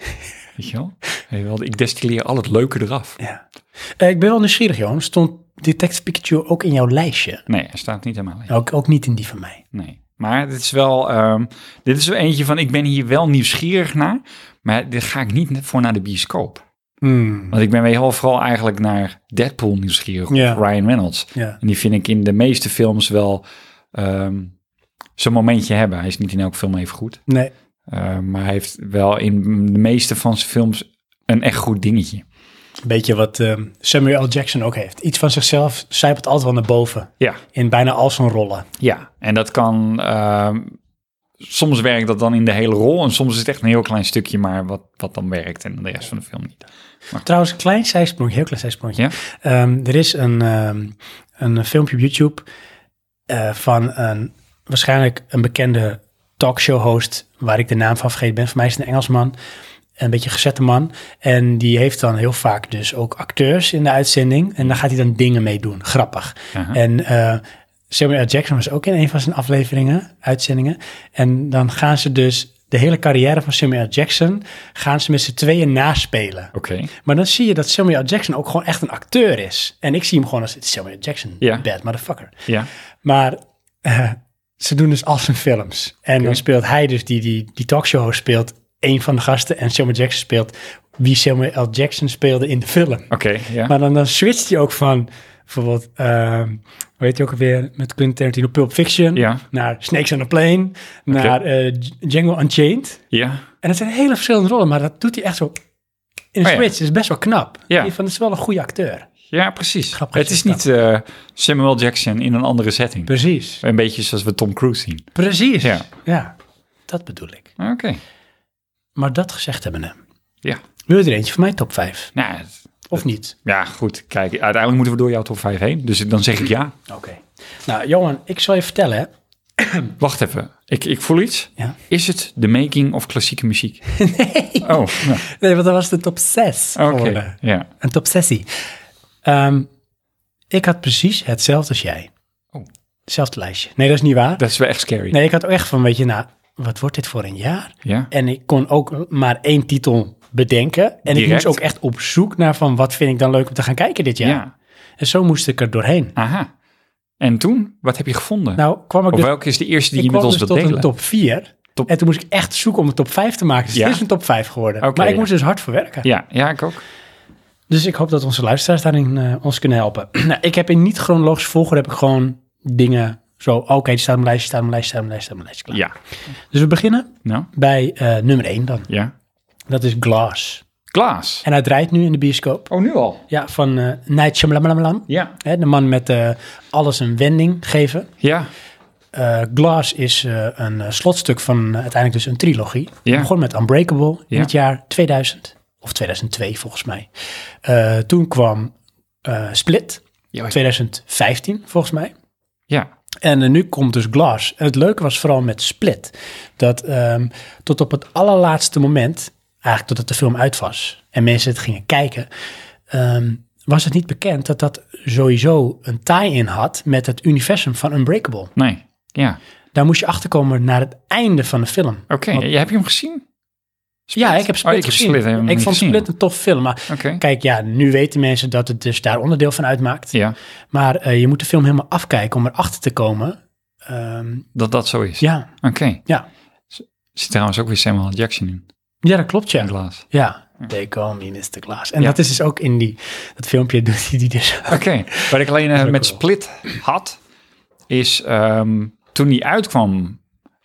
Weet je wel? Weet je wel, Ik destilleer al het leuke eraf.
Ja. Eh, ik ben wel nieuwsgierig, Johan. Stond Detective Pikachu ook in jouw lijstje?
Nee, hij staat niet helemaal in.
Ook, ook niet in die van mij.
Nee. Maar dit is wel, ehm, dit is wel eentje van, ik ben hier wel nieuwsgierig naar, maar dit ga ik niet voor naar de bioscoop. Want ik ben wel heel vooral eigenlijk naar Deadpool nieuwsgierig, of
Ja.
Ryan Reynolds.
Ja.
En die vind ik in de meeste films wel ehm, zo'n momentje hebben. Hij is niet in elke film even goed,
Nee.
eh, maar hij heeft wel in de meeste van zijn films een echt goed dingetje.
Een beetje wat ehm, Samuel L. Jackson ook heeft. Iets van zichzelf zijpelt altijd wel naar boven.
Ja,
In bijna al zijn rollen.
ja. En dat kan ehm, soms werkt dat dan in de hele rol en soms is het echt een heel klein stukje maar wat, wat dan werkt en de rest van de film niet.
Trouwens, een klein zijsprongje, heel klein zijsprongje.
Ja?
Ehm, er is een, ehm, een filmpje op YouTube eh, van een, waarschijnlijk een bekende talkshow host, waar ik de naam van vergeten ben. Voor mij is het een Engelsman, een beetje gezette man. En die heeft dan heel vaak dus ook acteurs in de uitzending. En daar gaat hij dan dingen mee doen, grappig.
Aha.
En eh, Samuel L. Jackson was ook in een van zijn afleveringen, uitzendingen. En dan gaan ze dus de hele carrière van Samuel L. Jackson, gaan ze met z'n tweeën naspelen.
Oké.
Maar dan zie je dat Samuel L. Jackson ook gewoon echt een acteur is. En ik zie hem gewoon als "It's Samuel L. Jackson,
Ja.
bad motherfucker.
Ja.
Maar eh, ze doen dus al zijn films. En dan speelt hij dus, die, die, die talkshow speelt, een van de gasten. En Samuel Jackson speelt wie Samuel L. Jackson speelde in de film.
Oké. ja.
Maar dan, dan switcht hij ook van bijvoorbeeld, ehm hoe heet je ook alweer, met Quentin Tarantino, Pulp Fiction.
Ja.
Naar Snakes on a Plane, naar eh, J- Django Unchained.
Ja.
En het zijn hele verschillende rollen, maar dat doet hij echt zo in een
Oh ja.
switch. Dat is best wel knap.
Ja.
Ja. Van, dat is wel een goede acteur.
Ja, precies.
Grappig
het is
dat
niet eh, Samuel Jackson in een andere setting.
Precies.
Een beetje zoals we Tom Cruise zien.
Precies.
Ja.
Ja. dat bedoel ik.
Oké.
Maar dat gezegd hebbende,
Ja.
wil je er eentje van mijn top 5?
Nou, het-
Of niet?
ja, goed. Kijk, uiteindelijk moeten we door jouw top 5 heen. Dus dan zeg ik ja.
Oké. Nou, Johan, ik zal je vertellen. hè.
Wacht even. Ik, ik voel iets.
Ja.
Is het de making of klassieke muziek? Nee. eh, Oh, nou,
Nee, want dat was de top 6
oké.
geworden.
Ja.
Een top 6. ik had precies hetzelfde als jij.
Oh.
Hetzelfde lijstje. Nee, dat is niet waar.
Dat is wel echt scary.
Nee, ik had ook echt van, weet je, nou, wat wordt dit voor een jaar?
Ja.
En ik kon ook maar één titel bedenken. En ik
Direct?
moest ook echt op zoek naar van wat vind ik dan leuk om te gaan kijken dit
ja.
jaar. En zo moest ik er doorheen.
Aha. En toen? Wat heb je gevonden?
Nou kwam ik,
of
dus,
welke is de eerste die
ik
je met
kwam
ons
dus
wilt
tot
delen?
een top 4.
Top-
En toen moest ik echt zoeken om een top 5 te maken. Dus
Ja.
het is een top 5 geworden.
Oké,
maar ik
ja.
moest dus hard voor werken.
Ja, ja, ik ook.
Dus ik hoop dat onze luisteraars daarin eh, ons kunnen helpen. nou, ik heb in niet chronologisch volgorde heb ik gewoon dingen zo... Oké, die staat op mijn lijstje, staat op mijn lijstje, staat op mijn lijstje, staat op mijn lijstje. Klaar.
Ja.
Dus we beginnen
Nou,
bij eh, nummer 1 dan.
ja.
Dat is Glass.
Klaas.
En hij draait nu in de bioscoop.
Oh, nu al?
Ja, van eh Night Shyamalan.
Ja.
Hè, de man met eh, alles een wending geven.
Ja.
Eh, Glass is eh, een eh, slotstuk van eh, uiteindelijk dus een trilogie.
Ja.
Het begon met Unbreakable in
Ja.
het jaar 2000 of 2002 volgens mij. Eh, toen kwam eh, Split,
Ja.
2015 volgens mij.
Ja.
En eh, nu komt dus Glass. En het leuke was vooral met Split. Dat ehm, tot op het allerlaatste moment, eigenlijk totdat de film uit was en mensen het gingen kijken, ehm, was het niet bekend dat dat sowieso een tie-in had met het universum van Unbreakable.
Nee. Ja.
Daar moest je achterkomen naar het einde van de film.
Oké,
Want-
heb je hem gezien?
Ja, ik heb Split
Oh, ik heb
gezien.
Split helemaal
ik
niet
vond
gezien.
Split een tof film. Maar
Oké.
kijk, ja, nu weten mensen dat het dus daar onderdeel van uitmaakt.
Ja,
Maar eh, je moet de film helemaal afkijken om erachter te komen. Ehm,
dat dat zo is.
ja,
Oké.
ja.
Zit trouwens ook weer Samuel L. Jackson in.
Ja, dat klopt, ja.
In Glaas.
Ja, they call me Mr. Glass. En
Ja.
dat is dus ook in die, dat filmpje doet hij die dus.
Oké. Wat ik alleen eh,
ook
met
wel.
Split had, is ehm, toen die uitkwam,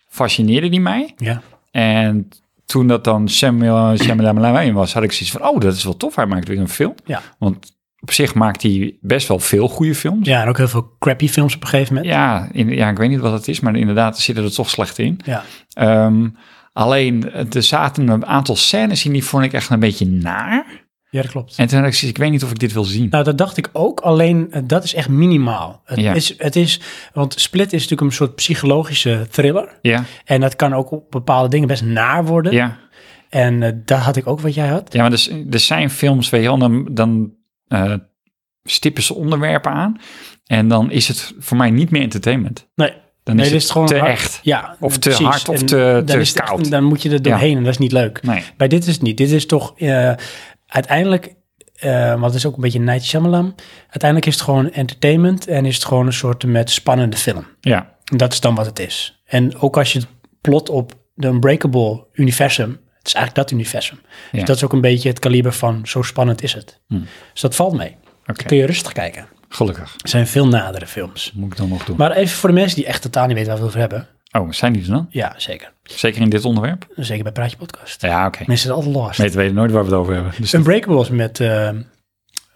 fascineerde die mij.
Ja,
En toen dat dan Samuel Shyamalan was, had ik zoiets van, oh, dat is wel tof. Hij maakt weer een film.
Ja.
Want op zich maakt hij best wel veel goede films.
ja en ook heel veel crappy films op een gegeven moment.
Ja, in, ja, ik weet niet wat het is, maar inderdaad zit er toch slecht in.
Ja,
Ehm, alleen, er zaten een aantal scènes in die vond ik echt een beetje naar.
ja dat klopt.
En toen had ik zoiets, ik weet niet of ik dit wil zien.
Nou, dat dacht ik ook, alleen eh, dat is echt minimaal. Het,
Ja.
is, het is, want Split is natuurlijk een soort psychologische thriller.
Ja,
En dat kan ook op bepaalde dingen best naar worden.
ja.
En eh, dat had ik ook wat jij had.
Ja, maar er, s- er zijn films, weet je wel, dan, dan eh, stippen ze onderwerpen aan. En dan is het voor mij niet meer entertainment.
Nee,
Dan
nee,
is
dit
het
is gewoon
te
hard.
echt.
Ja,
Of te
precies.
hard of
En
te-
dan
te
is het echt-
koud.
dan moet je er doorheen en dat is niet leuk.
Nee.
Bij dit is het niet. Dit is toch eh, uiteindelijk, eh, want het is ook een beetje Night Shyamalan. Uiteindelijk is het gewoon entertainment en is het gewoon een soort met spannende film.
Ja,
En dat is dan wat het is. En ook als je het plot op de Unbreakable universum, het is eigenlijk dat universum.
Ja. Hmm.
Dus dat is ook een beetje het kaliber van zo spannend is het. Dus dat valt mee.
oké.
Kun je rustig kijken.
Gelukkig.
Er zijn veel nadere films.
Moet ik dan nog doen.
Maar even voor de mensen die echt totaal niet weten waar we het over hebben.
oh, zijn die er dan?
Ja, zeker.
Zeker in dit onderwerp?
Zeker bij Praatje Podcast.
Ja, oké.
Mensen zijn altijd lost.
Mensen weten nooit waar we het over hebben. Dus
Unbreakable is met, eh,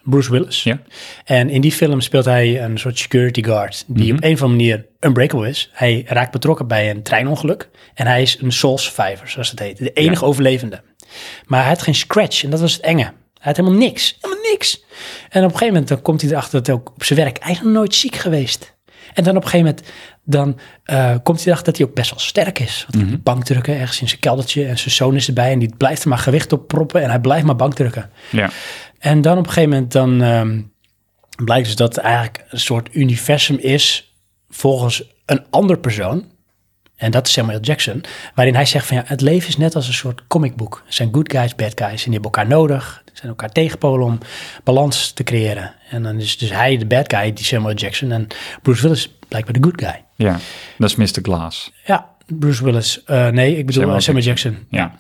Bruce Willis.
Ja.
En in die film speelt hij een soort security guard die op een of andere manier unbreakable is. Hij raakt betrokken bij een treinongeluk en hij is een soul survivor, zoals het heet. De enige overlevende. Maar hij had geen scratch en dat was het enge. Hij had helemaal niks. Helemaal niks. En op een gegeven moment dan komt hij erachter dat hij ook op zijn werk eigenlijk nooit ziek geweest. En dan op een gegeven moment dan, eh, komt hij erachter dat hij ook best wel sterk is. Want hij kan bankdrukken ergens in zijn keldertje en zijn zoon is erbij en die blijft er maar gewicht op proppen en hij blijft maar bankdrukken.
Ja.
En dan op een gegeven moment dan ehm, blijkt dus dat het eigenlijk een soort universum is volgens een ander persoon. En dat is Samuel Jackson, waarin hij zegt van ja, het leven is net als een soort comicboek. Er zijn good guys, bad guys en die hebben elkaar nodig. Er zijn elkaar tegenpolen om balans te creëren. En dan is dus hij de bad guy, die Samuel Jackson. En Bruce Willis blijkbaar de good guy.
ja. Dat is Mr. Glass.
Ja, Bruce Willis. Eh, nee, ik bedoel
Samuel
Samuel, Samuel Jackson.
Ja.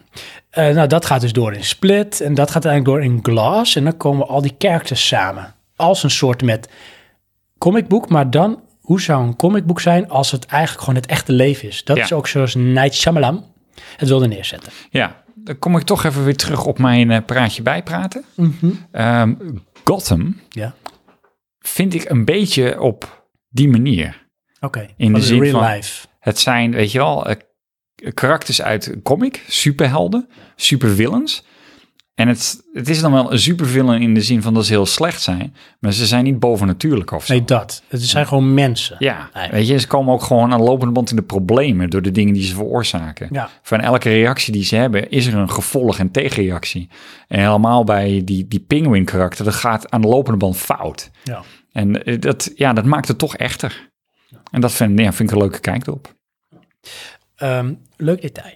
Eh, nou, dat gaat dus door in Split en dat gaat uiteindelijk door in Glass. En dan komen al die characters samen. Als een soort met comicboek, maar dan, hoe zou een comicboek zijn als het eigenlijk gewoon het echte leven is? Dat
Ja.
is ook zoals Night Shyamalan het wilde neerzetten.
Ja. Dan kom ik toch even weer terug op mijn eh, praatje bijpraten. Ehm, Gotham
Ja,
vind ik een beetje op die manier.
oké.
In
Van
de zin
real
van-
life.
Het zijn, weet je wel, eh, karakters uit een comic, superhelden, supervillains. En het, het is dan wel een supervillain in de zin van dat ze heel slecht zijn, maar ze zijn niet bovennatuurlijk of zo.
Nee, dat. Het zijn gewoon mensen.
ja,
Nee.
weet je, ze komen ook gewoon aan lopende band in de problemen door de dingen die ze veroorzaken.
Ja.
Van elke reactie die ze hebben, is er een gevolg en tegenreactie. En helemaal bij die, die penguin karakter, dat gaat aan de lopende band fout.
ja.
En eh, dat, ja, dat maakt het toch echter. En dat vind, ja, vind ik een leuke kijk op.
Ehm, leuk detail.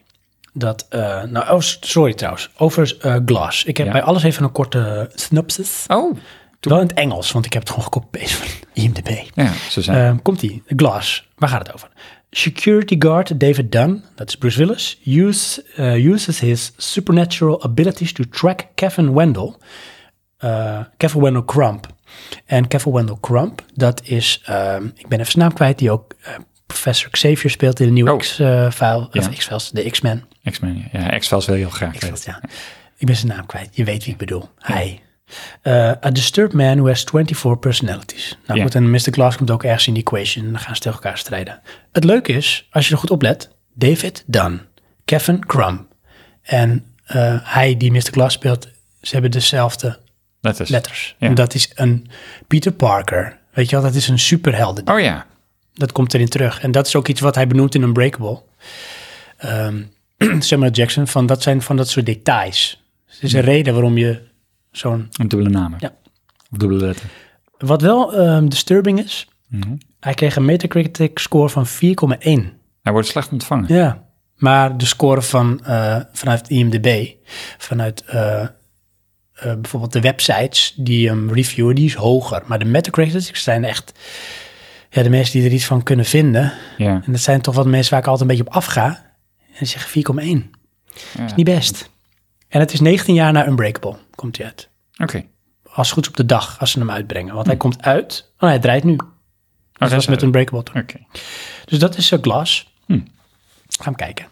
Dat, eh, nou, oh, sorry trouwens, over eh, Glass. Ik heb
Ja.
bij alles even een korte synopsis.
Oh,
Wel in het Engels, want ik heb het gewoon gekopieerd van IMDb.
ja, ze zijn.
Ehm, komt ie. Glass. Waar gaat het over? Security guard David Dunn, dat is Bruce Willis, use, eh, uses his supernatural abilities to track Kevin Wendell. eh, Kevin Wendell Crump. En Kevin Wendell Crump, dat is, ehm, ik ben even zijn naam kwijt, die ook eh, Professor Xavier speelt in de nieuwe
Oh.
X-file,
Ja.
of X-files, de X-Men.
X-Men, ja. ja. X-Files wil je heel graag
Ik,
weten.
ja. ik ben zijn naam kwijt. Je weet wie ik bedoel. Hij. Eh, a disturbed man who has 24 personalities. Nou
Ja.
goed, en Mr. Glass komt ook ergens in die equation. En dan gaan ze tegen elkaar strijden. Het leuke is, als je er goed op let, David Dunn, Kevin Crumb. En eh, hij die Mr. Glass speelt, ze hebben dezelfde
Dat is.
letters.
Ja.
En dat is een Peter Parker. Weet je wel, dat is een superhelden.
Oh ja.
Dat komt erin terug. En dat is ook iets wat hij benoemt in Unbreakable. Ehm Samuel Jackson, van dat zijn van dat soort details. Het is een reden waarom je zo'n...
Een dubbele namen.
Ja.
Of dubbele letter.
Wat wel ehm, disturbing is, hij kreeg een Metacritic score van 4,1.
Hij wordt slecht ontvangen.
Ja, maar de score van, eh, vanuit IMDb, vanuit eh, eh, bijvoorbeeld de websites die hem reviewen, die is hoger. Maar de Metacritic zijn echt ja, de mensen die er iets van kunnen vinden.
Ja.
En dat zijn toch wat mensen waar ik altijd een beetje op afga. En die zeggen 4,1.
Ja.
Is niet best. En het is 19 jaar na Unbreakable, komt hij uit.
Oké. Oh,
Als het goed is op de dag, als ze hem uitbrengen. Want hij komt uit, oh, hij draait nu.
Hm. dat
Dat was
is
met
uit.
Unbreakable toen.
Oké.
Dus dat is eh, Glass.
Hm.
Ga hem kijken.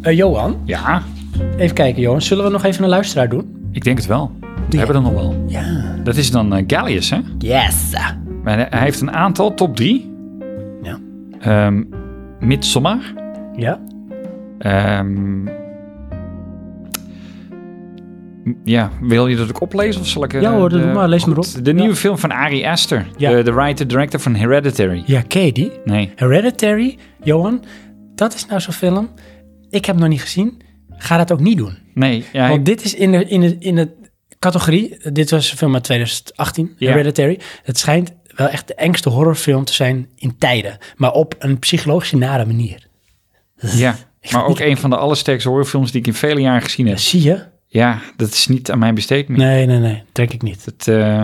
Eh, Johan,
Ja,
even kijken Johan. Zullen we nog even een luisteraar doen?
ik denk het wel. We hebben er nog wel.
Ja.
Dat is dan eh, Gallius, hè?
Yes.
Maar hij- hij heeft een aantal, top drie.
Ja.
Ehm Midsommar.
Ja?
Ehm, ja, wil je dat ik oplees of zal ik... eh,
Ja hoor, doe
de-
maar, lees maar
Goed,
op.
De
Ja.
nieuwe film van Ari Aster.
Ja.
De, de writer-director van Hereditary.
Ja, ken je die?
Nee.
Hereditary, Johan, dat is nou zo'n film. Ik heb hem nog niet gezien. Ga dat ook niet doen.
Nee. Ja,
Want dit is in de, in de, in de categorie, dit was een film uit 2018,
Ja.
Hereditary. Het schijnt wel echt de engste horrorfilm te zijn in tijden, maar op een psychologische nare manier.
Ja, maar ook een van de allersterkste horrorfilms die ik in vele jaren gezien heb.
Zie je?
Ja, dat is niet aan mijn besteed meer.
Nee, nee, nee, trek ik niet.
Dat, eh,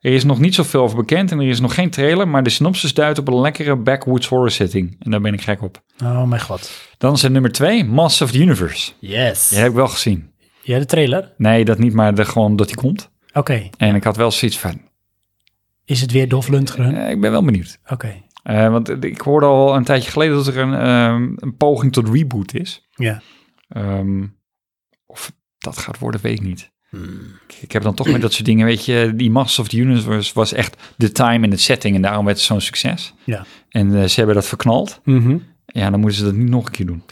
Er is nog niet zoveel over bekend en er is nog geen trailer, maar de synopsis duidt op een lekkere backwoods horror setting. En daar ben ik gek op.
Oh mijn god.
Dan is er nummer twee, Mass of the Universe.
Yes.
Die heb ik wel gezien.
Ja, de trailer.
Nee, dat niet, maar de, gewoon dat die komt.
Oké.
En ik had wel zoiets van,
Is het weer Dolph Lundgren?
eh, ik ben wel benieuwd.
Oké.
Eh, want ik hoorde al een tijdje geleden dat er een, ehm, een poging tot reboot is.
Ja.
Ehm, of dat gaat worden, weet ik niet. Ik, ik heb dan toch met dat soort dingen, weet je, die Masters of the Universe was echt de time en de setting en daarom werd het zo'n succes.
Ja.
En eh, ze hebben dat verknald. Ja, dan moeten ze dat niet nog een keer doen.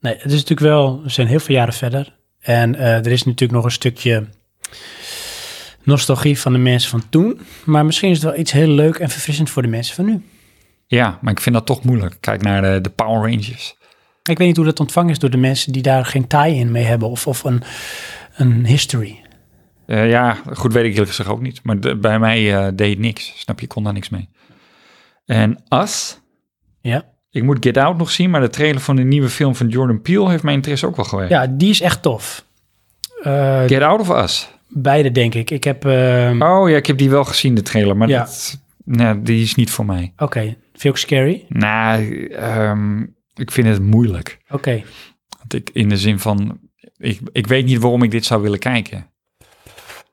Nee, het is natuurlijk wel, we zijn heel veel jaren verder. En eh, er is natuurlijk nog een stukje nostalgie van de mensen van toen. Maar misschien is het wel iets heel leuk en verfrissend voor de mensen van nu.
Ja, maar ik vind dat toch moeilijk. Kijk naar de, de Power Rangers.
Ik weet niet hoe dat ontvangen is door de mensen die daar geen tie-in mee hebben of, of een, een history.
Eh, ja, goed weet ik eerlijk gezegd ook niet. Maar de- bij mij eh, deed het niks. Snap je, ik kon daar niks mee. En Us,
Ja.
Ik moet Get Out nog zien, maar de trailer van de nieuwe film van Jordan Peele heeft mijn interesse ook wel gewekt.
ja, die is echt tof. Eh,
Get Out of Us?
beide, denk ik. Ik heb. eh,
Oh ja, ik heb die wel gezien, de trailer, maar
Ja.
dat, nee, die is niet voor mij.
Oké, vind je ook scary?
Nou, ehm, ik vind het moeilijk.
Oké.
Want ik, in de zin van, ik, ik weet niet waarom ik dit zou willen kijken.
Nee,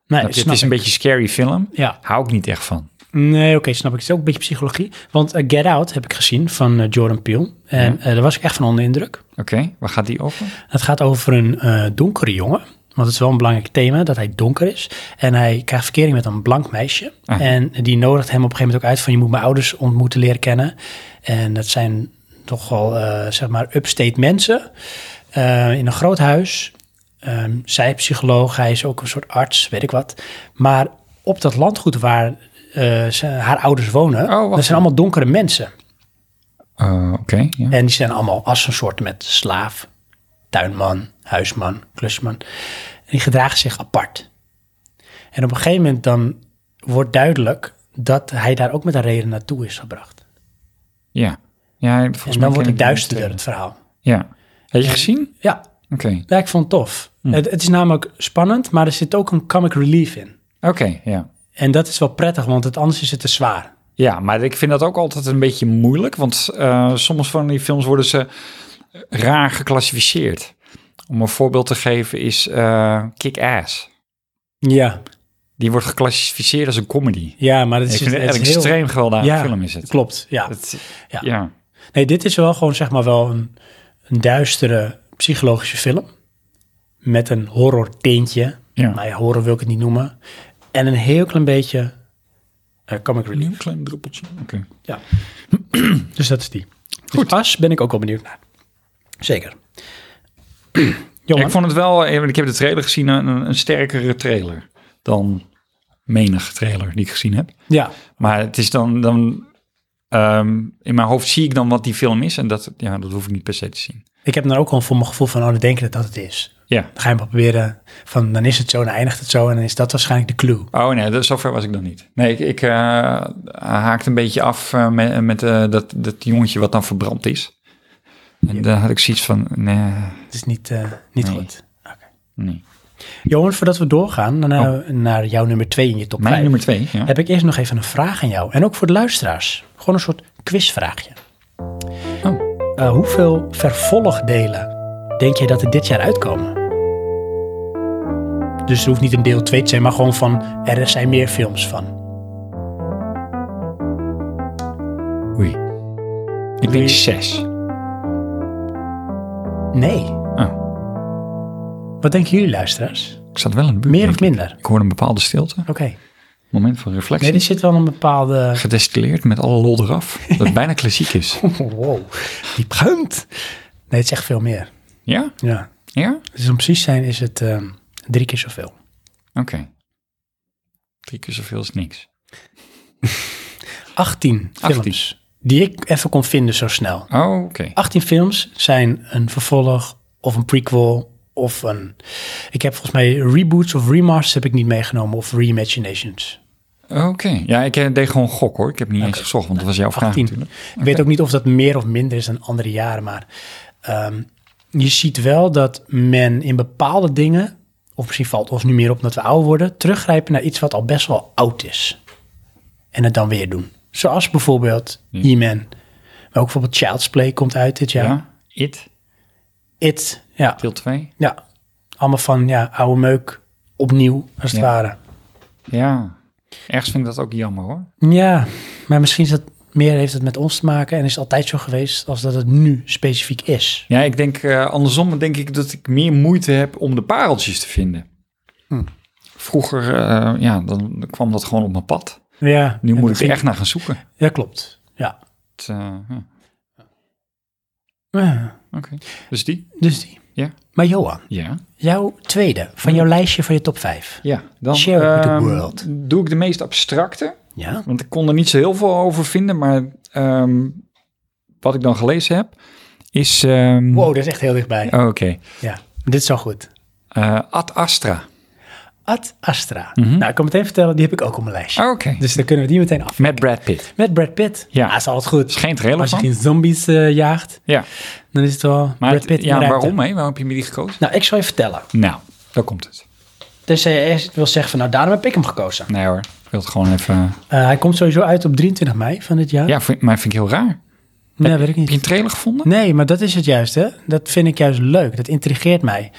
Want het
snap
is een
ik.
beetje een scary film.
Ja,
Hou ik niet echt van.
nee, oké, snap ik. Het is ook een beetje psychologie. Want eh, Get Out heb ik gezien van eh, Jordan Peele. En eh, daar was ik echt van onder de indruk.
Oké, waar gaat die over?
Het gaat over een eh, donkere jongen. Want het is wel een belangrijk thema dat hij donker is. En hij krijgt verkering met een blank meisje.
Ah.
En die nodigt hem op een gegeven moment ook uit van je moet mijn ouders ontmoeten leren kennen. En dat zijn toch wel, eh, zeg maar, upstate mensen eh, in een groot huis. Ehm, zij psycholoog, hij is ook een soort arts, weet ik wat. Maar op dat landgoed waar eh, ze- haar ouders wonen,
Oh, wacht
dat zijn allemaal donkere mensen.
Eh, Oké, ja.
En die zijn allemaal als een soort met slaaf, tuinman, huisman, klusman. En die gedragen zich apart. En op een gegeven moment dan wordt duidelijk dat hij daar ook met een reden naartoe is gebracht.
ja. ja volgens mij
en
ken
dan
ik
wordt het
die
duisterder,
trailer.
het verhaal.
Ja. Heb je gezien?
Ja,
Oké.
ja ik vond het tof.
Hm.
Het, het is namelijk spannend, maar er zit ook een comic relief in.
Oké, ja.
En dat is wel prettig, want het, anders is het te zwaar.
Ja, maar ik vind dat ook altijd een beetje moeilijk. Want eh, soms van die films worden ze raar geclassificeerd. Om een voorbeeld te geven is eh, Kick-Ass.
Ja,
Die wordt geclassificeerd als een comedy.
ja maar het
ik
is,
vind het
het
echt
is
een
heel...
extreem gewelddadige
Ja,
film is het.
Klopt, ja.
Het-
Ja.
ja.
Nee, dit is wel gewoon zeg maar wel een, een duistere psychologische film. Met een horror teentje.
Ja.
Nou ja, horror wil ik het niet noemen. En een heel klein beetje eh comic relief.
klein druppeltje. Oké.
Dus dat is die. Goed. Dus As ben ik ook wel benieuwd naar. Zeker.
Ja,
Jongen,
ik vond het wel, eh, want ik heb de trailer gezien, een, een sterkere trailer dan menig trailer die ik gezien heb.
ja,
Maar het is dan, dan ehm, in mijn hoofd zie ik dan wat die film is en dat, ja, dat hoef ik niet per se te zien.
ik heb daar ook gewoon voor mijn gevoel van, oh, dan denk ik dat dat het is.
Ja.
Dan ga je maar proberen van, dan is het zo, dan eindigt het zo en dan is dat waarschijnlijk de clue.
Oh nee, dat- zover was ik dan niet. Nee, ik, ik eh, haakte een beetje af eh, met, met eh, dat, dat jongetje wat dan verbrand is. En daar had ik zoiets van, nee,
Het is niet, eh, niet
Nee.
goed. Oké.
nee.
Johan, voordat we doorgaan naar, naar jouw nummer 2 in je top
Oh. Mijn
5.
nummer twee, ja.
heb ik eerst nog even een vraag aan jou. En ook voor de luisteraars. Gewoon een soort quizvraagje.
Oh.
Eh, hoeveel vervolgdelen denk jij dat er dit jaar uitkomen? Dus er hoeft niet een deel 2 te zijn, maar gewoon van er zijn meer films van.
Oei. Ik denk zes.
Nee.
Oh,
Wat denken jullie luisteraars?
ik zat wel in de buurt.
Meer
denk
of
ik.
minder?
Ik hoorde een bepaalde stilte,
Oké.
moment van reflectie.
Nee, er zit wel een bepaalde...
Gedestilleerd met alle lol eraf. Dat het bijna klassiek is.
Wow, die begint. Nee, het is echt veel meer.
Ja?
Ja.
Ja?
Dus om precies te zijn is het ehm, drie keer zoveel.
Oké. Drie keer zoveel is niks.
18 films.
18.
Die ik even kon vinden zo snel.
Oh, oké.
18 films zijn een vervolg of een prequel of een... Ik heb volgens mij reboots of remasters heb ik niet meegenomen of reimaginations.
Oké. Ja, ik eh, deed gewoon gok hoor. Ik heb niet eens gezocht, want dat was jouw vraag
18.
natuurlijk.
Ik weet ook niet of dat meer of minder is dan andere jaren, maar ehm, je ziet wel dat men in bepaalde dingen, of misschien valt ons nu meer op omdat we ouder worden, teruggrijpen naar iets wat al best wel oud is. en het dan weer doen. Zoals bijvoorbeeld E-Man. Maar ook bijvoorbeeld Child's Play komt uit dit
Ja.
jaar.
It,
It, ja.
deel 2.
ja. Allemaal van ja, oude meuk opnieuw, als het
Ja.
ware.
Ja. Ergens vind ik dat ook jammer hoor.
Ja, maar misschien is dat meer heeft het met ons te maken en is het altijd zo geweest als dat het nu specifiek is.
Ja, ik denk eh, andersom denk ik dat ik meer moeite heb om de pareltjes te vinden.
Hm.
Vroeger, eh, ja, dan kwam dat gewoon op mijn pad.
Ja,
Nu
en
moet ik
dat
er
ging-
echt naar gaan zoeken.
Ja, klopt. Ja.
Het, eh, ja,
Ja,
oké. Dus die?
Ah, dus die.
Ja.
Maar Johan,
Ja.
jouw tweede van jouw lijstje van je top 5.
Ja, dan
Share with the
ehm,
world.
doe ik de meest abstracte.
Ja.
Want ik kon er niet zo heel veel over vinden, maar ehm, wat ik dan gelezen heb, is... ehm, oh,
Wow, dat is echt heel dichtbij.
Oké.
Ja, dit is al goed.
Eh, Ad Astra.
Ad Astra.
Mhm.
Nou, ik kan meteen vertellen, die heb ik ook op mijn lijstje.
Oké.
Dus dan kunnen we die meteen af.
Met Brad Pitt.
Met Brad Pitt.
Oh. Ja.
Ah, is altijd goed.
Er is geen trailer
Als je
van.
geen zombies eh, jaagt,
Ja,
dan is het wel
maar
Brad Pitt.
het-
in
ja,
de ruimte.
waarom hè? Waarom heb je me die gekozen?
Nou, ik zal je vertellen.
Nou, daar komt het.
Dus jij eerst wil zeggen van, nou, daarom heb ik hem gekozen.
Nee hoor, ik wil het gewoon even...
Eh, hij komt sowieso uit op 23 mei van dit jaar.
Ja, vind, maar vind ik heel raar.
nee, weet ik
Heb je
niet.
een trailer gevonden?
Nee, maar dat is het juist, hè. Dat vind ik juist leuk. Dat intrigeert mij.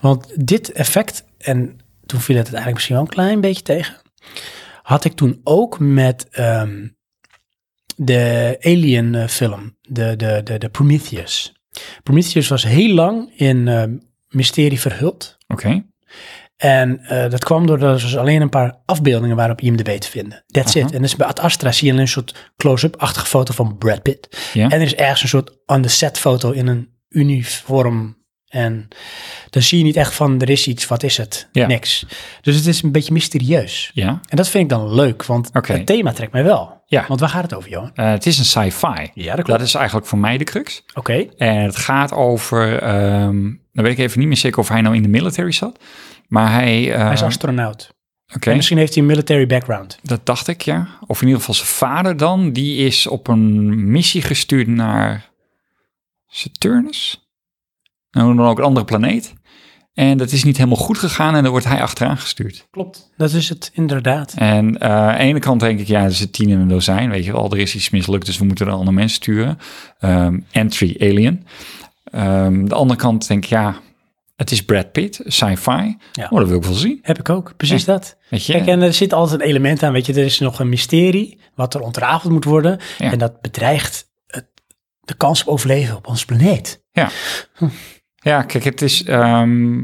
Want dit effect, en toen viel het eigenlijk misschien wel een klein beetje tegen, had ik toen ook met ehm, de Alien eh, film, de, de, de, de Prometheus. Prometheus was heel lang in ehm, mysterie verhuld.
Oké.
En eh, dat kwam doordat er dus alleen een paar afbeeldingen waren op IMDb te vinden. That's
Aha.
it. En dus bij Ad Astra zie je alleen een soort close-up-achtige foto van Brad Pitt.
Ja.
En er is ergens een soort on-the-set foto in een uniform. En dan zie je niet echt van, er is iets, wat is het?
Ja.
Niks. Dus het is een beetje mysterieus.
Ja.
En dat vind ik dan leuk, want
Oké.
het thema trekt mij wel.
Ja.
Want waar gaat het over, Johan?
Eh, het is een sci-fi.
Ja, dat klopt.
Dat is eigenlijk voor mij de crux.
Oké.
En het gaat over, ehm dan weet ik even niet meer zeker of hij nou in de military zat. Maar hij, eh,
Hij is astronaut.
oké,
En misschien heeft hij een military background.
dat dacht ik ja. Of in ieder geval zijn vader dan, die is op een missie gestuurd naar Saturnus. Nou, dan ook een andere planeet. En dat is niet helemaal goed gegaan en dan wordt hij achteraan gestuurd.
Klopt. Dat is het, inderdaad.
En eh, aan de ene kant denk ik, ja, er zit tien in een dozijn. Weet je wel, er is iets mislukt, dus we moeten er andere mensen sturen. Ehm, entry Alien. Ehm de andere kant denk ik, ja, het is Brad Pitt, sci-fi.
Ja.
Oh, dat wil ik wel zien.
Heb ik ook, precies dat.
Weet je?
Kijk, en er zit altijd een element aan, weet je, er is nog een mysterie wat er ontrafeld moet worden.
Ja.
En dat bedreigt het, de kans op overleven op onze planeet.
Ja, kijk, het, is, ehm,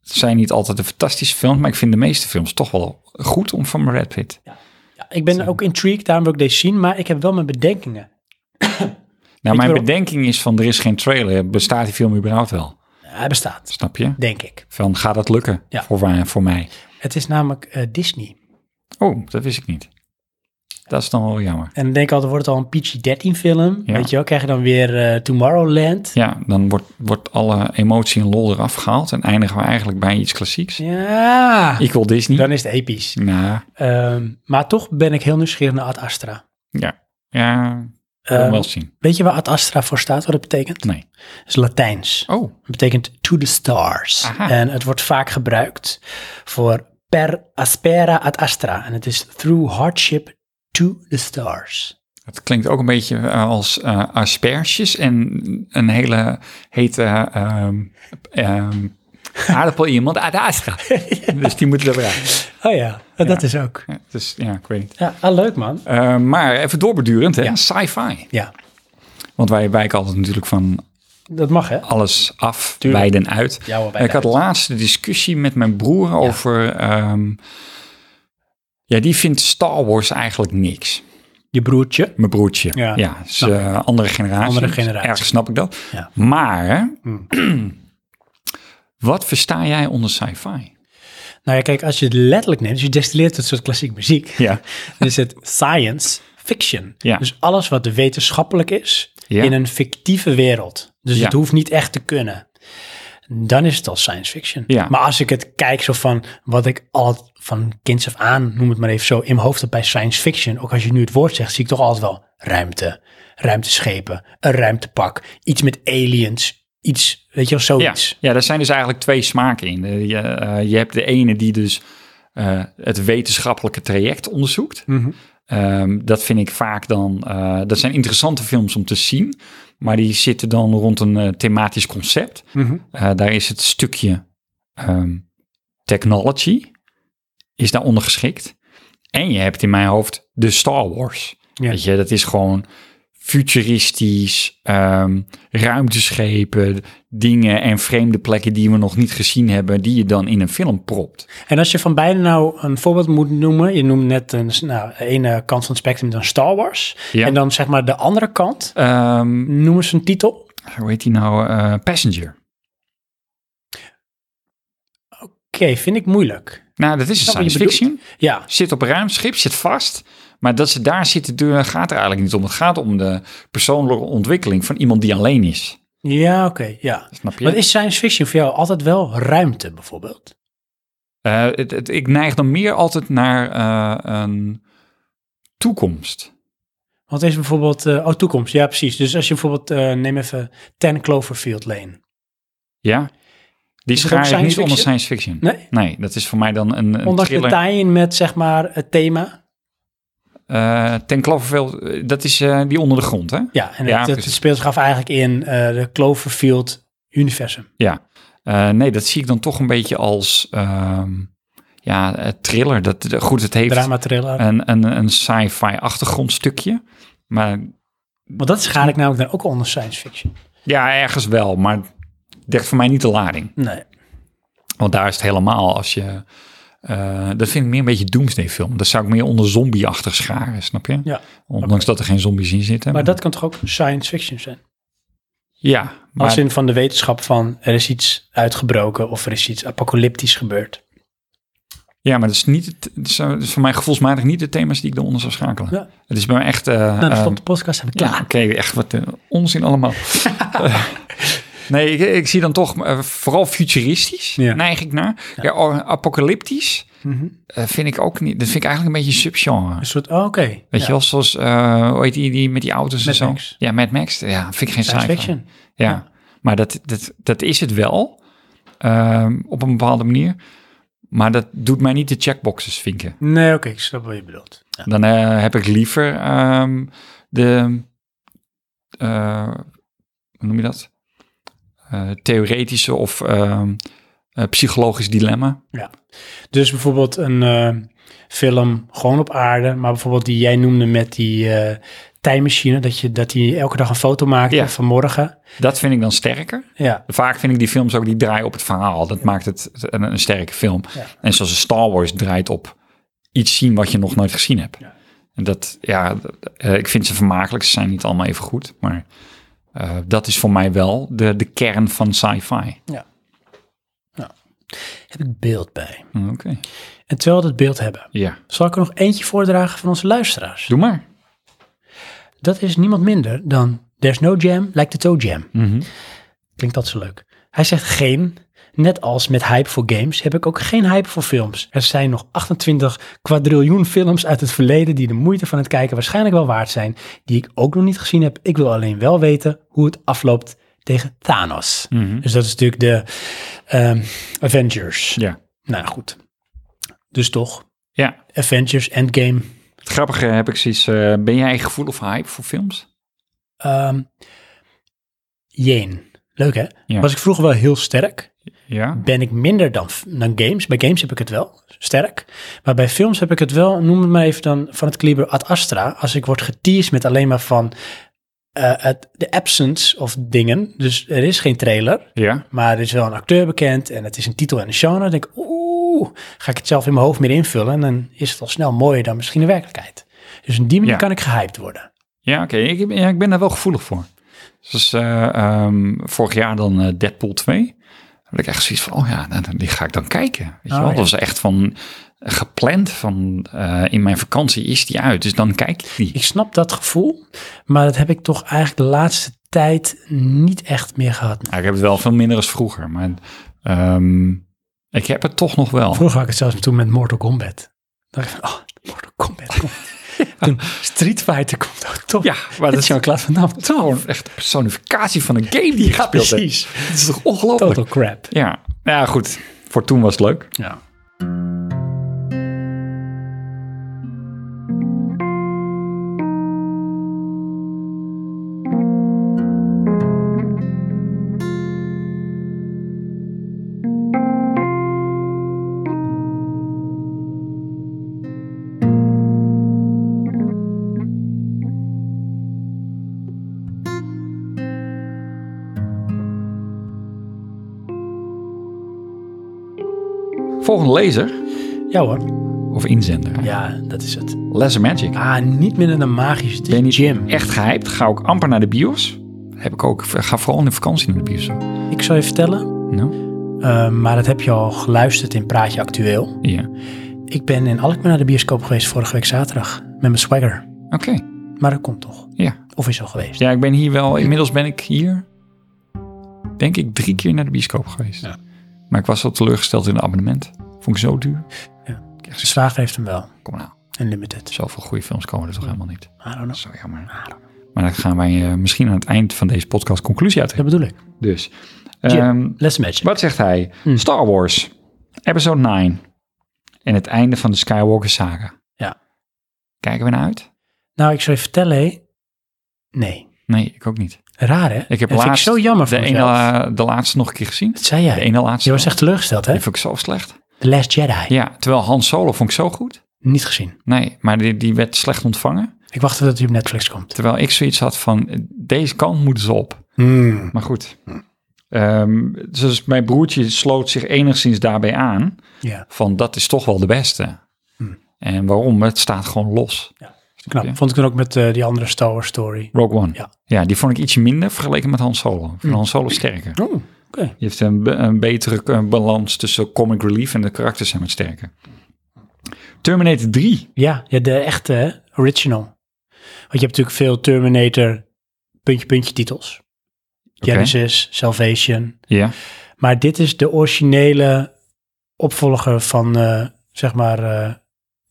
het zijn niet altijd de fantastische films, maar ik vind de meeste films toch wel goed om van Brad Pitt. Nou,
Ja, ik ben ook intrigued, daarom wil ik deze zien, maar ik heb wel mijn bedenkingen.
Nou, mijn
waarom?
bedenking is van, er is geen trailer. Bestaat die film überhaupt wel?
Hij bestaat,
Snap je?
denk ik.
Van, gaat dat lukken
Ja.
voor, waar- voor mij?
Het is namelijk eh, Disney.
Oh, dat wist ik niet. Dat is dan wel jammer.
En dan denk ik altijd, wordt het al een PG-13 film?
Ja.
Weet je wel, krijg je dan weer eh, Tomorrowland?
Ja, dan wordt, wordt alle emotie en lol eraf gehaald en eindigen we eigenlijk bij iets klassieks.
Ja,
Equal Disney.
dan is het episch.
Nou,
Ehm, maar toch ben ik heel nieuwsgierig naar Ad Astra.
ja. Ja, we
Ehm,
wel zien.
weet je waar Ad Astra voor staat, wat het betekent?
Nee.
Het is Latijns.
Oh,
Het betekent to the stars.
Aha.
En het wordt vaak gebruikt voor per aspera ad astra. En het is through hardship to the stars.
het klinkt ook een beetje eh, als eh, asperges en een hele hete ehm, ehm, aardappel in iemand Ah, uit de Astra. Dus die moeten er weer uit.
Oh ja, dat is ook.
Ja, Dus ja, ik weet niet.
Ja, ah, leuk man.
Eh, maar even doorbedurend, hè?
Ja.
sci-fi.
Ja,
Want wij wijken altijd natuurlijk van
dat mag hè?
alles af,
Tuurlijk.
wijden uit.
Ja, hoor,
ik
wijden
had
uit.
laatst een discussie met mijn broer over... ehm, ja, die vindt Star Wars eigenlijk niks.
Je broertje.
Mijn broertje.
Ja,
is, eh, andere generatie.
Andere generatie.
Erg snap ik dat.
Ja. Hmm.
Maar, wat versta jij onder sci-fi?
Nou ja, kijk, als je het letterlijk neemt, dus je destilleert het soort klassiek muziek.
Ja.
Dan is het science fiction.
Ja.
Dus alles wat wetenschappelijk is
Ja.
in een fictieve wereld. Dus
Ja.
het hoeft niet echt te kunnen. Dan is het al science fiction.
Ja.
Maar als ik het kijk zo van wat ik al van kinds af aan, noem het maar even zo, in mijn hoofd heb bij science fiction. Ook als je nu het woord zegt, zie ik toch altijd wel ruimte, ruimteschepen, een ruimtepak, iets met aliens, iets, weet je wel,
Ja.
zoiets.
ja, daar zijn dus eigenlijk twee smaken in. Eh, Je, eh, je hebt de ene die dus eh, het wetenschappelijke traject onderzoekt.
Mhm.
Eh, Ehm, dat vind ik vaak dan. eh, dat zijn interessante films om te zien. Maar die zitten dan rond een eh, thematisch concept. Eh, daar is het stukje ehm, technology is daar ondergeschikt. En je hebt in mijn hoofd de Star Wars.
Ja.
Weet je, dat is gewoon futuristisch, ehm, ruimteschepen, dingen en vreemde plekken die we nog niet gezien hebben, die je dan in een film propt.
En als je van beide nou een voorbeeld moet noemen, je noemt net een nou, ene kant van het spectrum dan Star Wars.
Ja.
En dan zeg maar de andere kant,
Ehm,
noem eens een titel.
hoe heet die nou? Eh, Passenger.
Oké, vind ik moeilijk.
Nou, dat is een
Snap wat je
science fiction.
Ja,
Zit op een ruim schip, zit vast. Maar dat ze daar zitten, daar gaat er eigenlijk niet om. Het gaat om de persoonlijke ontwikkeling van iemand die alleen is.
ja oké, ja.
Snap je?
Wat is science fiction voor jou altijd wel ruimte bijvoorbeeld?
Eh, het, het- ik neig dan meer altijd naar eh, een toekomst.
Want deze bijvoorbeeld, eh, oh toekomst, ja precies. Dus als je bijvoorbeeld, eh, neem even Ten Cloverfield Lane.
Ja? Die
Is het ook
schaar ik niet
science
onder
fiction?
science fiction.
Nee?
Nee, dat is voor mij dan een, een
Ondanks de
thriller.
tie-in met zeg maar het thema.
Eh, Ten Cloverfield, eh, dat is eh, die onder de grond, hè?
Ja, en
Ja,
het, het
precies.
speelt zich af eigenlijk in eh, de Cloverfield universum.
Ja. Eh, nee, dat zie ik dan toch een beetje als... ehm, ja, eh, thriller. Dat, de- goed, het heeft
Drama thriller.
een, een, een sci-fi achtergrondstukje. Maar
Want dat schaal ik namelijk dan ook onder science fiction.
ja, ergens wel. Maar het dekt voor mij niet de lading.
Nee.
Want daar is het helemaal als je. eh, dat vind ik meer een beetje doomsday film. Dat zou ik meer onder zombie-achtig scharen, snap je?
Ja.
Ondanks
oké.
dat er geen zombies in zitten.
Maar dat kan toch ook science fiction zijn?
Ja, maar
Als in van de wetenschap van er is iets uitgebroken of er is iets apocalyptisch gebeurd.
Ja, maar dat is, niet het, dat zou- dat is eh, voor mij gevoelsmatig niet de thema's die ik daaronder zou schakelen.
Ja.
Het is bij mij echt... eh,
Nou, dan
ehm,
stond de podcast en
ja,
klaar.
oké, echt wat eh, onzin allemaal. Eh, nee, ik, ik zie dan toch eh, vooral futuristisch,
Ja.
neig ik naar. Ja. o- apocalyptisch
Mhm.
eh, vind ik ook niet... Dat vind ik eigenlijk een beetje een subgenre.
Een soort, oh, oké.
Weet
Ja,
je wel, zoals, eh hoe heet die, die met die auto's
Mad
en zo?
Max.
Ja, Mad Max. Ja, vind ik geen
Science
sci-fi.
fiction.
Ja.
Ja.
maar dat, dat, dat is het wel, ehm, op een bepaalde manier. Maar dat doet mij niet de checkboxes vinken.
Nee, oké, ik snap wat je bedoelt. Ja.
Dan eh, heb ik liever ehm, de, eh, hoe noem je dat? Eh, theoretische of ehm, eh, psychologisch dilemma.
Dus bijvoorbeeld een eh, film gewoon op aarde, maar bijvoorbeeld die jij noemde met die eh, tijdmachine, dat je dat die elke dag een foto maakte
Ja.
vanmorgen.
Dat vind ik dan sterker.
Ja,
Vaak vind ik die films ook die draaien op het verhaal. Dat maakt het een, een sterke film.
Ja.
En zoals een Star Wars draait op iets zien wat je nog nooit gezien hebt.
Ja.
En dat, ja, dat- eh, ik vind ze vermakelijk. Ze zijn niet allemaal even goed. Maar eh, dat is voor mij wel de, de kern van sci-fi.
heb ik beeld bij.
Oké.
En terwijl we dat beeld hebben,
Ja,
zal ik er nog eentje voordragen van onze luisteraars.
doe maar.
Dat is niemand minder dan There's no jam like the toe jam.
Mhm,
Klinkt dat zo leuk. Hij zegt geen. Net als met hype voor games heb ik ook geen hype voor films. Er zijn nog 28 kwadriljoen films uit het verleden die de moeite van het kijken waarschijnlijk wel waard zijn, die ik ook nog niet gezien heb. Ik wil alleen wel weten hoe het afloopt tegen Thanos.
Mhm.
Dus dat is natuurlijk de ehm, Avengers.
Ja.
Nou goed. Dus toch,
ja.
Avengers Endgame.
Het grappige heb ik zoiets. eh, ben jij gevoelig voor hype voor films?
ehm Jeen. Leuk hè?
Ja.
Was ik vroeger wel heel sterk.
Ja.
ben ik minder dan, dan games. Bij games heb ik het wel, sterk. Maar bij films heb ik het wel, noem het maar even dan, van het kaliber ad astra. Als ik word geteased met alleen maar van eh, het, de absence of dingen. Dus er is geen trailer,
Ja.
maar er is wel een acteur bekend en het is een titel en een genre. Dan denk ik, oeh, ga ik het zelf in mijn hoofd meer invullen. En dan is het al snel mooier dan misschien de werkelijkheid. Dus op die manier
Ja.
kan ik gehyped worden.
Ja, oké. Ik, ja, ik ben daar wel gevoelig voor. Dus eh, ehm, vorig jaar dan eh, Deadpool 2. Had ik echt zoiets van, oh ja, nou, die ga ik dan kijken. Weet
Oh,
je wel?
ja.
Dat was echt van eh, gepland van eh, in mijn vakantie is die uit. Dus dan kijk ik die.
Ik snap dat gevoel, maar dat heb ik toch eigenlijk de laatste tijd niet echt meer gehad.
Ja, ik heb het wel veel minder als vroeger, maar ehm, ik heb het toch nog wel.
Vroeger had ik het zelfs toen met Mortal Kombat. Dan dacht ik van, oh, Mortal Kombat komt. toen Street Fighter komt ook toch.
Ja, maar dat
dat
is
is Jean-Claude Van Damme.
gewoon echt een personificatie van een game die je
Ja,
gespeeld hebt.
precies.
Het is toch ongelooflijk?
Total crap.
Ja. ja, goed. Voor toen was het leuk.
Ja.
Volgende lezer
Ja hoor.
of inzender.
Ja, dat is het.
Lesser Magic.
Ah, niet minder dan magisch. Het is
Ben je
Jim.
Echt gehyped. Ga ook amper naar de bios. Heb ik ook. Ga vooral in de vakantie naar de bios.
Ik zal je vertellen,
Nou,
eh, maar dat heb je al geluisterd in Praatje Actueel.
ja.
Ik ben in Alkmaar naar de bioscoop geweest vorige week zaterdag. Met mijn swagger.
Oké.
Maar dat komt toch.
Ja.
Of is al geweest.
Ja, ik ben hier wel. Inmiddels ben ik hier. Denk ik drie keer naar de bioscoop geweest.
Ja.
Maar ik was al teleurgesteld in het abonnement. Vond ik zo duur.
Ja.
Ik echt
Mijn
zo-
zwager heeft hem wel.
Kom nou.
Unlimited.
Zoveel goede films komen er toch helemaal niet.
I don't know.
Zo jammer. Maar dat gaan wij eh, misschien aan het eind van deze podcast conclusie
Dat
uittrekken.
bedoel ik.
Dus.
Jim.
ehm,
Let's match.
Wat zegt hij?
Hmm.
Star Wars, episode 9. En het einde van de Skywalker saga.
Ja.
Kijken we naar uit?
Nou, ik zal je vertellen, hé. Nee.
Nee, ik ook niet.
Raar, hè?
Ik heb
dat
laatst
vind ik zo jammer
de,
voor
ene,
mezelf.
eh, de laatste nog een keer gezien.
Dat zei
De
jij.
ene laatste.
Je was echt teleurgesteld, hè?
Die vond ik zo slecht.
The Last Jedi.
Ja, terwijl Han Solo vond ik zo goed.
Niet gezien.
Nee, maar die, die werd slecht ontvangen.
Ik wachtte dat hij op Netflix komt.
Terwijl ik zoiets had van, eh, deze kant moeten ze op.
Hmm.
Maar goed. Ehm, dus mijn broertje sloot zich enigszins daarbij aan.
Ja,
Van, dat is toch wel de beste.
Hmm.
En waarom? Het staat gewoon los.
Ja.
Snap
knap.
je?
Vond ik dan ook met eh, die andere Star Wars story.
Rogue One.
Ja.
die vond ik ietsje minder vergeleken met Han Solo. Ik vind Han Solo sterker.
Oh, oké.
Je heeft een, be- een betere eh, balans tussen comic relief en de karakters zijn wat sterker. Terminator 3.
Ja, ja, de echte hè? original. Want je hebt natuurlijk veel Terminator puntje puntje titels.
Oké.
Genesis, Salvation.
Ja,
Maar dit is de originele opvolger van, eh, zeg maar, eh,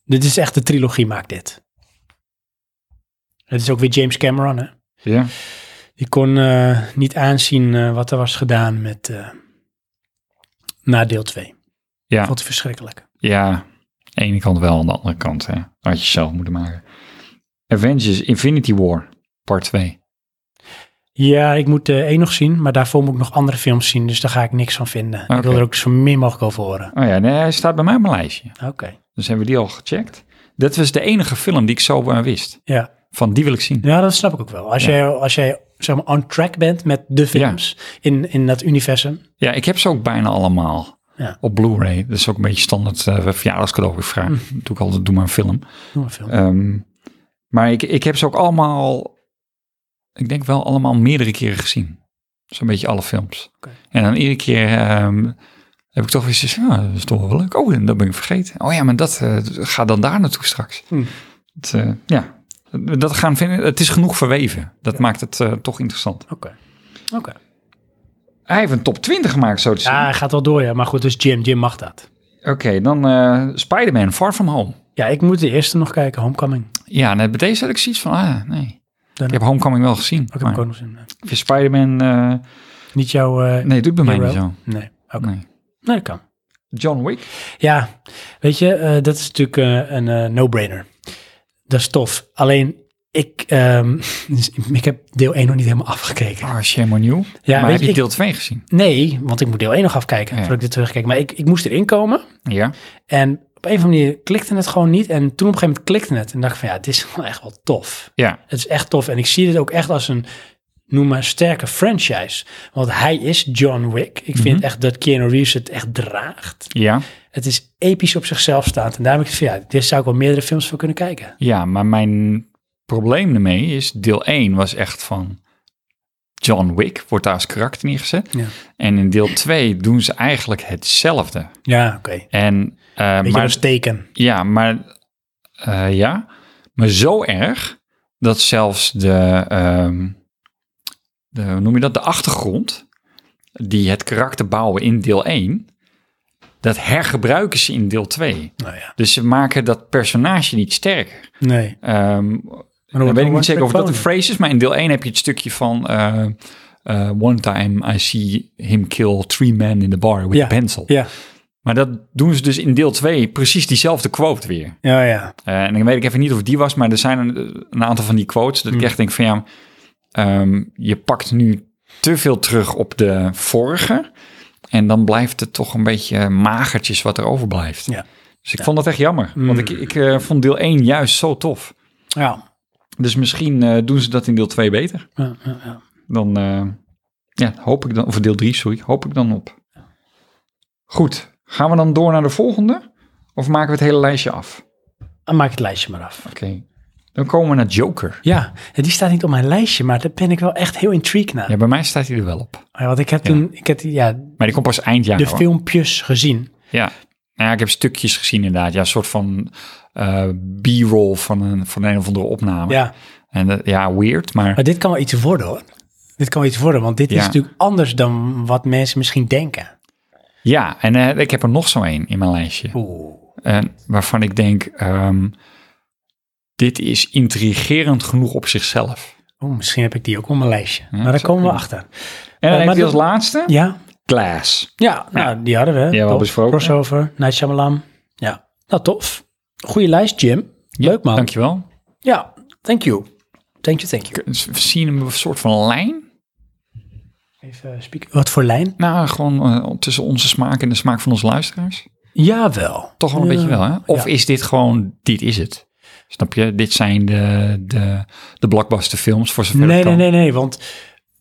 dit is echt de trilogie maakt dit. Het is ook weer James Cameron, hè?
ja.
Die kon eh, niet aanzien eh, wat er was gedaan met, eh, na deel 2.
Ja.
Vond het verschrikkelijk.
Ja, aan de ene kant wel, aan de andere kant. Hè. Had je zelf moeten maken. Avengers Infinity War, part 2.
Ja, ik moet eh één nog zien, maar daarvoor moet ik nog andere films zien, dus daar ga ik niks van vinden. Ik wil
Oké.
er ook zo min mogelijk over horen.
Oh ja, nee, hij staat bij mij op mijn lijstje.
Oké.
Dus hebben we die al gecheckt. Dat was de enige film die ik zo eh, wist.
Ja.
Van die wil ik zien.
ja, dat snap ik ook wel. Als
Ja.
jij, als jij zeg maar, on track bent met de films in, in dat universum.
Ja, ik heb ze ook bijna allemaal.
Ja.
Op Blu-ray. Dat is ook een beetje standaard eh verjaardagscadeau. Ik
Mm.
vraag, doe ik altijd, doe maar een film.
Noem een film.
Ehm, maar ik, ik heb ze ook allemaal, ik denk wel allemaal meerdere keren gezien. Zo'n beetje alle films.
Oké.
En dan iedere keer ehm, heb ik toch weer zoiets, ja, dat is toch wel leuk. Oh, en dat ben ik vergeten. Oh ja, maar dat eh, gaat dan daar naartoe straks.
Hm.
Het, eh, ja, dat gaan vinden, het is genoeg verweven. Dat maakt het eh, toch interessant.
Oké. Oké.
Hij heeft een top 20 gemaakt, zo te zien.
Ja, hij gaat wel door, ja. Maar goed, dus Jim, Jim mag dat.
Oké, dan eh Spider-Man, Far From Home.
Ja, ik moet de eerste nog kijken, Homecoming.
Ja, net bij deze had ik zoiets van, ah, nee.
Dan-
ik heb Homecoming wel gezien.
Ik heb
maar
ik ook nog zin. in.
ik vind Spider-man... eh,
Niet jouw... eh,
Nee, doet bij mij niet
hero?
zo.
Nee. Oké.
Nee.
Nee, dat kan.
John Wick?
Ja, weet je, eh, dat is natuurlijk eh, een eh, no-brainer. Dat is tof. Alleen, ik, ehm, dus ik heb deel 1 nog niet helemaal afgekeken.
Ah, shame on you.
Ja,
maar
weet
heb
je,
je
ik-
deel 2 gezien?
Nee, want ik moet deel 1 nog afkijken
Ja.
voordat ik dit terugkijk. Maar ik, ik moest erin komen
Ja.
en op een of andere manier klikte het gewoon niet. En toen op een gegeven moment klikte het en dacht ik van ja, dit is wel echt wel tof.
Ja.
Het is echt tof en ik zie dit ook echt als een, noem maar, sterke franchise. Want hij is John Wick. Ik vind echt dat Keanu Reeves het echt draagt.
Ja.
Het is episch op zichzelf staand. En daar heb ik het van, ja, dit zou ik wel meerdere films voor kunnen kijken.
Ja, maar mijn probleem ermee is, deel 1 was echt van John Wick, wordt daar als karakter neergezet.
Ja.
En in deel 2 doen ze eigenlijk hetzelfde.
Ja, oké.
En, eh,
Beetje
maar,
als teken.
ja, maar, eh, ja, maar zo erg dat zelfs de, ehm, de, hoe noem je dat, de achtergrond die het karakter bouwen in deel 1, dat hergebruiken ze in deel 2.
Nou ja,
Dus ze maken dat personage niet sterker.
nee.
Ehm
Maar
dan
wordt
weet ik niet
het
zeker of dat een
gewoon-
phrase is, maar in deel 1 heb je het stukje van eh, eh, One time I see him kill three men in the bar with
Ja.
a pencil.
Ja,
Maar dat doen ze dus in deel 2 precies diezelfde quote weer.
ja, ja.
Eh, en dan weet ik even niet of het die was, maar er zijn een, een aantal van die quotes dat
Hmm.
ik echt denk van ja, ehm, je pakt nu te veel terug op de vorige. En dan blijft het toch een beetje magertjes wat er overblijft.
Ja. Hmm.
Dus ik vond dat echt jammer, want ik, ik eh, vond deel 1 juist zo tof.
Ja,
Dus misschien eh, doen ze dat in deel 2 beter.
ja, ja, ja.
Dan eh, ja, hoop ik dan, of deel 3, sorry, hoop ik dan op. Goed, Gaan we dan door naar de volgende? Of maken we het hele lijstje af?
Dan maak ik het lijstje maar af.
Oké. Dan komen we naar Joker.
Ja, die staat niet op mijn lijstje, maar daar ben ik wel echt heel intrigued naar.
Ja, bij mij staat hij er wel op.
Ah, Ja, Want ik heb toen, ik heb die, ja,
Maar die komt pas eind jaar.
de
hoor.
filmpjes gezien.
Ja. Nou ja, ik heb stukjes gezien inderdaad. Ja, een soort van eh, b-roll van een, van een of andere opname.
Ja,
En dat- ja, weird, maar
maar dit kan wel iets worden hoor. Dit kan wel iets worden, want dit
Ja.
is natuurlijk anders dan wat mensen misschien denken.
ja. En eh, ik heb er nog zo één in mijn lijstje.
Oeh.
En waarvan ik denk, ehm, dit is intrigerend genoeg op zichzelf.
Oeh, misschien heb ik die ook op mijn lijstje. maar
dat
daar
zou
komen we
kunnen.
achter.
En dan
Eh,
heb
maar
je
dat-
als laatste
Ja,
Glass.
ja, nou, die hadden we.
we al
Tof.
besproken.
Crossover, Night Shyamalan. Ja, nou tof. Goeie lijst, Jim. Leuk man.
Dankjewel.
Ja, thank you. Thank you, thank you.
K- We zien een soort van lijn.
Even spieken. Wat voor lijn?
Nou, gewoon eh, tussen onze smaak en de smaak van onze luisteraars.
Jawel.
Toch wel een beetje wel, hè? Of is dit gewoon, dit is het? Snap je? Dit zijn de, de, de blockbuster films voor zover
Nee,
het
nee,
kan.
nee, nee, want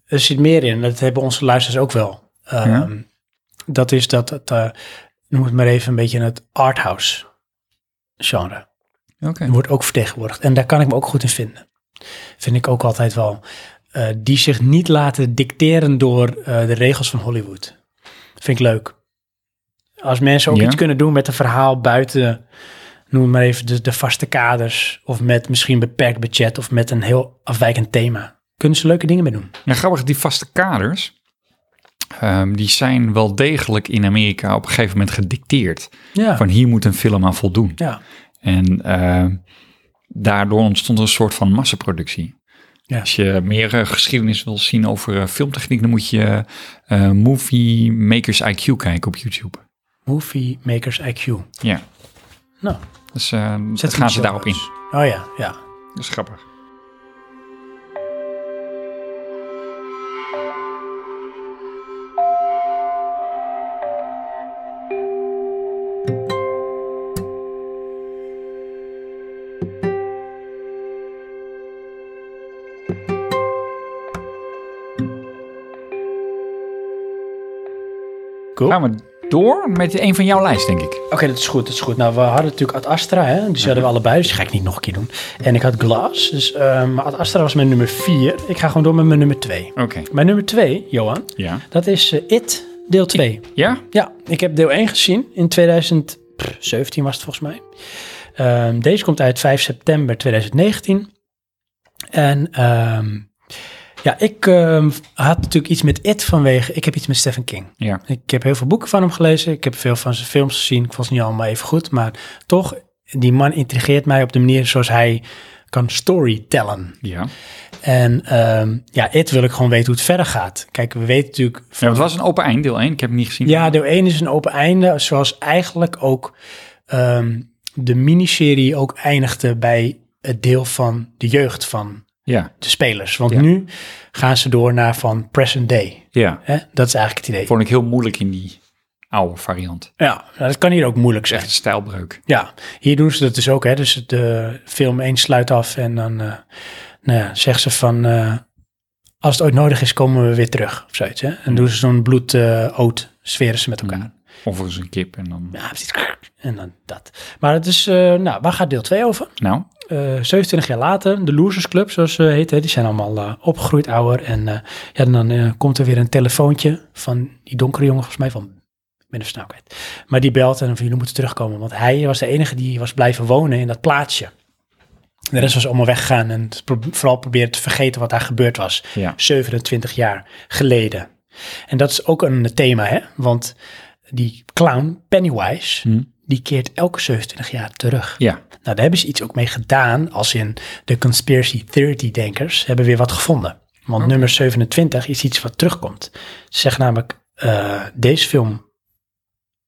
er zit meer in. Dat hebben onze luisteraars ook wel. Ehm,
Ja.
Dat is dat het, eh, noem het maar even een beetje het arthouse genre.
Oké.
Wordt ook vertegenwoordigd. En daar kan ik me ook goed in vinden. Vind ik ook altijd wel. eh, die zich niet laten dicteren door eh, de regels van Hollywood. Vind ik leuk. Als mensen ook
Ja.
iets kunnen doen met een verhaal buiten, noem maar even de, de vaste kaders. Of met misschien beperkt budget of met een heel afwijkend thema. Kunnen ze leuke dingen mee doen.
Ja, grappig, die vaste kaders, ehm, die zijn wel degelijk in Amerika op een gegeven moment gedicteerd.
Ja.
Van hier moet een film aan voldoen.
ja.
En ehm, daardoor ontstond een soort van massaproductie.
Ja.
Als je meer eh, geschiedenis wil zien over eh, filmtechniek, dan moet je eh, Movie Makers IQ kijken op YouTube.
Movie Makers IQ.
Ja,
Nou,
dus eh dat
zet
gaan ze daarop in.
Oh ja, ja.
Dat is grappig.
Cool.
Gaan we door met een van jouw lijst, denk ik.
Oké, dat is goed, dat is goed. Nou, we hadden natuurlijk Ad Astra, hè? dus die hadden we allebei, dus die ga ik niet nog een keer doen. En ik had Glass, dus ehm, maar Ad Astra was mijn nummer 4. Ik ga gewoon door met mijn nummer 2.
Oké.
Mijn nummer 2, Johan,
Ja.
dat is eh, It, deel 2.
Ja?
Ja, ik heb deel 1 gezien in 2017 was het volgens mij. Ehm, deze komt uit 5 september 2019. En ehm, ja, ik ehm, had natuurlijk iets met It vanwege, ik heb iets met Stephen King.
Ja.
Ik heb heel veel boeken van hem gelezen. Ik heb veel van zijn films gezien. Ik vond ze niet allemaal even goed. Maar toch, die man intrigeert mij op de manier zoals hij kan storytellen.
Ja.
En ehm, ja, het wil ik gewoon weten hoe het verder gaat. Kijk, we weten natuurlijk...
Ja,
van-
het was een open eind, deel 1. Ik heb hem niet gezien.
ja, deel 1 is een open einde. Zoals eigenlijk ook ehm, de miniserie ook eindigde bij het deel van de jeugd van
Ja.
de spelers. Want
Ja.
nu gaan ze door naar van present day.
ja.
Hè? Dat is eigenlijk het idee.
Vond ik heel moeilijk in die oude variant. Het
Ja, nou, dat kan hier ook moeilijk
is
zijn.
echt een stijlbreuk.
Ja, hier doen ze dat dus ook. Hè? Dus de film 1 sluit af en dan eh nou ja, zegt ze van... eh, als het ooit nodig is, komen we weer terug of zoiets. Hè? En doen ze zo'n bloed eh oot sferen ze met elkaar.
Of er is een kip en dan...
Ja, precies. En dan dat. Maar het is... eh, nou, waar gaat deel 2 over?
Nou,
eh 27 jaar later, de Losers Club, zoals ze heet, hè, die zijn allemaal eh, opgegroeid ouder. En eh, ja, dan eh, komt er weer een telefoontje van die donkere jongen, volgens mij van, ik ben even snel kwijt. Maar die belt en van jullie moeten terugkomen, want hij was de enige die was blijven wonen in dat plaatsje. De rest was allemaal weggegaan en het pro- vooral proberen te vergeten wat daar gebeurd was.
ja.
27 jaar geleden. En dat is ook een thema, hè? Want die clown Pennywise,
Hm.
die keert elke 27 jaar terug.
Ja.
Nou, daar hebben ze iets ook mee gedaan, als in de conspiracy theory-denkers hebben weer wat gevonden. Want nummer 27 is iets wat terugkomt. Ze zeggen namelijk, eh, deze film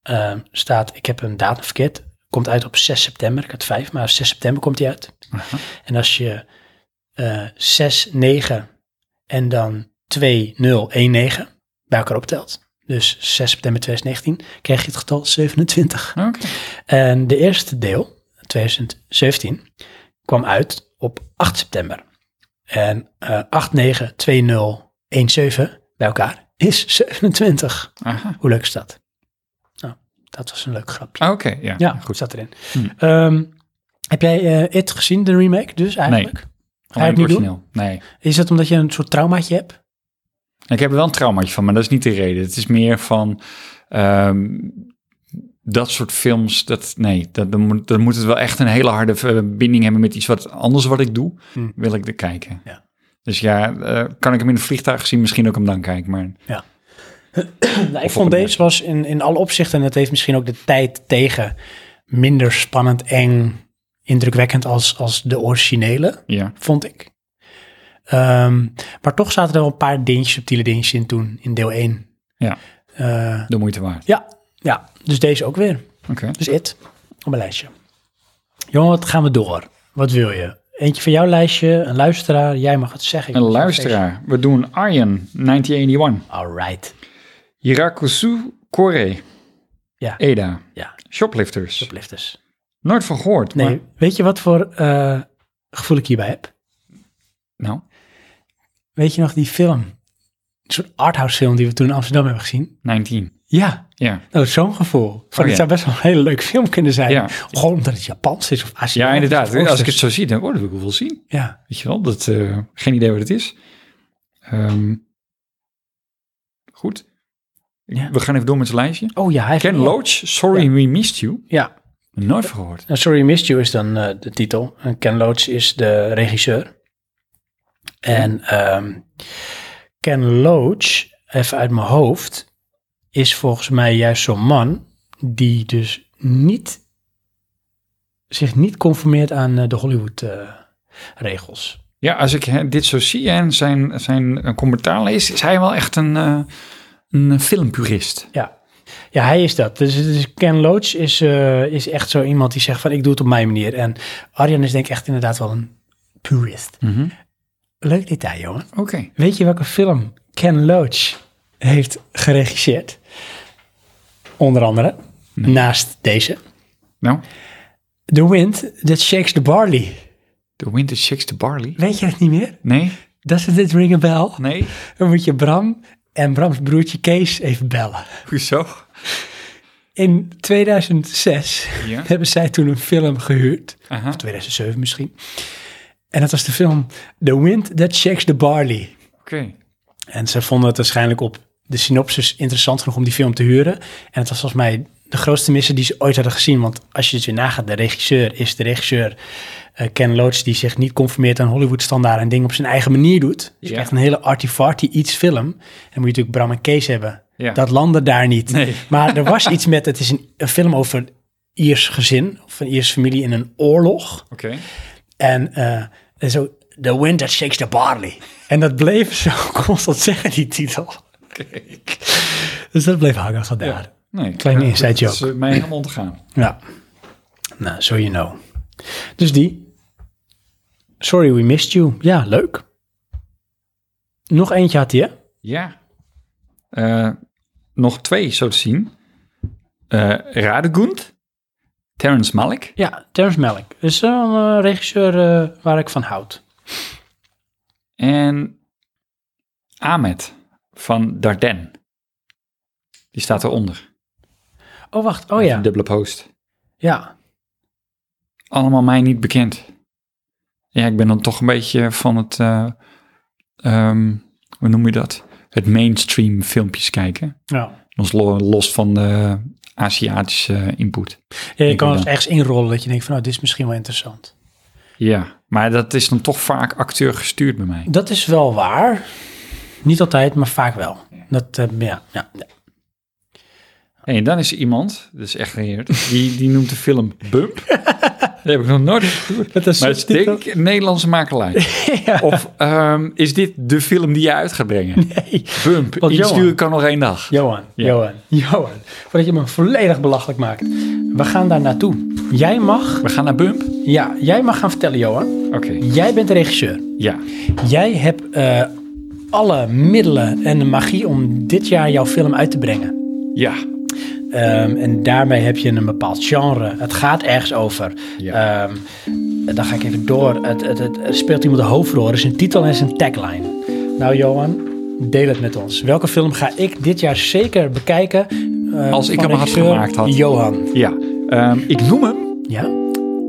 eh, staat, ik heb een datum verkeerd, komt uit op 6 september. Ik had 5, maar 6 september komt die uit.
Aha.
En als je eh 6, 9 en dan 2, 0, 1, 9 bij elkaar optelt, dus 6 september 2019, krijg je het getal 27.
Oké.
En de eerste deel, 2017, kwam uit op 8 september. En eh 8, 9, 2, 0, 1, 7 bij elkaar is 27.
Aha.
Hoe leuk is dat? Nou, Dat was een leuk grapje.
Ah, Oké, ja.
ja,
Goed.
goed zat erin.
Hm.
Ehm, heb jij eh, It gezien, de remake dus eigenlijk? Ga je
Alleen
het niet doen?
origineel. Nee.
Is dat omdat je een soort traumaatje hebt?
Ik heb er wel een traumaatje van, maar dat is niet de reden. Het is meer van ehm, dat soort films. Dat, nee, dat, dan, moet, dan moet het wel echt een hele harde verbinding hebben met iets wat anders wat ik doe.
Hm.
Wil ik er kijken.
Ja.
Dus ja, eh, kan ik hem in een vliegtuig zien? Misschien ook hem dan kijken. Maar
Nou, ik
Of
vond
op een
deze was in, in alle opzichten, en het heeft misschien ook de tijd tegen, minder spannend, eng, indrukwekkend als, als de originele,
ja,
vond ik. Ehm, maar toch zaten er wel een paar dingetjes, subtiele dingetjes in toen, in deel 1.
Ja.
Eh.
de moeite waard.
ja, ja, dus deze ook weer.
Oké.
Dus it, op mijn lijstje. Jongen, wat gaan we door? Wat wil je? Eentje van jouw lijstje, een luisteraar, jij mag het zeggen. Ik
Een
moet
luisteraar. We doen Arjen, 1981.
steeds- Alright,
Hirakusu Kore.
Ja.
Eda.
Ja.
Shoplifters.
shoplifters.
Nooit van gehoord.
Nee,
Maar,
weet je wat voor eh, gevoel ik hierbij heb?
nou,
Weet je nog die film? Een soort arthouse film die we toen in Amsterdam hebben gezien.
19.
Ja.
Ja.
Nou, zo'n gevoel. Van, dit
ja.
zou best wel een hele leuke film kunnen zijn.
Ja.
Gewoon omdat het Japans is of Aziatisch.
Ja,
of
inderdaad.
Oosters.
Als ik het zo zie, dan oh, dat wil ik wel zien.
Ja.
Weet je wel, dat, eh, geen idee wat het is. Ehm, goed.
Ja.
We gaan even door met het lijstje.
Oh ja, hij heeft...
Ken Loach, Sorry We Missed You.
Ja.
Nooit verhoord.
Nou, Sorry I Missed You is dan eh, de titel. En Ken Loach is de regisseur. En ehm, Ken Loach, even uit mijn hoofd, is volgens mij juist zo'n man die dus niet zich niet conformeert aan eh, de Hollywood eh, regels.
Ja, als ik hè, dit zo zie en zijn, zijn eh, commentaar lees, is hij wel echt een, eh, een filmpurist.
Ja. Ja, hij is dat. Dus, dus Ken Loach is, eh, is echt zo iemand die zegt van ik doe het op mijn manier. En Arjan is denk ik echt inderdaad wel een purist. Leuk detail, jongen.
Oké.
Weet je welke film Ken Loach heeft geregisseerd? Onder andere, naast deze.
Nou,
The Wind That Shakes the Barley.
The Wind That Shakes the Barley.
Weet je het niet meer?
Nee,
Doesn't it ring a bell?
nee.
Dan moet je Bram en Brams broertje Kees even bellen.
Hoezo?
In 2006
Ja.
hebben zij toen een film gehuurd.
Aha.
Of 2007 misschien. En dat was de film The Wind That Shakes the Barley.
Oké.
En ze vonden het waarschijnlijk op de synopsis interessant genoeg om die film te huren. En het was volgens mij de grootste misser die ze ooit hadden gezien. Want als je het weer nagaat, de regisseur is de regisseur eh, Ken Loach... die zich niet conformeert aan Hollywood-standaarden en dingen op zijn eigen manier doet. Dus
Ja.
echt een hele arty-farty iets film. En dan moet je natuurlijk Bram en Kees hebben.
Ja.
Dat landde daar niet.
Nee.
Maar er was iets met, het is een, een film over een Iers gezin... of een Iers familie in een oorlog...
Oké.
En eh, en zo, The Wind That Shakes the Barley. En dat bleef zo constant zeggen, die titel. Dus dat bleef hangen van daar.
Nee.
Kleine
eh,
inside
dat is
joke.
eh, mij helemaal ontgaan.
Ja. Nou, so you know. Dus die. Sorry we missed you. Ja, leuk. Nog eentje had hij, hè?
Ja. Eh, nog twee, zo te zien. Eh Radegund, Terence Malick.
Ja, Terrence Malick. Is wel een eh, regisseur eh, waar ik van houd.
En Ahmed van Darden. Die staat eronder.
Oh, wacht. Oh
Hij heeft
ja.
Een dubbele post.
Ja.
Allemaal mij niet bekend. Ja, ik ben dan toch een beetje van het... eh, ehm, hoe noem je dat? Het mainstream filmpjes kijken.
ja.
Los, los van de Aziatische input.
ja je
Denk
kan
ik
wel eens
dan.
ergens inrollen dat je denkt van, oh, dit is misschien wel interessant.
Ja, maar dat is dan toch vaak acteur gestuurd bij mij.
Dat is wel waar. Niet altijd, maar vaak wel. Dat, eh, ja, ja, ja.
Hey, en dan is er iemand, dat is echt geheerd, die, die noemt de film Bump. dat heb ik nog nooit gehoord.
Dat is
Maar het is denk ik een Nederlandse makelaar. Of ehm, is dit de film die je uit gaat brengen? Bump,
Want
insturen
Johan-
kan nog één dag.
Johan,
Ja.
Johan, Johan. Voordat je me volledig belachelijk maakt. We gaan daar naartoe. Jij mag,
We gaan naar Bump?
ja, jij mag gaan vertellen, Johan.
Oké,
Jij bent de regisseur.
ja.
Jij hebt eh, alle middelen en de magie om dit jaar jouw film uit te brengen.
Ja,
Ehm, en daarmee heb je een bepaald genre. Het gaat ergens over.
Ja.
Ehm, dan ga ik even door. Het, het, het, er speelt iemand de hoofdrol. Er is een titel en er is een tagline. Nou, Johan, deel het met ons. Welke film ga ik dit jaar zeker bekijken? eh,
Als ik
van
hem had
regisseur
gemaakt had.
Johan.
Ja, ehm, ik noem hem
Ja?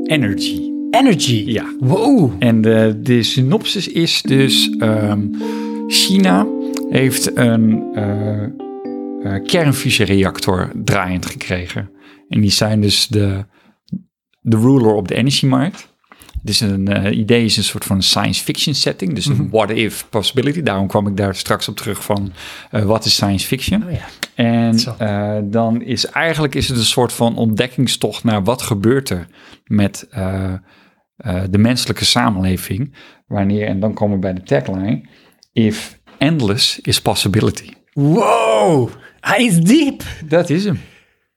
Energy.
Energy.
Ja.
Wow.
En de, de synopsis is dus: ehm, China heeft een eh, eh, kernfusiereactor draaiend gekregen. En die zijn dus de, de ruler op de energiemarkt. Het is een eh, idee, is een soort van science fiction setting. Dus een what-if possibility. Daarom kwam ik daar straks op terug van eh, wat is science fiction.
Oh ja.
En
Zo.
eh, dan is eigenlijk is het een soort van ontdekkingstocht naar wat gebeurt er met eh, eh, de menselijke samenleving. Wanneer, en dan komen we bij de tagline, if endless is possibility.
Wow. Hij is diep.
Dat is hem.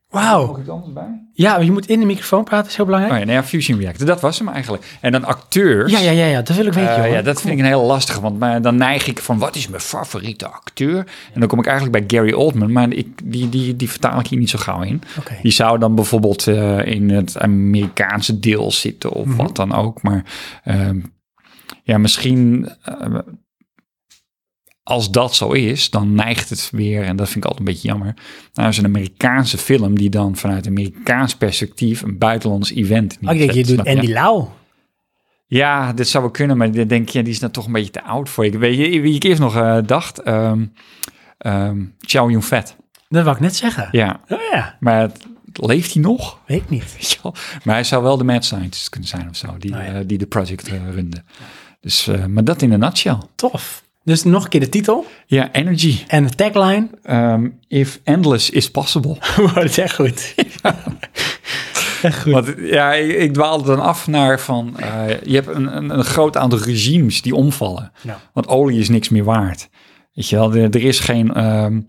Wauw.
ik anders bij?
Ja, maar je moet in de microfoon praten, is heel belangrijk.
Oh ja, nou ja, Fusion Reactor, dat was hem eigenlijk. En dan acteurs.
Ja, ja, ja, ja. Dat wil ik weten,
Eh,
Johan.
ja, dat vind ik een heel lastige, want maar dan neig ik van wat is mijn favoriete acteur? En dan kom ik eigenlijk bij Gary Oldman, maar ik, die, die, die vertaal ik hier niet zo gauw in.
Oké.
Die zou dan bijvoorbeeld eh, in het Amerikaanse deel zitten
Mhm.
of wat dan ook. Maar ehm, ja, misschien eh, als dat zo is, dan neigt het weer, en dat vind ik altijd een beetje jammer, naar zo'n Amerikaanse film die dan vanuit Amerikaans perspectief een buitenlands event
Oh, ik denk, je
neerzet, snap
doet
je?
Andy Lau.
Ja, dit zou wel kunnen, maar dan denk je, ja, die is nou toch een beetje te oud voor. Ik weet je, wie ik eerst nog eh, dacht, ehm ehm Chow Yun-fat.
Dat wou ik net zeggen.
Ja,
Oh ja,
maar het- leeft hij nog?
weet ik niet.
Weet je wel? Maar hij zou wel de mad scientist kunnen zijn of zo, die,
Nou ja.
eh, die de project eh, runde. Dus, eh, maar dat in een nutshell.
Tof. Dus nog een keer de titel
Ja, energy.
en de tagline.
Ehm, if endless is possible.
Wow, dat is echt goed. echt goed.
Want ja, ik, ik dwaalde dan af naar van, eh, je hebt een, een, een groot aantal regimes die omvallen.
Ja.
Want olie is niks meer waard. Weet je wel, er, er is geen ehm,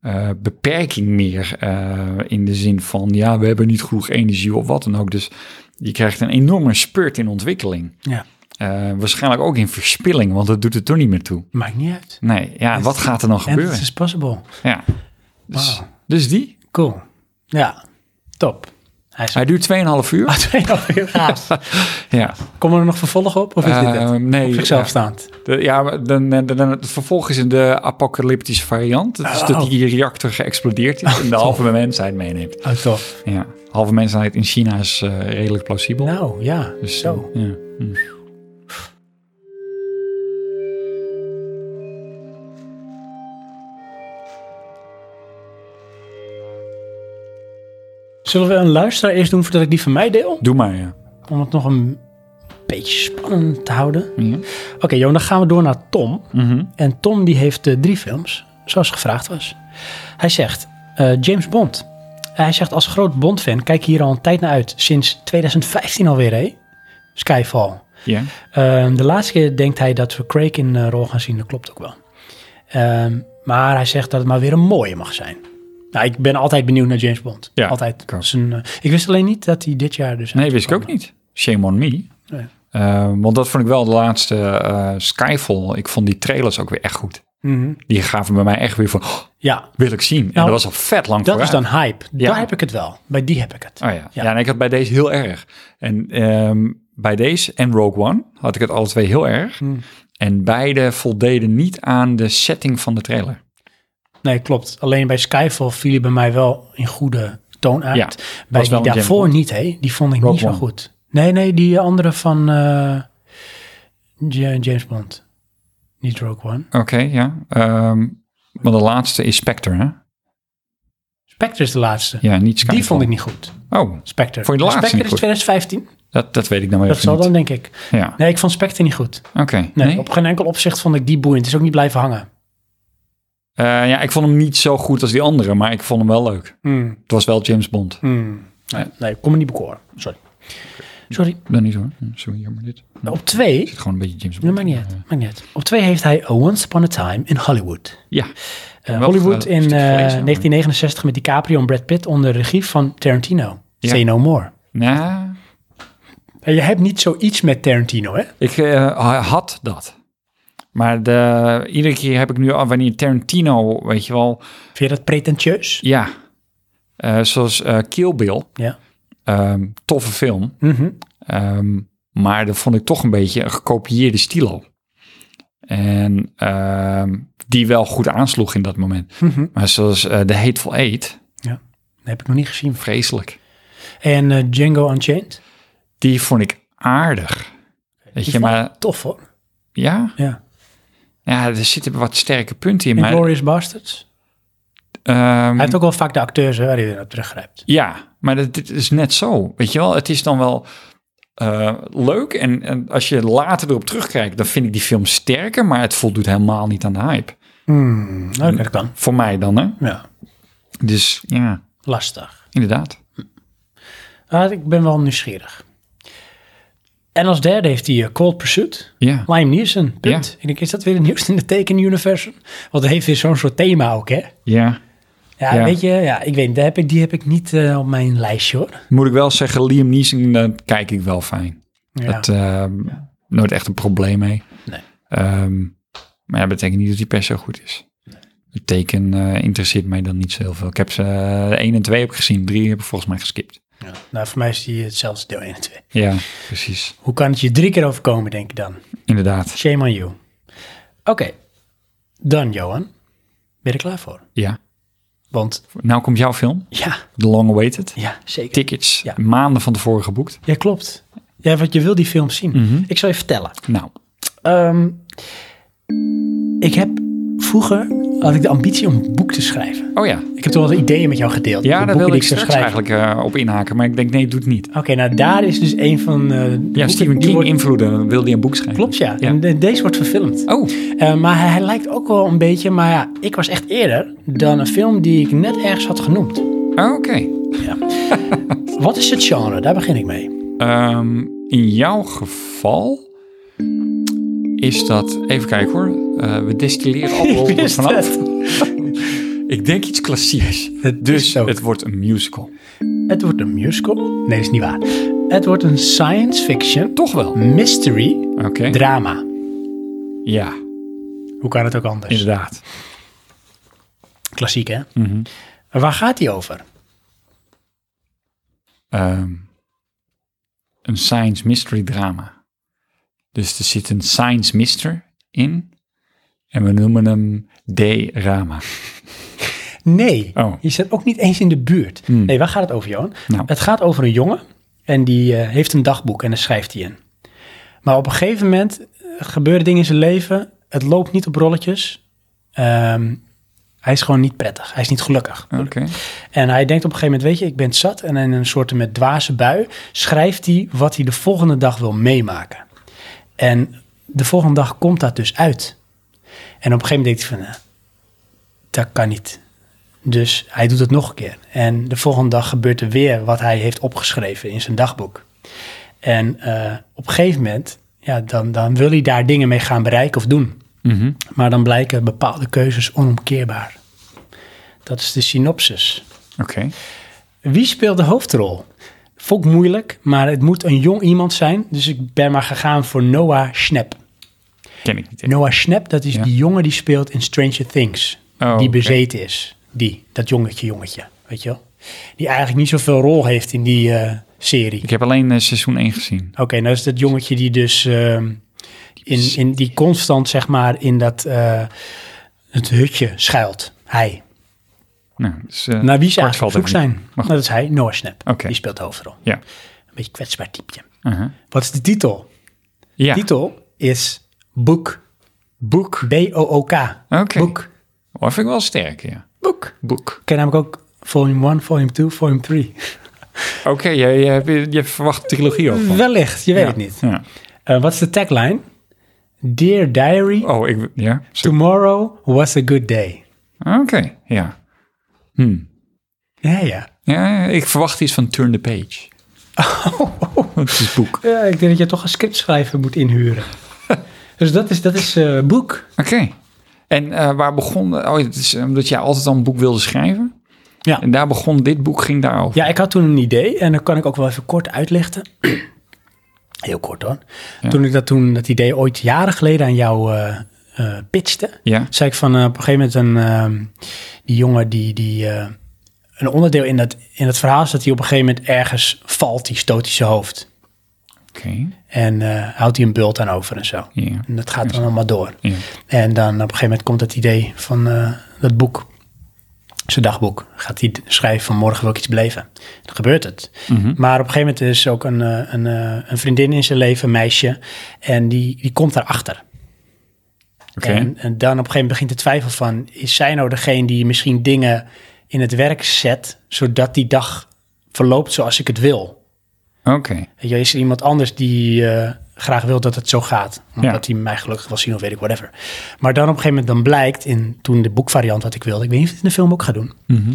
eh, beperking meer eh, in de zin van, ja, we hebben niet genoeg energie of wat dan ook. Dus je krijgt een enorme spurt in ontwikkeling.
Ja,
Eh, waarschijnlijk ook in verspilling, want dat doet het toch niet meer toe.
maakt niet uit.
Nee, ja, wat gaat er dan
En
gebeuren?
het is possible.
Ja. Dus,
Wauw.
dus die.
Cool. Ja, top. Hij is
Hij duurt 2,5
Ah,
uur.
alweer gaaf.
Ja.
Komen er nog vervolg op? Of is dit
Eh,
het?
nee,
Op zichzelf
ja.
staand.
De, ja, maar dan, dan, dan- het vervolg is in de apocalyptische variant. Het is dat die reactor geëxplodeerd is en de halve mensheid meeneemt.
Oh, tof.
Ja. Halve mensheid in China is eh, redelijk plausibel.
Nou, ja.
dus,
zo.
eh, ja.
Zullen we een luisteraar eerst doen voordat ik die van mij deel?
Doe maar, ja.
Om het nog een beetje spannend te houden.
Ja.
Oké, Johan, dan gaan we door naar Tom.
Mhm.
En Tom die heeft eh, drie films, zoals gevraagd was. Hij zegt, eh, James Bond. Eh, Hij zegt, als groot Bond-fan kijk hier al een tijd naar uit. Sinds 2015 alweer, hè? Skyfall.
ja.
Ehm, de laatste keer denkt hij dat we Craig in eh, rol gaan zien. Dat klopt ook wel. Ehm, maar hij zegt dat het maar weer een mooie mag zijn. Nou, ik ben altijd benieuwd naar James Bond.
Ja,
altijd.
ik ook.
Zijn, eh, ik wist alleen niet dat hij dit jaar dus...
Nee, wist ik ook niet. Shame on me.
Nee.
Eh, want dat vond ik wel de laatste eh, Skyfall. Ik vond die trailers ook weer echt goed.
Mhm.
Die gaven bij mij echt weer van, "Oh,
Ja,
wil ik zien. en
Nou,
dat was al vet lang
dat is
vooruit.
dan hype.
Ja.
Daar heb ik het wel. Bij die heb ik het.
Oh ja.
Ja.
ja. en ik had bij deze heel erg. En ehm, bij deze en Rogue One had ik het alle twee heel erg.
Mhm.
En beide voldeden niet aan de setting van de trailer.
Nee, klopt. Alleen bij Skyfall viel hij bij mij wel in goede toon uit.
Ja,
bij
wel
die
een James
daarvoor
Bond.
niet, hè? Die vond ik
Rogue
niet zo
One.
goed. Nee, nee, die andere van eh, Ja- James Bond. Niet Rogue One.
Oké, ja. Ehm, maar de laatste is Spectre, hè?
Spectre is de laatste.
Ja, niet Skyfall.
die vond ik niet goed.
Oh,
Spectre.
Vond je de
En
laatste
Spectre
niet goed?
is 2015.
dat, dat weet ik nou
Dat
even
zal
niet.
dan, denk ik.
Ja,
Nee, ik vond Spectre niet goed.
oké.
Nee,
Nee?
op geen enkel opzicht vond ik die boeiend. Het is ook niet blijven hangen.
Eh, ja, ik vond hem niet zo goed als die andere, maar ik vond hem wel leuk.
Hmm,
Het was wel James Bond.
hmm. Nee,
Ja.
nee, ik kon me niet bekoren. Sorry. Sorry.
Dan niet hoor. Hm, Sorry, jammer dit. Hm,
Op twee...
zit gewoon een beetje James
Nee,
Bond.
maakt niet uit. Maakt niet uit. Op twee heeft hij A Once Upon a Time in Hollywood.
Ja.
Eh,
Wel,
Hollywood
eh,
in eh,
stuk vlees, ja, maar-
1969 met DiCaprio en Brad Pitt onder de regie van Tarantino.
Ja.
Say no more.
Nou,
En je hebt niet zoiets met Tarantino, hè?
Ik eh, had dat. Maar de, iedere keer heb ik nu, al wanneer Tarantino, weet je wel,
Vind je dat pretentieus?
ja, Eh, zoals eh Kill Bill,
Ja.
ehm, toffe film,
Mhm.
Ehm, maar dat vond ik toch een beetje een gekopieerde stilo. En ehm, die wel goed aansloeg in dat moment.
Mhm.
Maar zoals eh The Hateful Eight,
Ja. Dat heb ik nog niet gezien.
Vreselijk.
En eh, Django Unchained?
Die vond ik aardig. Weet
Die
je,
vond ik
maar
Tof hoor.
ja,
Ja.
ja, er zitten wat sterke punten in.
En
Maar,
Glorious Bastards?
ehm,
Hij heeft ook wel vaak de acteurs hè, waar hij weer op teruggrijpt.
Ja, maar dat, dit is net zo. Weet je wel, het is dan wel eh, leuk. En, en als je later erop terugkijkt, dan vind ik die film sterker. Maar het voldoet helemaal niet aan de hype.
Hmm,
Mm.
nou, dat kan.
Voor mij dan, hè?
Ja,
Dus ja,
lastig.
inderdaad.
Ah, ik ben wel nieuwsgierig. En als derde heeft hij eh, Cold Pursuit.
Ja,
Liam Neeson, punt. Ik denk, is dat weer het nieuwste in de teken-universum? Want hij heeft weer zo'n soort thema ook, hè?
ja.
Ja,
Ja.
weet je, ja, ik weet, daar heb ik, die heb ik niet eh, op mijn lijstje, hoor.
Moet ik wel zeggen, Liam Neeson, daar kijk ik wel fijn.
Ja.
Dat, ehm, Nooit echt een probleem mee.
Nee.
Ehm, maar ja, betekent niet dat die per se goed is. Het teken eh, interesseert mij dan niet zo heel veel. Ik heb ze eh, één en twee heb ik gezien. Drie heb ik volgens mij geskipt.
Ja. Nou, voor mij is die hetzelfde deel 1 en 2.
Ja, precies.
Hoe kan het je drie keer overkomen, denk ik dan?
Inderdaad.
Shame on you. Oké, dan Johan. Ben je er klaar voor?
Ja.
Want,
Nou komt jouw film,
ja,
The Long Awaited.
ja, zeker.
Tickets,
Ja.
maanden van tevoren geboekt.
Ja, klopt. Ja, want je wil die film zien. Ik zal je vertellen.
Nou,
Ehm, ik heb vroeger had ik de ambitie om een boek te schrijven.
oh ja.
Ik heb toen wel eens ideeën met jou gedeeld.
Ja,
de
daar
boeken
wilde
die
ik
zou
straks
schrijven.
eigenlijk eh, op inhaken. Maar ik denk, nee, doe het niet.
Oké, nou daar is dus een van eh, de
Ja,
boeken
Stephen
die
King
wordt-
invloeden. Wilde hij een boek schrijven?
Klopt, ja. En de- deze wordt verfilmd.
Oh,
Eh, maar hij, hij lijkt ook wel een beetje... Maar ja, ik was echt eerder dan een film die ik net ergens had genoemd.
Oh, oké.
Wat is het genre? Daar begin ik mee.
Ehm, in jouw geval is dat... Even kijken hoor. Eh, we destilleren alcohol er
Wist
vanaf.
het.
Ik denk iets klassieks.
Het
dus
is het ook.
het wordt een musical.
Het wordt een musical. Nee, dat is niet waar. Het wordt een science fiction,
Toch wel.
mystery,
Oké.
drama.
Ja,
Hoe kan het ook anders?
inderdaad.
Klassiek, hè?
Mhm.
Waar gaat die over?
Ehm, een science mystery drama. Dus er zit een science mister in. En we noemen hem D-Rama.
Nee,
Oh. Hmm.
je zit ook niet eens in de buurt. Nee, waar gaat het over, Johan?
Nou.
Het gaat over een jongen en die eh, heeft een dagboek en daar schrijft hij in. Maar op een gegeven moment eh, gebeuren dingen in zijn leven. Het loopt niet op rolletjes. Ehm, hij is gewoon niet prettig. Hij is niet gelukkig.
Oké.
En hij denkt op een gegeven moment, weet je, ik ben het zat. En in een soort met dwaze bui schrijft hij wat hij de volgende dag wil meemaken. En de volgende dag komt dat dus uit. En op een gegeven moment denkt hij van, eh, dat kan niet. Dus hij doet het nog een keer. En de volgende dag gebeurt er weer wat hij heeft opgeschreven in zijn dagboek. En eh, op een gegeven moment, ja, dan, dan wil hij daar dingen mee gaan bereiken of doen.
Mhm.
Maar dan blijken bepaalde keuzes onomkeerbaar. Dat is de synopsis.
Oké.
Wie speelt de hoofdrol? Vond ik moeilijk, maar het moet een jong iemand zijn. Dus ik ben maar gegaan voor Noah Schnapp.
Ken ik niet. echt.
Noah Schnapp, dat is
Ja.
die jongen die speelt in Stranger Things.
Oh,
die
oké.
bezeten is. Die, dat jongetje jongetje, weet je wel. Die eigenlijk niet zoveel rol heeft in die eh, serie.
Ik heb alleen eh, seizoen 1 gezien.
Oké, nou is dat jongetje die dus ehm, in, in die constant zeg maar in dat eh, het hutje schuilt. Hij.
Nou, dus, eh,
Naar wie ze
kwart
eigenlijk
valt
op zoek
even
zijn.
niet. Maar
Nou, dat is hij, Noah Schnapp.
Oké.
Die speelt de hoofdrol.
Ja.
Een beetje kwetsbaar typje.
Uh-huh.
Wat is de titel?
Ja.
Titel is Boek. Boek. B-O-O-K.
Oké.
Boek.
Oh, dat vind ik wel sterk, ja.
Boek.
Boek.
Ken namelijk ook volume 1, volume 2, volume 3.
Oké, jij je, je, je verwacht een trilogie ook van.
Hm, Wellicht, je weet
Ja.
het niet.
Ja.
Eh, wat is de tagline? Dear Diary,
Oh, ik... Ja? Zo-
tomorrow was a good day.
Oké, ja. Hm.
Ja, ja.
Ja, ja, ik verwacht iets van Turn the Page. Oh. Het is boek.
Ja, ik denk dat je toch een scriptschrijver moet inhuren. dus dat is, dat is eh, boek.
Oké. En eh, waar begon... Oh, het is omdat jij altijd al een boek wilde schrijven.
Ja.
En daar begon dit boek, ging daarover.
Ja, ik had toen een idee en dat kan ik ook wel even kort uitlichten. Heel kort hoor.
Ja.
Toen ik dat, toen, dat idee ooit jaren geleden aan jou eh, eh, pitchte,
Ja?
zei ik van eh, op een gegeven moment een, ehm, die jongen die, die eh, een onderdeel in dat, in dat verhaal is dat hij op een gegeven moment ergens valt, die stoot hij zijn hoofd.
Oké.
En eh, houdt hij een bult aan over en zo.
Ja.
En dat gaat dan allemaal door.
Ja.
En dan op een gegeven moment komt dat idee van eh, dat boek. zijn dagboek. Gaat hij schrijven van morgen wil ik iets beleven. Dan gebeurt het.
Mhm.
Maar op een gegeven moment is er ook een, eh, een, eh, een vriendin in zijn leven, een meisje. En die, die komt daarachter.
Oké.
En, en dan op een gegeven moment begint de twijfel van... is zij nou degene die misschien dingen in het werk zet... zodat die dag verloopt zoals ik het wil?
Oké.
Weet je, is er iemand anders die eh, graag wil dat het zo gaat? Omdat hij mij gelukkig wil zien of weet ik, whatever. Maar dan op een gegeven moment dan blijkt... in toen de boekvariant wat ik wilde... ik weet niet of het in de film ook gaat doen...
Mhm.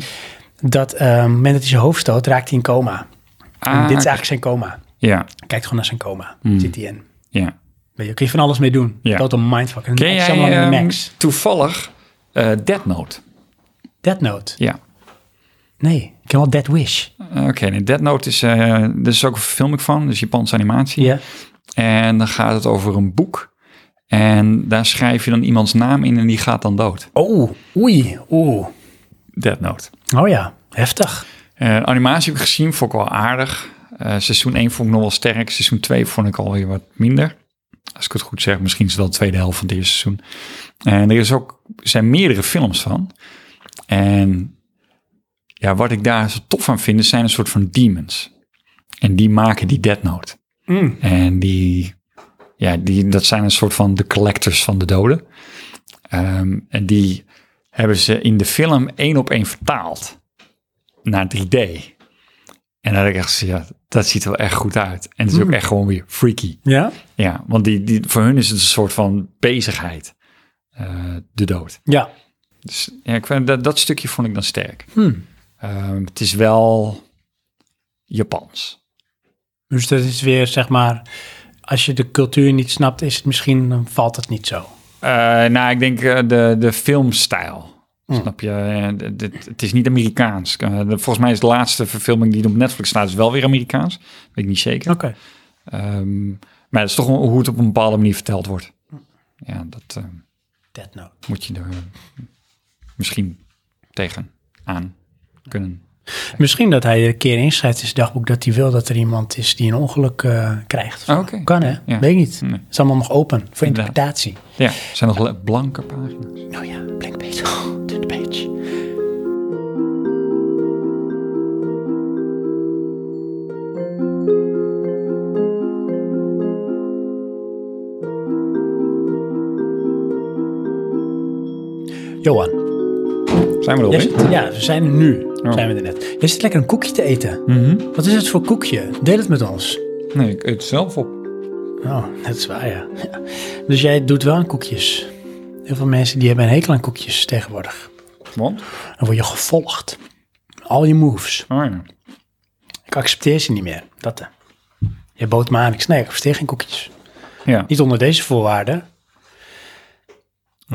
dat eh, op het moment dat hij zijn hoofd stoot, raakt hij in coma. En
Ah,
dit is eigenlijk zijn coma.
Ja,
Kijkt gewoon naar zijn coma. Zit hij in.
ja.
Weet je, kun je van alles mee doen.
Ja.
Total mindfuck. En
Ken
Max
jij
Shyamalan en
ehm,
Max.
toevallig eh Dead Note?
Dead Note.
Ja. Oh.
Nee, ik ken wel Dead Wish.
Oké, nee, Dead Note is, eh er is ook een film ik van, dus Japanse animatie.
Ja.
En dan gaat het over een boek. En daar schrijf je dan iemands naam in en die gaat dan dood.
Oh, oei, oeh.
Dead Note.
Oh ja, heftig.
Eh, animatie heb ik gezien, vond ik wel aardig. Eh, seizoen 1 vond ik nog wel sterk. Seizoen 2 vond ik alweer wat minder. Als ik het goed zeg, misschien is dat de tweede helft van dit seizoen. En er is ook, er zijn meerdere films van. En ja, wat ik daar zo tof aan vind, is zijn een soort van demons. En die maken die Dead Note.
Mm.
En die, ja, die, dat zijn een soort van de collectors van de doden. Ehm, en die hebben ze in de film één op één vertaald naar 3D. En dan had ik echt gezegd, ja, dat ziet er wel echt goed uit. En het is ook echt gewoon weer freaky.
Ja?
Ja, want die, die, voor hun is het een soort van bezigheid, eh, de dood.
Ja.
Dus ja, ik vind, dat, dat stukje vond ik dan sterk.
Hmm.
Ehm, het is wel Japans.
Dus dat is weer, zeg maar, als je de cultuur niet snapt, is het misschien, dan valt het niet zo.
Eh, nou, ik denk eh, de, de filmstijl. Snap je? Eh, d- dit- het is niet Amerikaans. Eh, de- volgens mij is de laatste verfilming die op Netflix staat, is wel weer Amerikaans. Weet ik niet zeker.
Oké.
Ehm, maar het is toch wel hoe het op een bepaalde manier verteld wordt. Ja, dat eh,
Dead Note.
moet je er eh, misschien tegen aan kunnen.
Misschien dat hij er een keer inschrijft in zijn dagboek dat hij wil dat er iemand is die een ongeluk eh, krijgt.
Ah, oké.
Kan hè?
Ja.
Weet ik niet.
Nee.
Het is allemaal nog open voor
Inderdaad.
interpretatie.
Ja, er zijn nog le- blanke pagina's.
Nou ja, blank page. Oh, turn the page. Johan,
Zijn we er
jij
alweer?
zit- ja, we zijn er nu.
Oh.
Zijn we er net. Jij zit lekker een koekje te eten.
Mhm.
Wat is het voor koekje? Deel het met ons.
Nee, ik eet zelf op.
Oh, dat is waar, ja. Ja. Dus jij doet wel aan koekjes. Heel veel mensen die hebben een hekel aan koekjes tegenwoordig.
Want?
Dan word je gevolgd. Al je moves.
Oh ja.
Ik accepteer ze niet meer. Dat hè. Je bood me aan. Ik snij, ik accepteer geen koekjes.
ja.
Niet onder deze voorwaarden.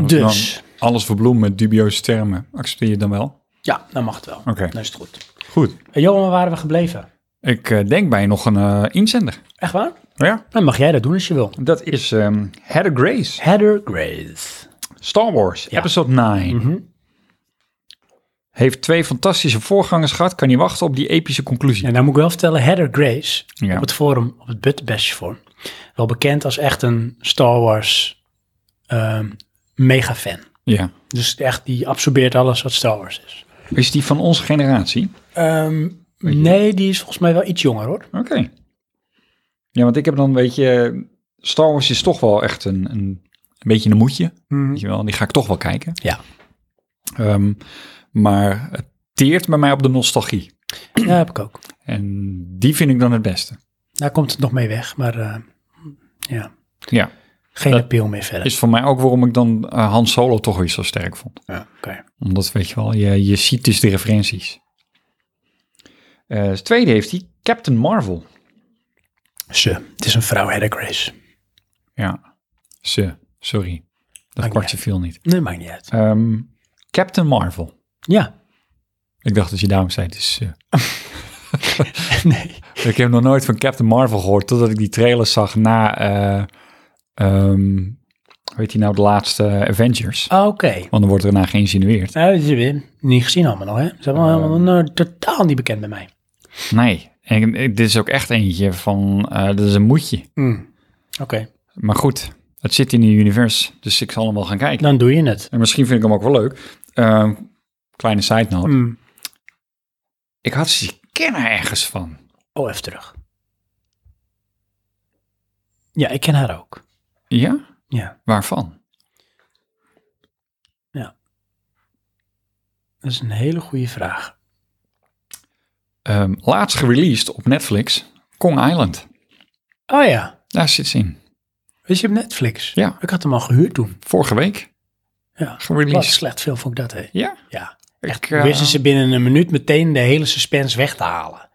Dus.
Dan alles verbloem met dubieuze termen. Accepteer je dan wel?
Ja, dan mag het wel.
Oké.
Dan is het goed.
Goed.
Hey, Johan, waar waren we gebleven?
Ik eh, denk bij nog een eh, inzender.
Echt waar?
Ja.
Dan mag jij dat doen als je wil.
Dat is ehm, Heather Grace.
Heather Grace.
Star Wars, episode 9. Heeft twee fantastische voorgangers gehad. Kan niet wachten op die epische conclusie.
En nou moet ik wel vertellen, Heather Grace
Ja.
op het forum, op het Butterbash forum, wel bekend als echt een Star Wars ehm mega fan.
Ja.
Dus echt, die absorbeert alles wat Star Wars is.
Is die van onze generatie?
Ehm, nee, die is volgens mij wel iets jonger hoor.
Oké. Ja, want ik heb dan, weet je... Star Wars is toch wel echt een, een, een beetje een moedje. Weet je wel, die ga ik toch wel kijken.
Ja.
Ehm, maar het teert bij mij op de nostalgie.
Ja, heb ik ook.
En die vind ik dan het beste.
Daar komt het nog mee weg, maar eh, ja,
Ja.
geen
Dat-
appeal meer verder.
Is voor mij ook waarom ik dan eh, Han Solo toch weer zo sterk vond.
Ja, oké.
Omdat, weet je wel, je, je ziet dus de referenties. Eh, als tweede heeft hij Captain Marvel.
Ze, het is een vrouw, Heather Grace.
Ja, ze, sorry. Dat
Maakt
kwartje viel niet.
Nee, maakt niet uit.
Ehm, Captain Marvel.
Ja,
Ik dacht dat je daarom zei, het is ze.
nee.
Ik heb nog nooit van Captain Marvel gehoord, totdat ik die trailer zag na, eh ehm weet je nou, de laatste Avengers.
ah, Oké.
Want dan wordt er naar geïnsinueerd.
Nou, dat is weer niet gezien allemaal nog, hè? Ze hebben allemaal nou, totaal niet bekend bij mij.
Nee, en eh, dit is ook echt eentje van, eh, dat is een moedje.
Oké,
Maar goed, het zit in de universe, dus ik zal hem wel gaan kijken.
dan doe je het.
En misschien vind ik hem ook wel leuk. Ehm, kleine side note.
Mm.
Ik had ze die kennen ergens van.
Oh, even terug. Ja, ik ken haar ook.
Ja?
Ja.
Waarvan?
Dat is een hele goede vraag.
Ehm, laatst gereleased op Netflix, Kong Island.
Oh ja,
Daar zit ze in.
is je op Netflix?
Ja.
Ik had hem al gehuurd toen.
Vorige week
Ja. Wat een
gereleased.
slecht film vond ik dat, hè?
Ja?
Ja.
Ik,
Echt,
eh,
wisten ze binnen een minuut meteen de hele suspense weg te halen.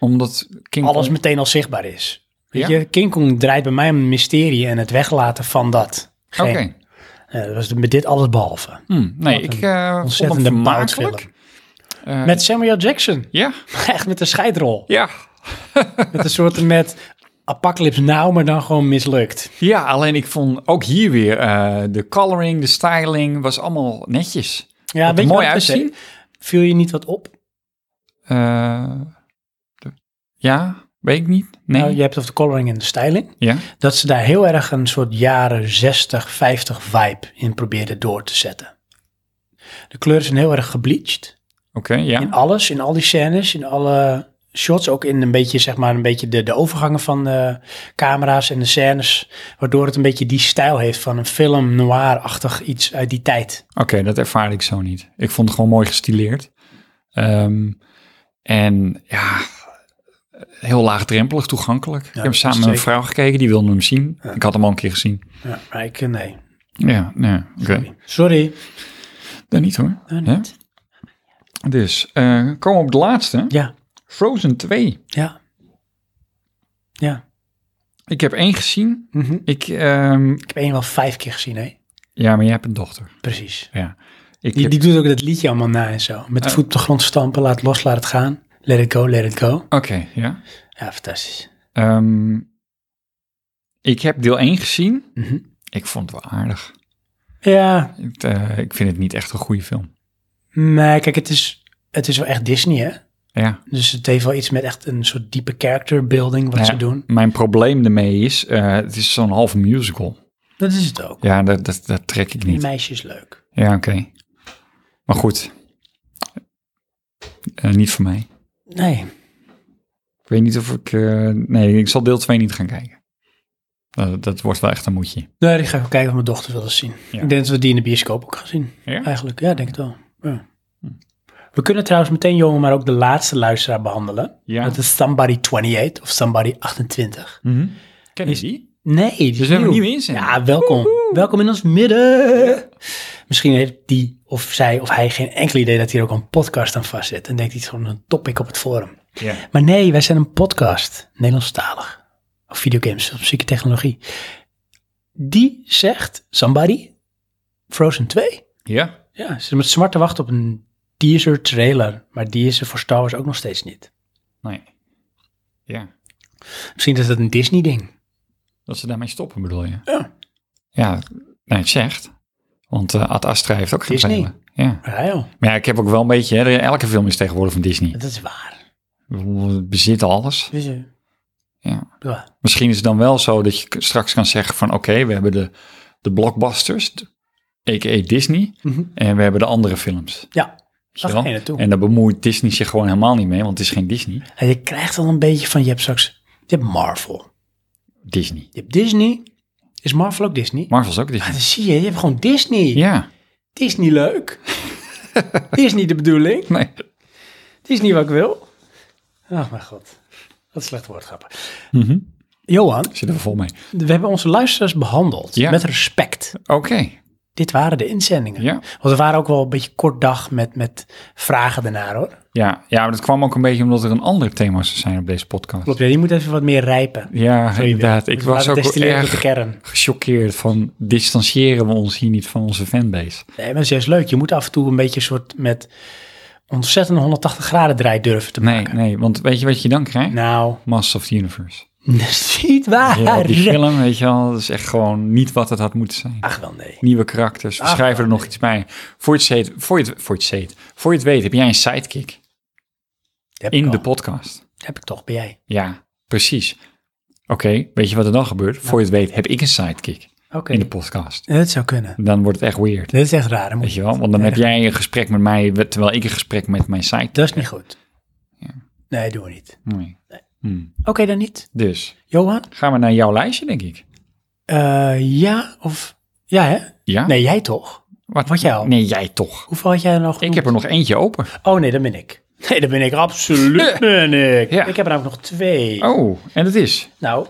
Omdat King
Alles
Kong-
meteen al zichtbaar is. Weet
Ja?
je, King Kong draait bij mij om een mysterie en het weglaten van dat.
Oké.
Geen- eh, dat was met dit alles behalve.
Hm, nee,
Wat
ik
een
eh vond hem
ontzettende
vermakelijk. Eh,
Met Samuel Jackson.
Ja,
Echt met een scheidrol.
ja.
Met een soort met Apocalypse Now, maar dan gewoon mislukt.
Ja, alleen ik vond ook hier weer eh, de coloring, de styling, was allemaal netjes. Wat
Ja, weet
er
je
mooi
wat het is, hè?
uitzien.
Viel je niet wat op?
Eh, de- ja, weet ik niet. Nee.
Nou, je hebt het over de coloring en de styling.
ja.
Dat ze daar heel erg een soort jaren 60, 50 vibe in probeerden door te zetten. De kleuren zijn heel erg gebleached.
Oké, ja.
In alles, in al die scènes, in alle shots. Ook in een beetje, zeg maar, een beetje de, de overgangen van de camera's en de scènes. Waardoor het een beetje die stijl heeft van een film noir-achtig iets uit die tijd.
Oké, dat ervaarde ik zo niet. Ik vond het gewoon mooi gestileerd. Ehm, en ja, heel laagdrempelig toegankelijk. ik heb hem samen met mijn
zeker.
vrouw gekeken, die wilde hem zien. Ik had hem al een keer gezien.
Ja, maar ik, eh, nee.
Ja, nee, oké.
Sorry.
Dan niet hoor.
Dan
Hè?
niet.
Dus, eh, komen we op de laatste.
Ja,
Frozen 2.
ja. Ja.
Ik heb één gezien.
Mhm.
Ik, ehm,
Ik heb één wel vijf keer gezien, hè?
ja, maar jij hebt een dochter.
Precies.
Ja. Ik
Die,
heb- Oh.
die doet ook dat liedje allemaal na en zo. Met de voet op de grond stampen, laat los, laat het gaan. Let it go, let it go.
Oké, ja.
Ja, fantastisch.
Ehm, ik heb deel 1 gezien.
Mhm.
Ik vond het wel aardig.
Ja,
Het, eh, ik vind het niet echt een goede film.
nee, kijk, het is, het is wel echt Disney, hè?
Ja.
Dus het heeft wel iets met echt een soort diepe character building wat
Nou
ze
ja,
doen.
Mijn probleem ermee is, eh, het is zo'n half musical.
Dat is het ook.
Ja, dat, dat, dat trek ik
Die
niet.
meisje is leuk.
Ja, oké. Maar goed. Eh, niet voor mij.
Nee,
Ik weet niet of ik... eh, nee, ik zal deel 2 niet gaan kijken. Eh, dat wordt wel echt een moedje.
nee die ga Nou, ik wel kijken of mijn dochter wil eens zien.
Ja.
Ik denk dat we die in de bioscoop ook gaan zien.
Ja? Hm.
Eigenlijk, ja, ik denk het wel. Ja. We kunnen trouwens meteen, jongen, maar ook de laatste luisteraar behandelen.
Ja.
Dat is Somebody 28 of Somebody 28.
Mhm. Ken je die?
Nee, die
Dus
is
we hebben
nieuw.
een nieuwe inzending.
Ja, welkom. Welkom in ons midden. Misschien heeft die of zij of hij geen enkel idee dat hier ook een podcast aan vastzit. En denkt iets gewoon een topic op het forum.
Ja.
Maar nee, wij zijn een podcast. Nederlandstalig. Of videogames of psychotechnologie. Die zegt, somebody, Frozen 2.
Ja?
Ja, ze zit met zwart te wachten op een teaser trailer. Maar die is er voor Star Wars ook nog steeds niet.
Nee. Ja.
Misschien is dat een Disney ding.
Dat ze daarmee stoppen, bedoel je?
Ja.
Ja, nee, het zegt. Want eh, Ad Astra heeft ook geen
Disney.
spelen. Ja.
Ja joh,
Maar ja, ik heb ook wel een beetje... Hè, elke film is tegenwoordig van Disney.
dat is waar.
Ik bedoel, Het bezit alles.
Weet je?
Ja.
Ja.
Misschien is het dan wel zo dat je k- straks kan zeggen van... Oké, we hebben de, de blockbusters, d- a.k.a. Disney.
Mhm.
En we hebben de andere films.
Ja,
Weet
daar
je
ga
wel?
je naartoe.
En daar bemoeit Disney zich gewoon helemaal niet mee, want het is geen Disney.
En je krijgt al een beetje van, je hebt straks, je hebt Marvel.
Disney.
Je hebt Disney. Is Marvel ook Disney?
Marvel is ook
Ah,
Disney.
dan zie je, je hebt gewoon Disney.
Ja,
Disney leuk. Disney de bedoeling.
nee.
Disney wat ik wil. Ach, mijn god. Wat slecht woordgrappen.
Mhm.
Johan,
Zitten we vol mee.
we hebben onze luisteraars behandeld.
Ja.
Met respect.
Oké,
Dit waren de inzendingen.
ja.
Want we waren ook wel een beetje kort dag met, met vragen daarna hoor.
Ja, ja, maar dat kwam ook een beetje omdat er een ander thema zou zijn op deze podcast.
Klopt, ja, die moet even wat meer rijpen.
Ja, inderdaad. Ik
Dus
was
laten
ook
we destilleren tot
erg
de kern.
gechoqueerd van distancieren we ons hier niet van onze fanbase.
Nee, maar dat is juist leuk. Je moet af en toe een beetje een soort met ontzettend 180 graden draai durven te
Nee,
maken.
nee, want weet je wat je dan krijgt?
Nou,
Masters of the Universe.
dat is niet waar.
Ja, die film, weet je wel, dat is echt gewoon niet wat het had moeten zijn.
Ach wel, nee.
Nieuwe karakters, we
Ach,
schrijven er nog iets bij. Voor je het zeet, voor je het, voor je het zeet, voor je het weet, heb jij een sidekick
Heb ik
in
al.
de podcast.
Heb ik toch, ben jij.
Ja, precies. Oké, weet je wat er dan gebeurt? Voor je het weet, heb ik een sidekick.
Oké.
in de podcast.
Dat zou kunnen.
Dan wordt het echt weird.
Dat is echt raar. Dan moet
Weet je
je-
wel? Want dan
Nee,
heb jij een gesprek met mij, terwijl ik een gesprek met mijn site.
Dat is niet goed.
Ja.
Nee, doen we niet.
Nee. Hm.
Oké, dan niet.
Dus
Johan?
gaan we naar jouw lijstje, denk ik.
Eh, ja of... Ja, hè?
Ja?
Nee, jij toch? wat jij al?
Nee, jij toch.
Hoeveel had jij er nog?
Ik heb er nog eentje open.
Oh nee, dat ben ik. Nee, dat ben ik absoluut ben ik.
Ja.
Ik heb er ook nog twee.
Oh, en dat is?
Nou,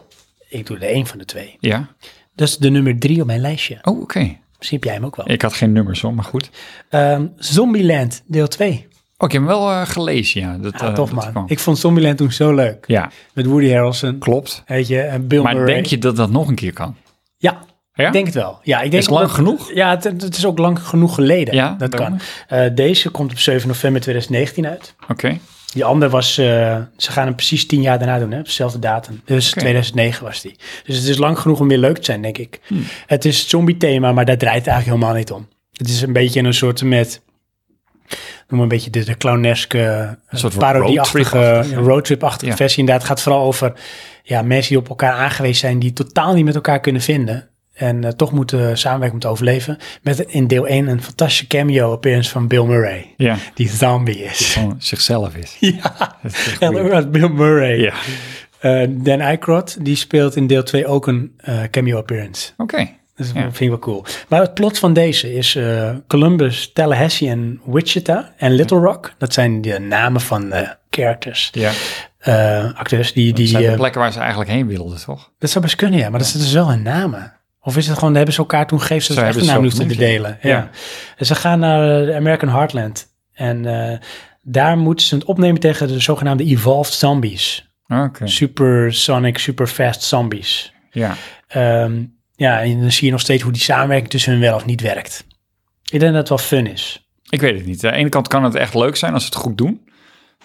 ik doe er één van de twee.
Ja.
Dat is de nummer drie op mijn lijstje.
Oh, oké.
Misschien heb jij hem ook wel.
Ik had geen nummers hoor, maar goed. Oh,
Ehm, Zombieland, deel 2.
ik heb hem wel eh, gelezen, ja. Dat,
Ah,
eh,
tof
dat
man.
kwam.
Ik vond Zombieland toen zo leuk.
Ja,
Met Woody Harrelson,
klopt.
weet je, en Bill
Maar
Murray.
denk je dat dat nog een keer kan?
Ja,
Ja?
ik denk het wel. Ja, ik denk
Is lang
omdat-
genoeg?
Ja, het, het is ook lang genoeg geleden.
Ja,
dat
daarom.
kan. Eh, deze komt op 7 november 2019 uit.
Oké.
Die andere was, eh, ze gaan hem precies tien jaar daarna doen, hè, op dezelfde datum. Dus
Oké.
2009 was die. Dus het is lang genoeg om weer leuk te zijn, denk ik.
Hmm.
Het is zombie thema, maar daar draait het eigenlijk helemaal niet om. Het is een beetje een soort met, noem maar een beetje de, de clowneske, eh,
soort van
parodieachtige,
roadtrip-achtig,
ja, roadtrip-achtige
Ja.
versie. Inderdaad, het gaat vooral over ja, mensen die op elkaar aangewezen zijn, die totaal niet met elkaar kunnen vinden. En eh, toch moeten samenwerken om te overleven. Met in deel 1 een fantastische cameo-appearance van Bill Murray.
Ja.
Die zombie is.
Gewoon zichzelf is.
Ja.
Dat is echt
En
weird.
ook nog Bill Murray.
Ja.
Eh, Dan Aykroyd, die speelt in deel 2 ook een eh, cameo appearance.
Oké.
Dus
Ja.
dat vind ik wel cool. Maar het plot van deze is eh, Columbus, Tallahassee en Wichita en Little Rock. Dat zijn de namen van de characters,
Ja.
eh, acteurs. Die,
Die,
die,
zijn de
eh,
plekken waar ze eigenlijk heen wilden, toch?
dat zou best kunnen, ja. Maar dat zitten dus wel hun namen. Of is het gewoon, hebben ze elkaar toen gegeven ze
Zo
het
hebben ze
achternaam
zo
moeten te
genoemd,
delen.
ja.
Ja.
Ja.
En ze gaan naar eh, de American Heartland. En eh, daar moeten ze het opnemen tegen de zogenaamde evolved zombies.
Oké.
supersonic, superfast zombies.
Ja.
Ehm, ja, en dan zie je nog steeds hoe die samenwerking tussen hun wel of niet werkt. Ik denk dat het wel fun is.
Ik weet het niet. Aan de ene kant kan het echt leuk zijn als ze het goed doen.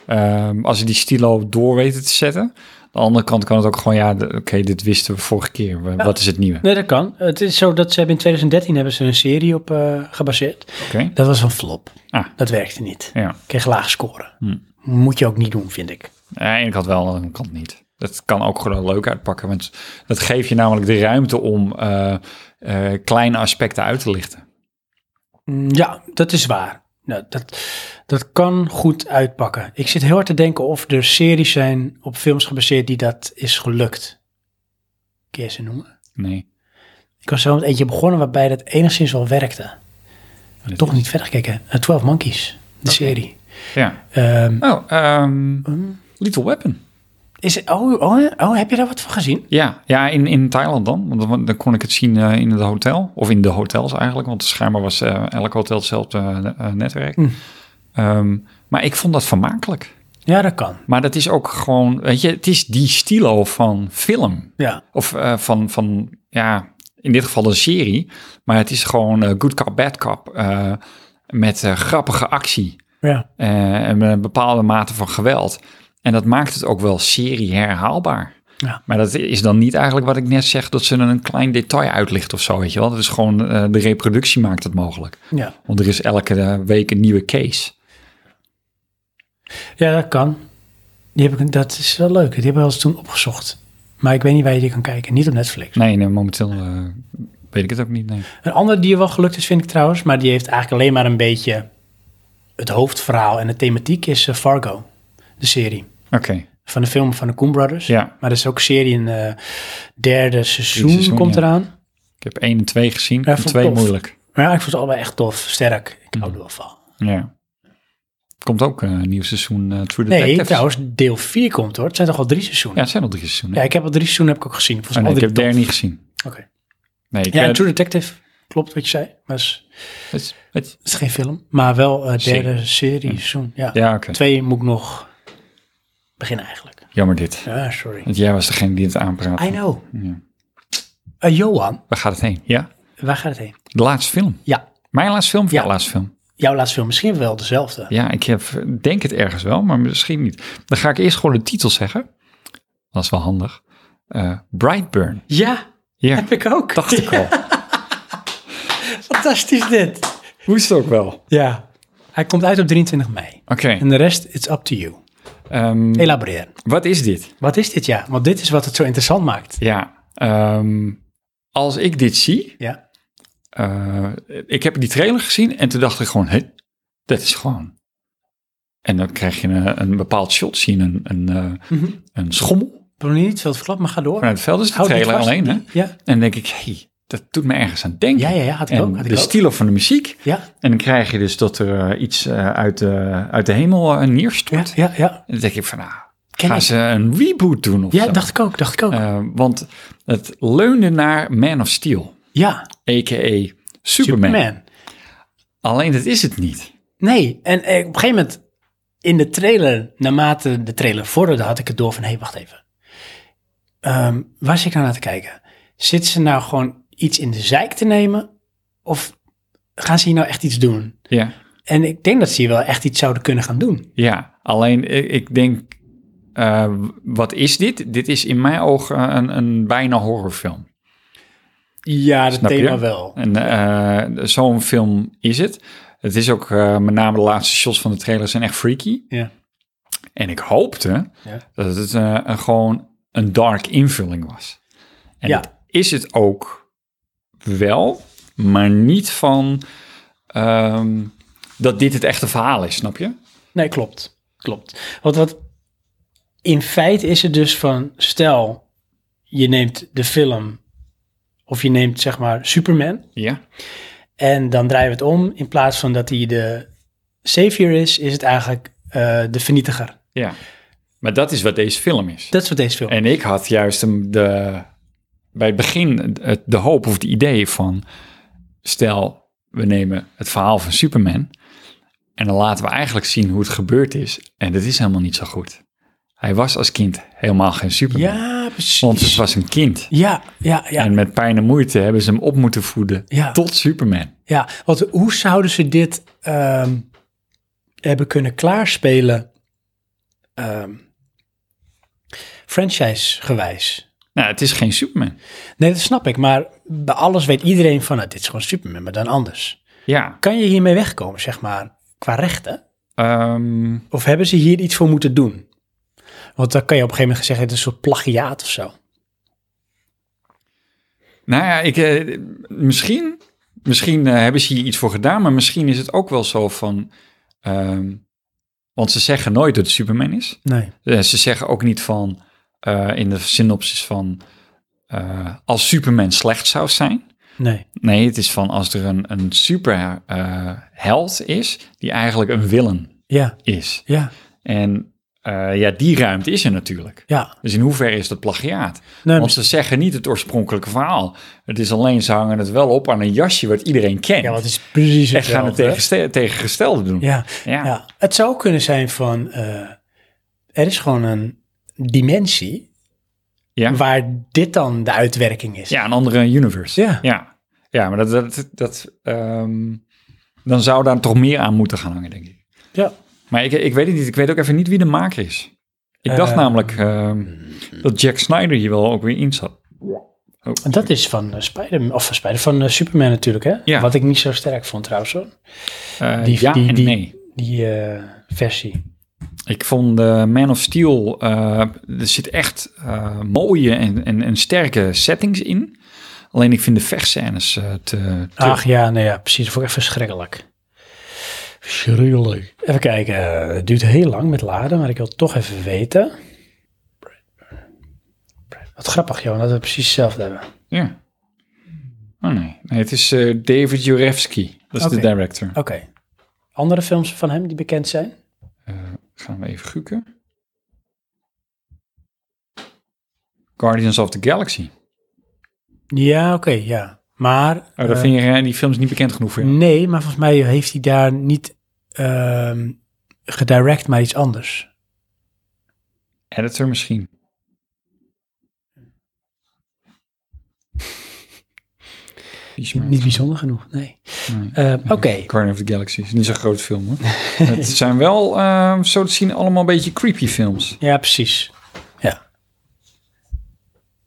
Ehm, als ze die stilo door weten te zetten. Aan de andere kant kan het ook gewoon, ja, de- oké, dit wisten we vorige keer. Wa- Wat is het nieuwe?
Nee, dat kan. Het is zo dat ze hebben in 2013 hebben ze een serie op eh, gebaseerd.
Oké.
Dat was een flop.
Ah.
Dat werkte niet.
Ja.
Kreeg laag scoren. Moet je ook niet doen, vind ik.
Aan de ene kant wel, aan de andere kant niet. Dat kan ook gewoon leuk uitpakken. Want dat geeft je namelijk de ruimte om eh, eh, kleine aspecten uit te lichten.
Mm, Ja, dat is waar. Nou, dat, dat kan goed uitpakken. Ik zit heel hard te denken of er series zijn op films gebaseerd die dat is gelukt. Kun je ze noemen?
Nee.
Ik was wel met eentje begonnen waarbij dat enigszins wel werkte.
Dat
Toch niet verder gekeken. Eh, 12 Monkeys, de serie.
Ja.
Ehm,
Oh, ehm, Little Weapon.
is het, oh, oh, oh, heb je daar wat van gezien?
Ja, ja in, in Thailand dan. Want dan, dan kon ik het zien eh, in het hotel. Of in de hotels eigenlijk. Want schijnbaar was eh, elk hotel hetzelfde eh, eh, netwerk. Ehm, maar ik vond dat vermakelijk.
Ja, dat kan.
Maar dat is ook gewoon, weet je, het is die stilo van film.
Ja,
Of eh, van, van, ja, in dit geval een serie. Maar het is gewoon eh, good cop, bad cop. eh, met eh, grappige actie.
ja.
eh, en met een bepaalde mate van geweld. En dat maakt het ook wel serie herhaalbaar.
Ja.
Maar dat is dan niet eigenlijk wat ik net zeg, dat ze een klein detail uitlicht of zo, weet je wel. Dat is gewoon, eh, de reproductie maakt het mogelijk.
ja.
Want er is elke eh, week een nieuwe case.
ja dat kan. Die heb ik, dat is wel leuk. Die hebben we eens toen opgezocht. Maar ik weet niet waar je die kan kijken. Niet op Netflix.
Nee, nee momenteel eh, weet ik het ook niet, nee.
Een ander die wel gelukt is, vind ik trouwens. Maar die heeft eigenlijk alleen maar een beetje het hoofdverhaal en de thematiek is eh, Fargo. De serie.
Oké,
Van de film van de Coen Brothers.
ja.
Maar er is ook een serie in eh derde seizoen,
seizoen,
komt
ja.
eraan.
Ik heb één en twee gezien,
Ja,
en
vond ik
twee
tof.
moeilijk.
Maar ja, ik vond ze allebei echt tof, sterk. Ik
Mm.
hou er wel van.
Ja. Komt ook eh, een nieuw seizoen eh True
Nee,
Detective.
trouwens, deel 4 komt hoor. Het zijn toch al drie seizoenen?
Ja,
Ja,
het zijn al drie seizoenen.
ik heb al drie seizoenen heb ik ook gezien. Volgens
Oh,
mij
nee, ik
al
heb
drie
derde niet gezien.
top. Oké.
Nee, ik,
Ja,
eh,
True Detective, klopt wat je zei. Maar het is,
het- het-
het is geen film, maar wel eh, derde
Serie.
serie, seizoen. Ja.
ja, oké.
Twee moet ik nog beginnen eigenlijk.
Jammer dit.
Ja, sorry.
Want jij was degene die het aanpraat.
I know.
Ja.
Eh, Johan,
Waar gaat het heen? Ja?
waar gaat het heen?
De laatste film.
Ja,
Mijn laatste film of
Ja.
jouw laatste film?
jouw laatste film misschien wel dezelfde.
Ja, ik heb, denk het ergens wel, maar misschien niet. Dan ga ik eerst gewoon de titel zeggen. Dat is wel handig. Eh, Brightburn.
Ja,
Ja,
heb ik ook.
dacht ik al.
Fantastisch dit.
Moest ook wel. Oké.
Ja. Hij komt uit op 23 mei. En de rest, it's up to you.
ehm,
Elaboreer.
wat is dit?
Wat is dit ja? Want dit is wat het zo interessant maakt.
Ja, ehm, als ik dit zie,
Ja.
eh, ik heb die trailer gezien en toen dacht ik gewoon, hé, dat is gewoon. En dan krijg je een, een bepaald shot zien, een, een, eh, een schommel
Ik wil nog niet veel te verklappen, maar ga door.
vanuit het veld. Dat is de
Houd die
trailer
vast.
alleen, hè? En
Ja,
dan denk ik, hé, dat doet me ergens aan denken.
ja, ja, ja had ik
en
ook. Had ik
de
ook.
stilo van de muziek.
Ja,
En dan krijg je dus dat er eh, iets eh, uit, de, uit de hemel eh,
ja,
neerstort.
ja, ja.
En dan denk ik van, nou,
Ken
gaan
ik.
ze een reboot doen of
Ja,
zo?
dacht ik ook, dacht ik ook.
Eh, want het leunde naar Man of Steel,
ja,
a.k.a. Superman.
Superman.
Alleen dat is het niet.
Nee, en eh, op een gegeven moment in de trailer, naarmate de trailer vorderde, had ik het door van, hé, hey, wacht even. Ehm, waar zit ik nou naar te kijken? Zit ze nou gewoon iets in de zeik te nemen? Of gaan ze hier nou echt iets doen?
Ja,
En ik denk dat ze hier wel echt iets zouden kunnen gaan doen.
ja. alleen ik, ik denk, eh, wat is dit? Dit is in mijn ogen eh, een, een bijna horrorfilm.
Ja, dat
Snap je?
thema wel.
En eh, zo'n film is het. Het is ook, eh, met name de laatste shots van de trailer zijn echt freaky.
Ja.
En ik hoopte
Ja.
dat het eh, een, gewoon een dark invulling was. En
Ja.
dat is het ook wel, maar niet van ehm, dat dit het echte verhaal is, snap je?
Nee, klopt. Klopt. Want wat in feite is het dus van, stel je neemt de film of je neemt zeg maar Superman
Ja.
en dan draaien we het om. In plaats van dat hij de savior is, is het eigenlijk eh, de vernietiger.
ja. Maar dat is wat deze film is.
Dat is wat deze film.
En ik had juist hem de, bij het begin het- de hoop of het idee van... stel, we nemen het verhaal van Superman... en dan laten we eigenlijk zien hoe het gebeurd is. En dat is helemaal niet zo goed. Hij was als kind helemaal geen Superman.
ja, precies.
Want het was een kind.
Ja, ja, ja,
En met pijn en moeite hebben ze hem op moeten voeden
Ja.
tot Superman.
ja. Want hoe zouden ze dit ehm, hebben kunnen klaarspelen ehm, franchise-gewijs?
Nou, het is geen Superman.
Nee, dat snap ik. Maar bij alles weet iedereen van, nou, dit is gewoon Superman, maar dan anders.
Ja.
Kan je hiermee wegkomen, zeg maar, qua rechten?
ehm,
Of hebben ze hier iets voor moeten doen? Want dan kan je op een gegeven moment zeggen, het is een soort plagiaat of zo.
Nou ja, ik, eh, misschien, misschien eh, hebben ze hier iets voor gedaan, maar misschien is het ook wel zo van. ehm, want ze zeggen nooit dat het Superman is.
Nee.
Eh, ze zeggen ook niet van eh, in de synopsis van eh, als Superman slecht zou zijn.
Nee.
Nee, het is van als er een, een superheld is die eigenlijk een willen
Ja,
is.
ja,
En eh, ja, die ruimte is er natuurlijk.
ja.
Dus in hoeverre is dat plagiaat?
Nee,
Want ze zeggen niet het oorspronkelijke verhaal. Het is alleen, ze hangen het wel op aan een jasje wat iedereen kent.
ja, want het is precies
en gaan het
hetzelfde, hè?
tegenste- tegengestelde doen.
Ja, ja. het zou kunnen zijn van, eh, er is gewoon een dimensie
Ja.
waar dit dan de uitwerking is.
Ja, een andere universe.
Ja.
ja. Ja, maar dat, dat, dat ehm, dan zou daar toch meer aan moeten gaan hangen, denk ik.
Ja.
Maar ik, ik weet het niet. Ik weet ook even niet wie de maker is. Ik dacht
Eh. mm.
namelijk ehm, dat Jack Snyder hier wel ook weer in zat. Oh.
Dat is van eh, Spider-Man, of van Spider, van eh, Superman natuurlijk, hè?
Ja.
Wat ik niet zo sterk vond trouwens, hoor.
Eh,
die-
ja
die-
en
die-
nee.
Die eh, versie.
Ik vond eh, Man of Steel, eh, er zit echt eh, mooie en, en, en sterke settings in. Alleen ik vind de vechtscènes eh, te... te-
Ach ja, nou ja, precies. Dat vond ik echt verschrikkelijk. Schrikkelijk. Even kijken. eh, Het duurt heel lang met laden, maar ik wil het toch even weten. Wat grappig, joh, dat we precies hetzelfde hebben.
Ja. Oh nee. nee het is eh, David Jurefsky. Dat is de
Oké.
director.
Oké. Andere films van hem die bekend zijn?
Gaan we even gukken. Guardians of the Galaxy.
Ja, oké, ja. Maar...
Oh, dat
eh,
vind je eh, die films niet bekend genoeg voor jou?
Nee, maar volgens mij heeft hij daar niet ehm, gedirect, maar iets anders.
Editor misschien. Hmm.
Niet bijzonder genoeg, nee.
Nee.
Eh, Oké,
Guardian of the Galaxy is niet zo'n groot film, hoor. het zijn wel, ehm, zo te zien, allemaal een beetje creepy films.
ja, precies. Ja.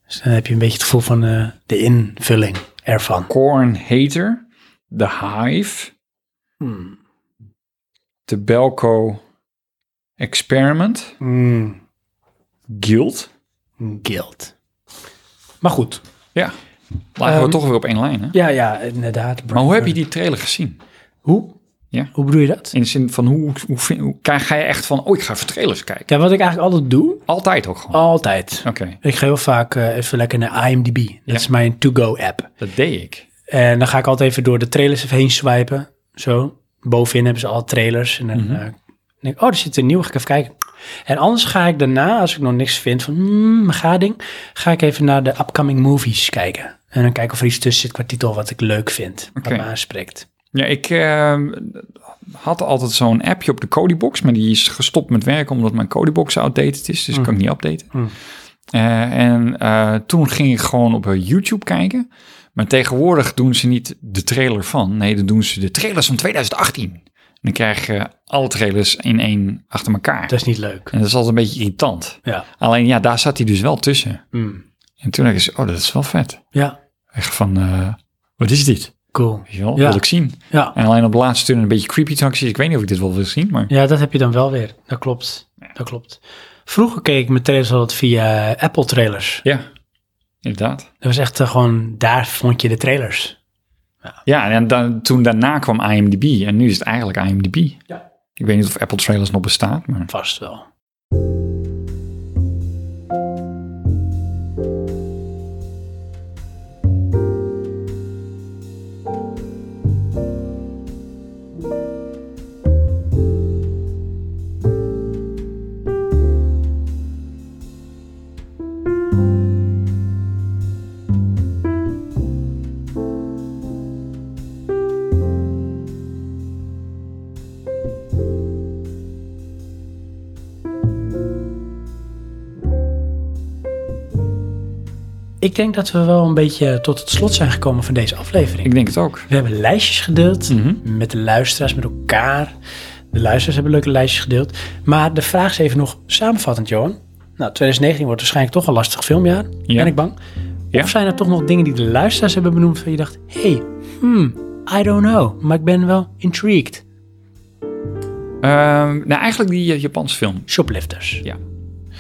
Dus dan heb je een beetje het gevoel van eh, de invulling ervan.
Corn Hater, The Hive,
Hmm.
The Belco Experiment,
Mm,
Guild.
Guild. Maar goed,
Ja, Lagen we
Ehm,
toch weer op één lijn, hè?
Ja, ja, inderdaad.
Maar
Brian
hoe heb je
Burke.
die trailer gezien?
Hoe?
Ja.
Hoe bedoel je dat?
In de zin van, hoe, hoe, vind- hoe- ga ga je echt van, oh, ik ga even trailers kijken?
Ja, wat ik eigenlijk altijd doe,
Altijd ook gewoon.
altijd.
Oké,
Ik ga heel vaak eh, even lekker naar IMDb. Dat
Ja.
is mijn to-go-app.
dat deed ik.
En dan ga ik altijd even door de trailers even heen swipen. Zo. Bovenin hebben ze al trailers. En dan
Mhm.
eh, denk ik, oh, er zit een nieuw. Ga ik even kijken. En anders ga ik daarna, als ik nog niks vind van hmm, ga ding, ga ik even naar de upcoming movies kijken. En dan kijken of er iets tussen zit qua titel wat ik leuk vind.
Oké.
Wat me aanspreekt.
Ja, ik eh, had altijd zo'n appje op de Codebox, maar die is gestopt met werken omdat mijn Codebox outdated is, dus ik kan ik niet updaten.
Mm.
Eh, en eh, toen ging ik gewoon op eh, YouTube kijken. Maar tegenwoordig doen ze niet de trailer van, nee, dan doen ze de trailers van 2018. En dan krijg je alle trailers in één achter elkaar.
Dat is niet leuk.
En dat is altijd een beetje irritant.
Ja.
Alleen ja, daar zat hij dus wel tussen.
Mm.
En toen dacht ik, zo, oh, dat is wel vet.
Ja,
Echt van, eh, wat is dit?
cool.
Weet je wel,
Ja.
wil ik zien.
Ja.
En alleen op de laatste toen een beetje creepy taxis. Ik weet niet of ik dit wel wil zien, maar...
Ja, dat heb je dan wel weer. Dat klopt. Dat klopt. Vroeger keek ik mijn trailers altijd via eh, Apple trailers.
Ja, inderdaad.
Dat was echt eh, gewoon, daar vond je de trailers.
Ja, en dan, toen daarna kwam IMDb. En nu is het eigenlijk IMDb.
Ja.
Ik weet niet of Apple Trailers nog bestaat, maar...
Vast wel. Ik denk dat we wel een beetje tot het slot zijn gekomen van deze aflevering.
Ik denk het ook.
We hebben lijstjes gedeeld
Mhm.
met de luisteraars, met elkaar. De luisteraars hebben leuke lijstjes gedeeld. Maar de vraag is even nog samenvattend, Johan. Nou, 2019 wordt waarschijnlijk toch een lastig filmjaar.
Ja.
Ben ik bang.
Ja.
Of zijn er toch nog dingen die de luisteraars hebben benoemd waar je dacht... hey, hmm, I don't know, maar ik ben wel intrigued.
Ehm, nou, eigenlijk die eh, Japanse film.
Shoplifters.
Ja.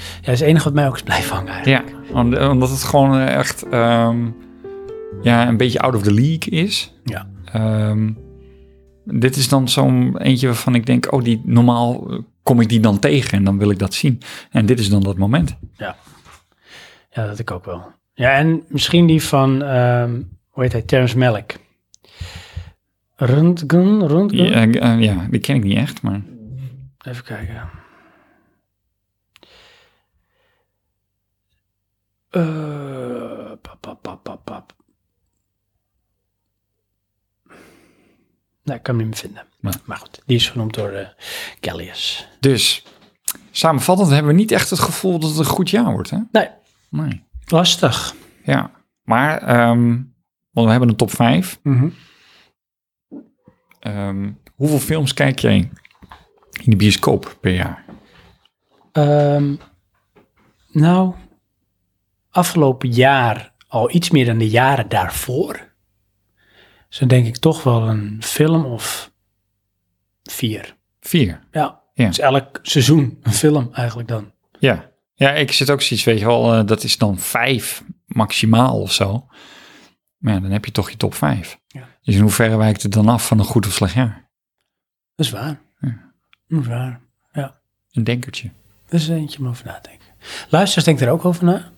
Ja, dat is het enige wat mij ook is blijven hangen eigenlijk.
Ja, om- omdat het gewoon eh, echt... ehm, ja, een beetje out of the league is.
Ja.
Ehm, dit is dan zo'n eentje waarvan ik denk... Oh, die, normaal eh, kom ik die dan tegen en dan wil ik dat zien. En dit is dan dat moment.
Ja, dat ik ook wel. Ja, en misschien die van, ehm, hoe heet hij, Terrence Malick. Röntgen, Röntgen?
Ja, eh, eh, ja, die ken ik niet echt, maar...
Even kijken. Eh, pap, pap, pap, pap, pap. Nee, ik kan hem niet meer vinden.
Nee.
Maar goed, die is genoemd door eh Gallius.
Dus, samenvattend hebben we niet echt het gevoel dat het een goed jaar wordt, hè?
Nee,
Nee.
lastig.
Ja, maar, ehm, want we hebben een top 5. Ehm, hoeveel films kijk jij in de bioscoop per jaar?
Ehm, nou, afgelopen jaar al iets meer dan de jaren daarvoor. Dus dan denk ik toch wel een film of vier.
Vier.
Ja.
Ja.
Dus elk seizoen een film eigenlijk dan.
Ja. Ja, ik zit ook zoiets, weet je wel, eh, dat is dan vijf maximaal of zo. Maar ja, dan heb je toch je top 5.
Ja.
Dus in hoeverre wijkt het dan af van een goed of slecht jaar?
Dat is waar.
Ja.
Dat is waar. Ja.
Een denkertje.
Dat is eentje om over na te denken. Luisteraars, denk er ook over na.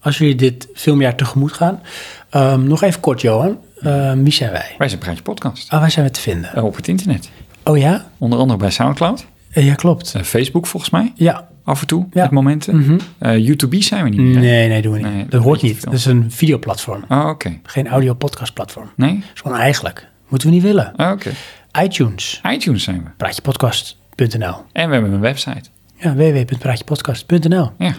Als jullie dit filmjaar tegemoet gaan. Ehm, nog even kort, Johan. Ehm, wie zijn wij?
Wij zijn Praatje Podcast.
Ah, waar zijn we te vinden?
Eh, op het internet.
Oh ja?
Onder andere bij Soundcloud.
Eh, Ja, klopt.
eh, Facebook volgens mij.
Ja.
af en toe,
Ja.
met momenten.
Mhm.
Eh, YouTube zijn we niet meer. hè?
Nee, nee, doen we niet.
Nee,
dat
weet
hoort
je
niet.
veel.
Dat is een videoplatform.
Oh, oké.
Geen audio-podcast-platform. Dat
Nee?
is gewoon eigenlijk. Moeten we niet willen.
Oh, oké.
iTunes.
iTunes zijn we.
Praatjepodcast.nl
En we hebben een website.
Ja, www.praatjepodcast.nl
Ja.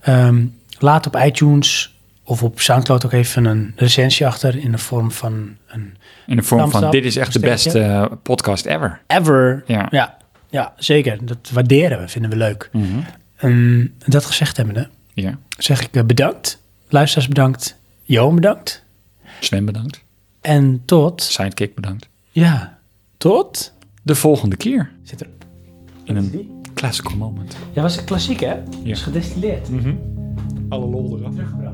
Ehm, laat op iTunes of op Soundcloud ook even een recensie achter in de vorm van een
In de vorm
Thumbs
van,
up,
dit is echt de
sterretje.
beste eh, podcast ever.
ever.
Ja.
ja. Ja, zeker. Dat waarderen we, vinden we leuk.
Mhm.
Ehm, dat gezegd hebbende,
Ja.
zeg ik eh, bedankt. Luisteraars bedankt. Johan bedankt.
Sven bedankt.
En tot,
Sidekick bedankt.
ja, tot.
De volgende keer.
Zit er,
In een classical moment.
ja, was het klassiek hè?
Ja.
Dus gedestilleerd.
Alle lol eraf.
Teruggebracht.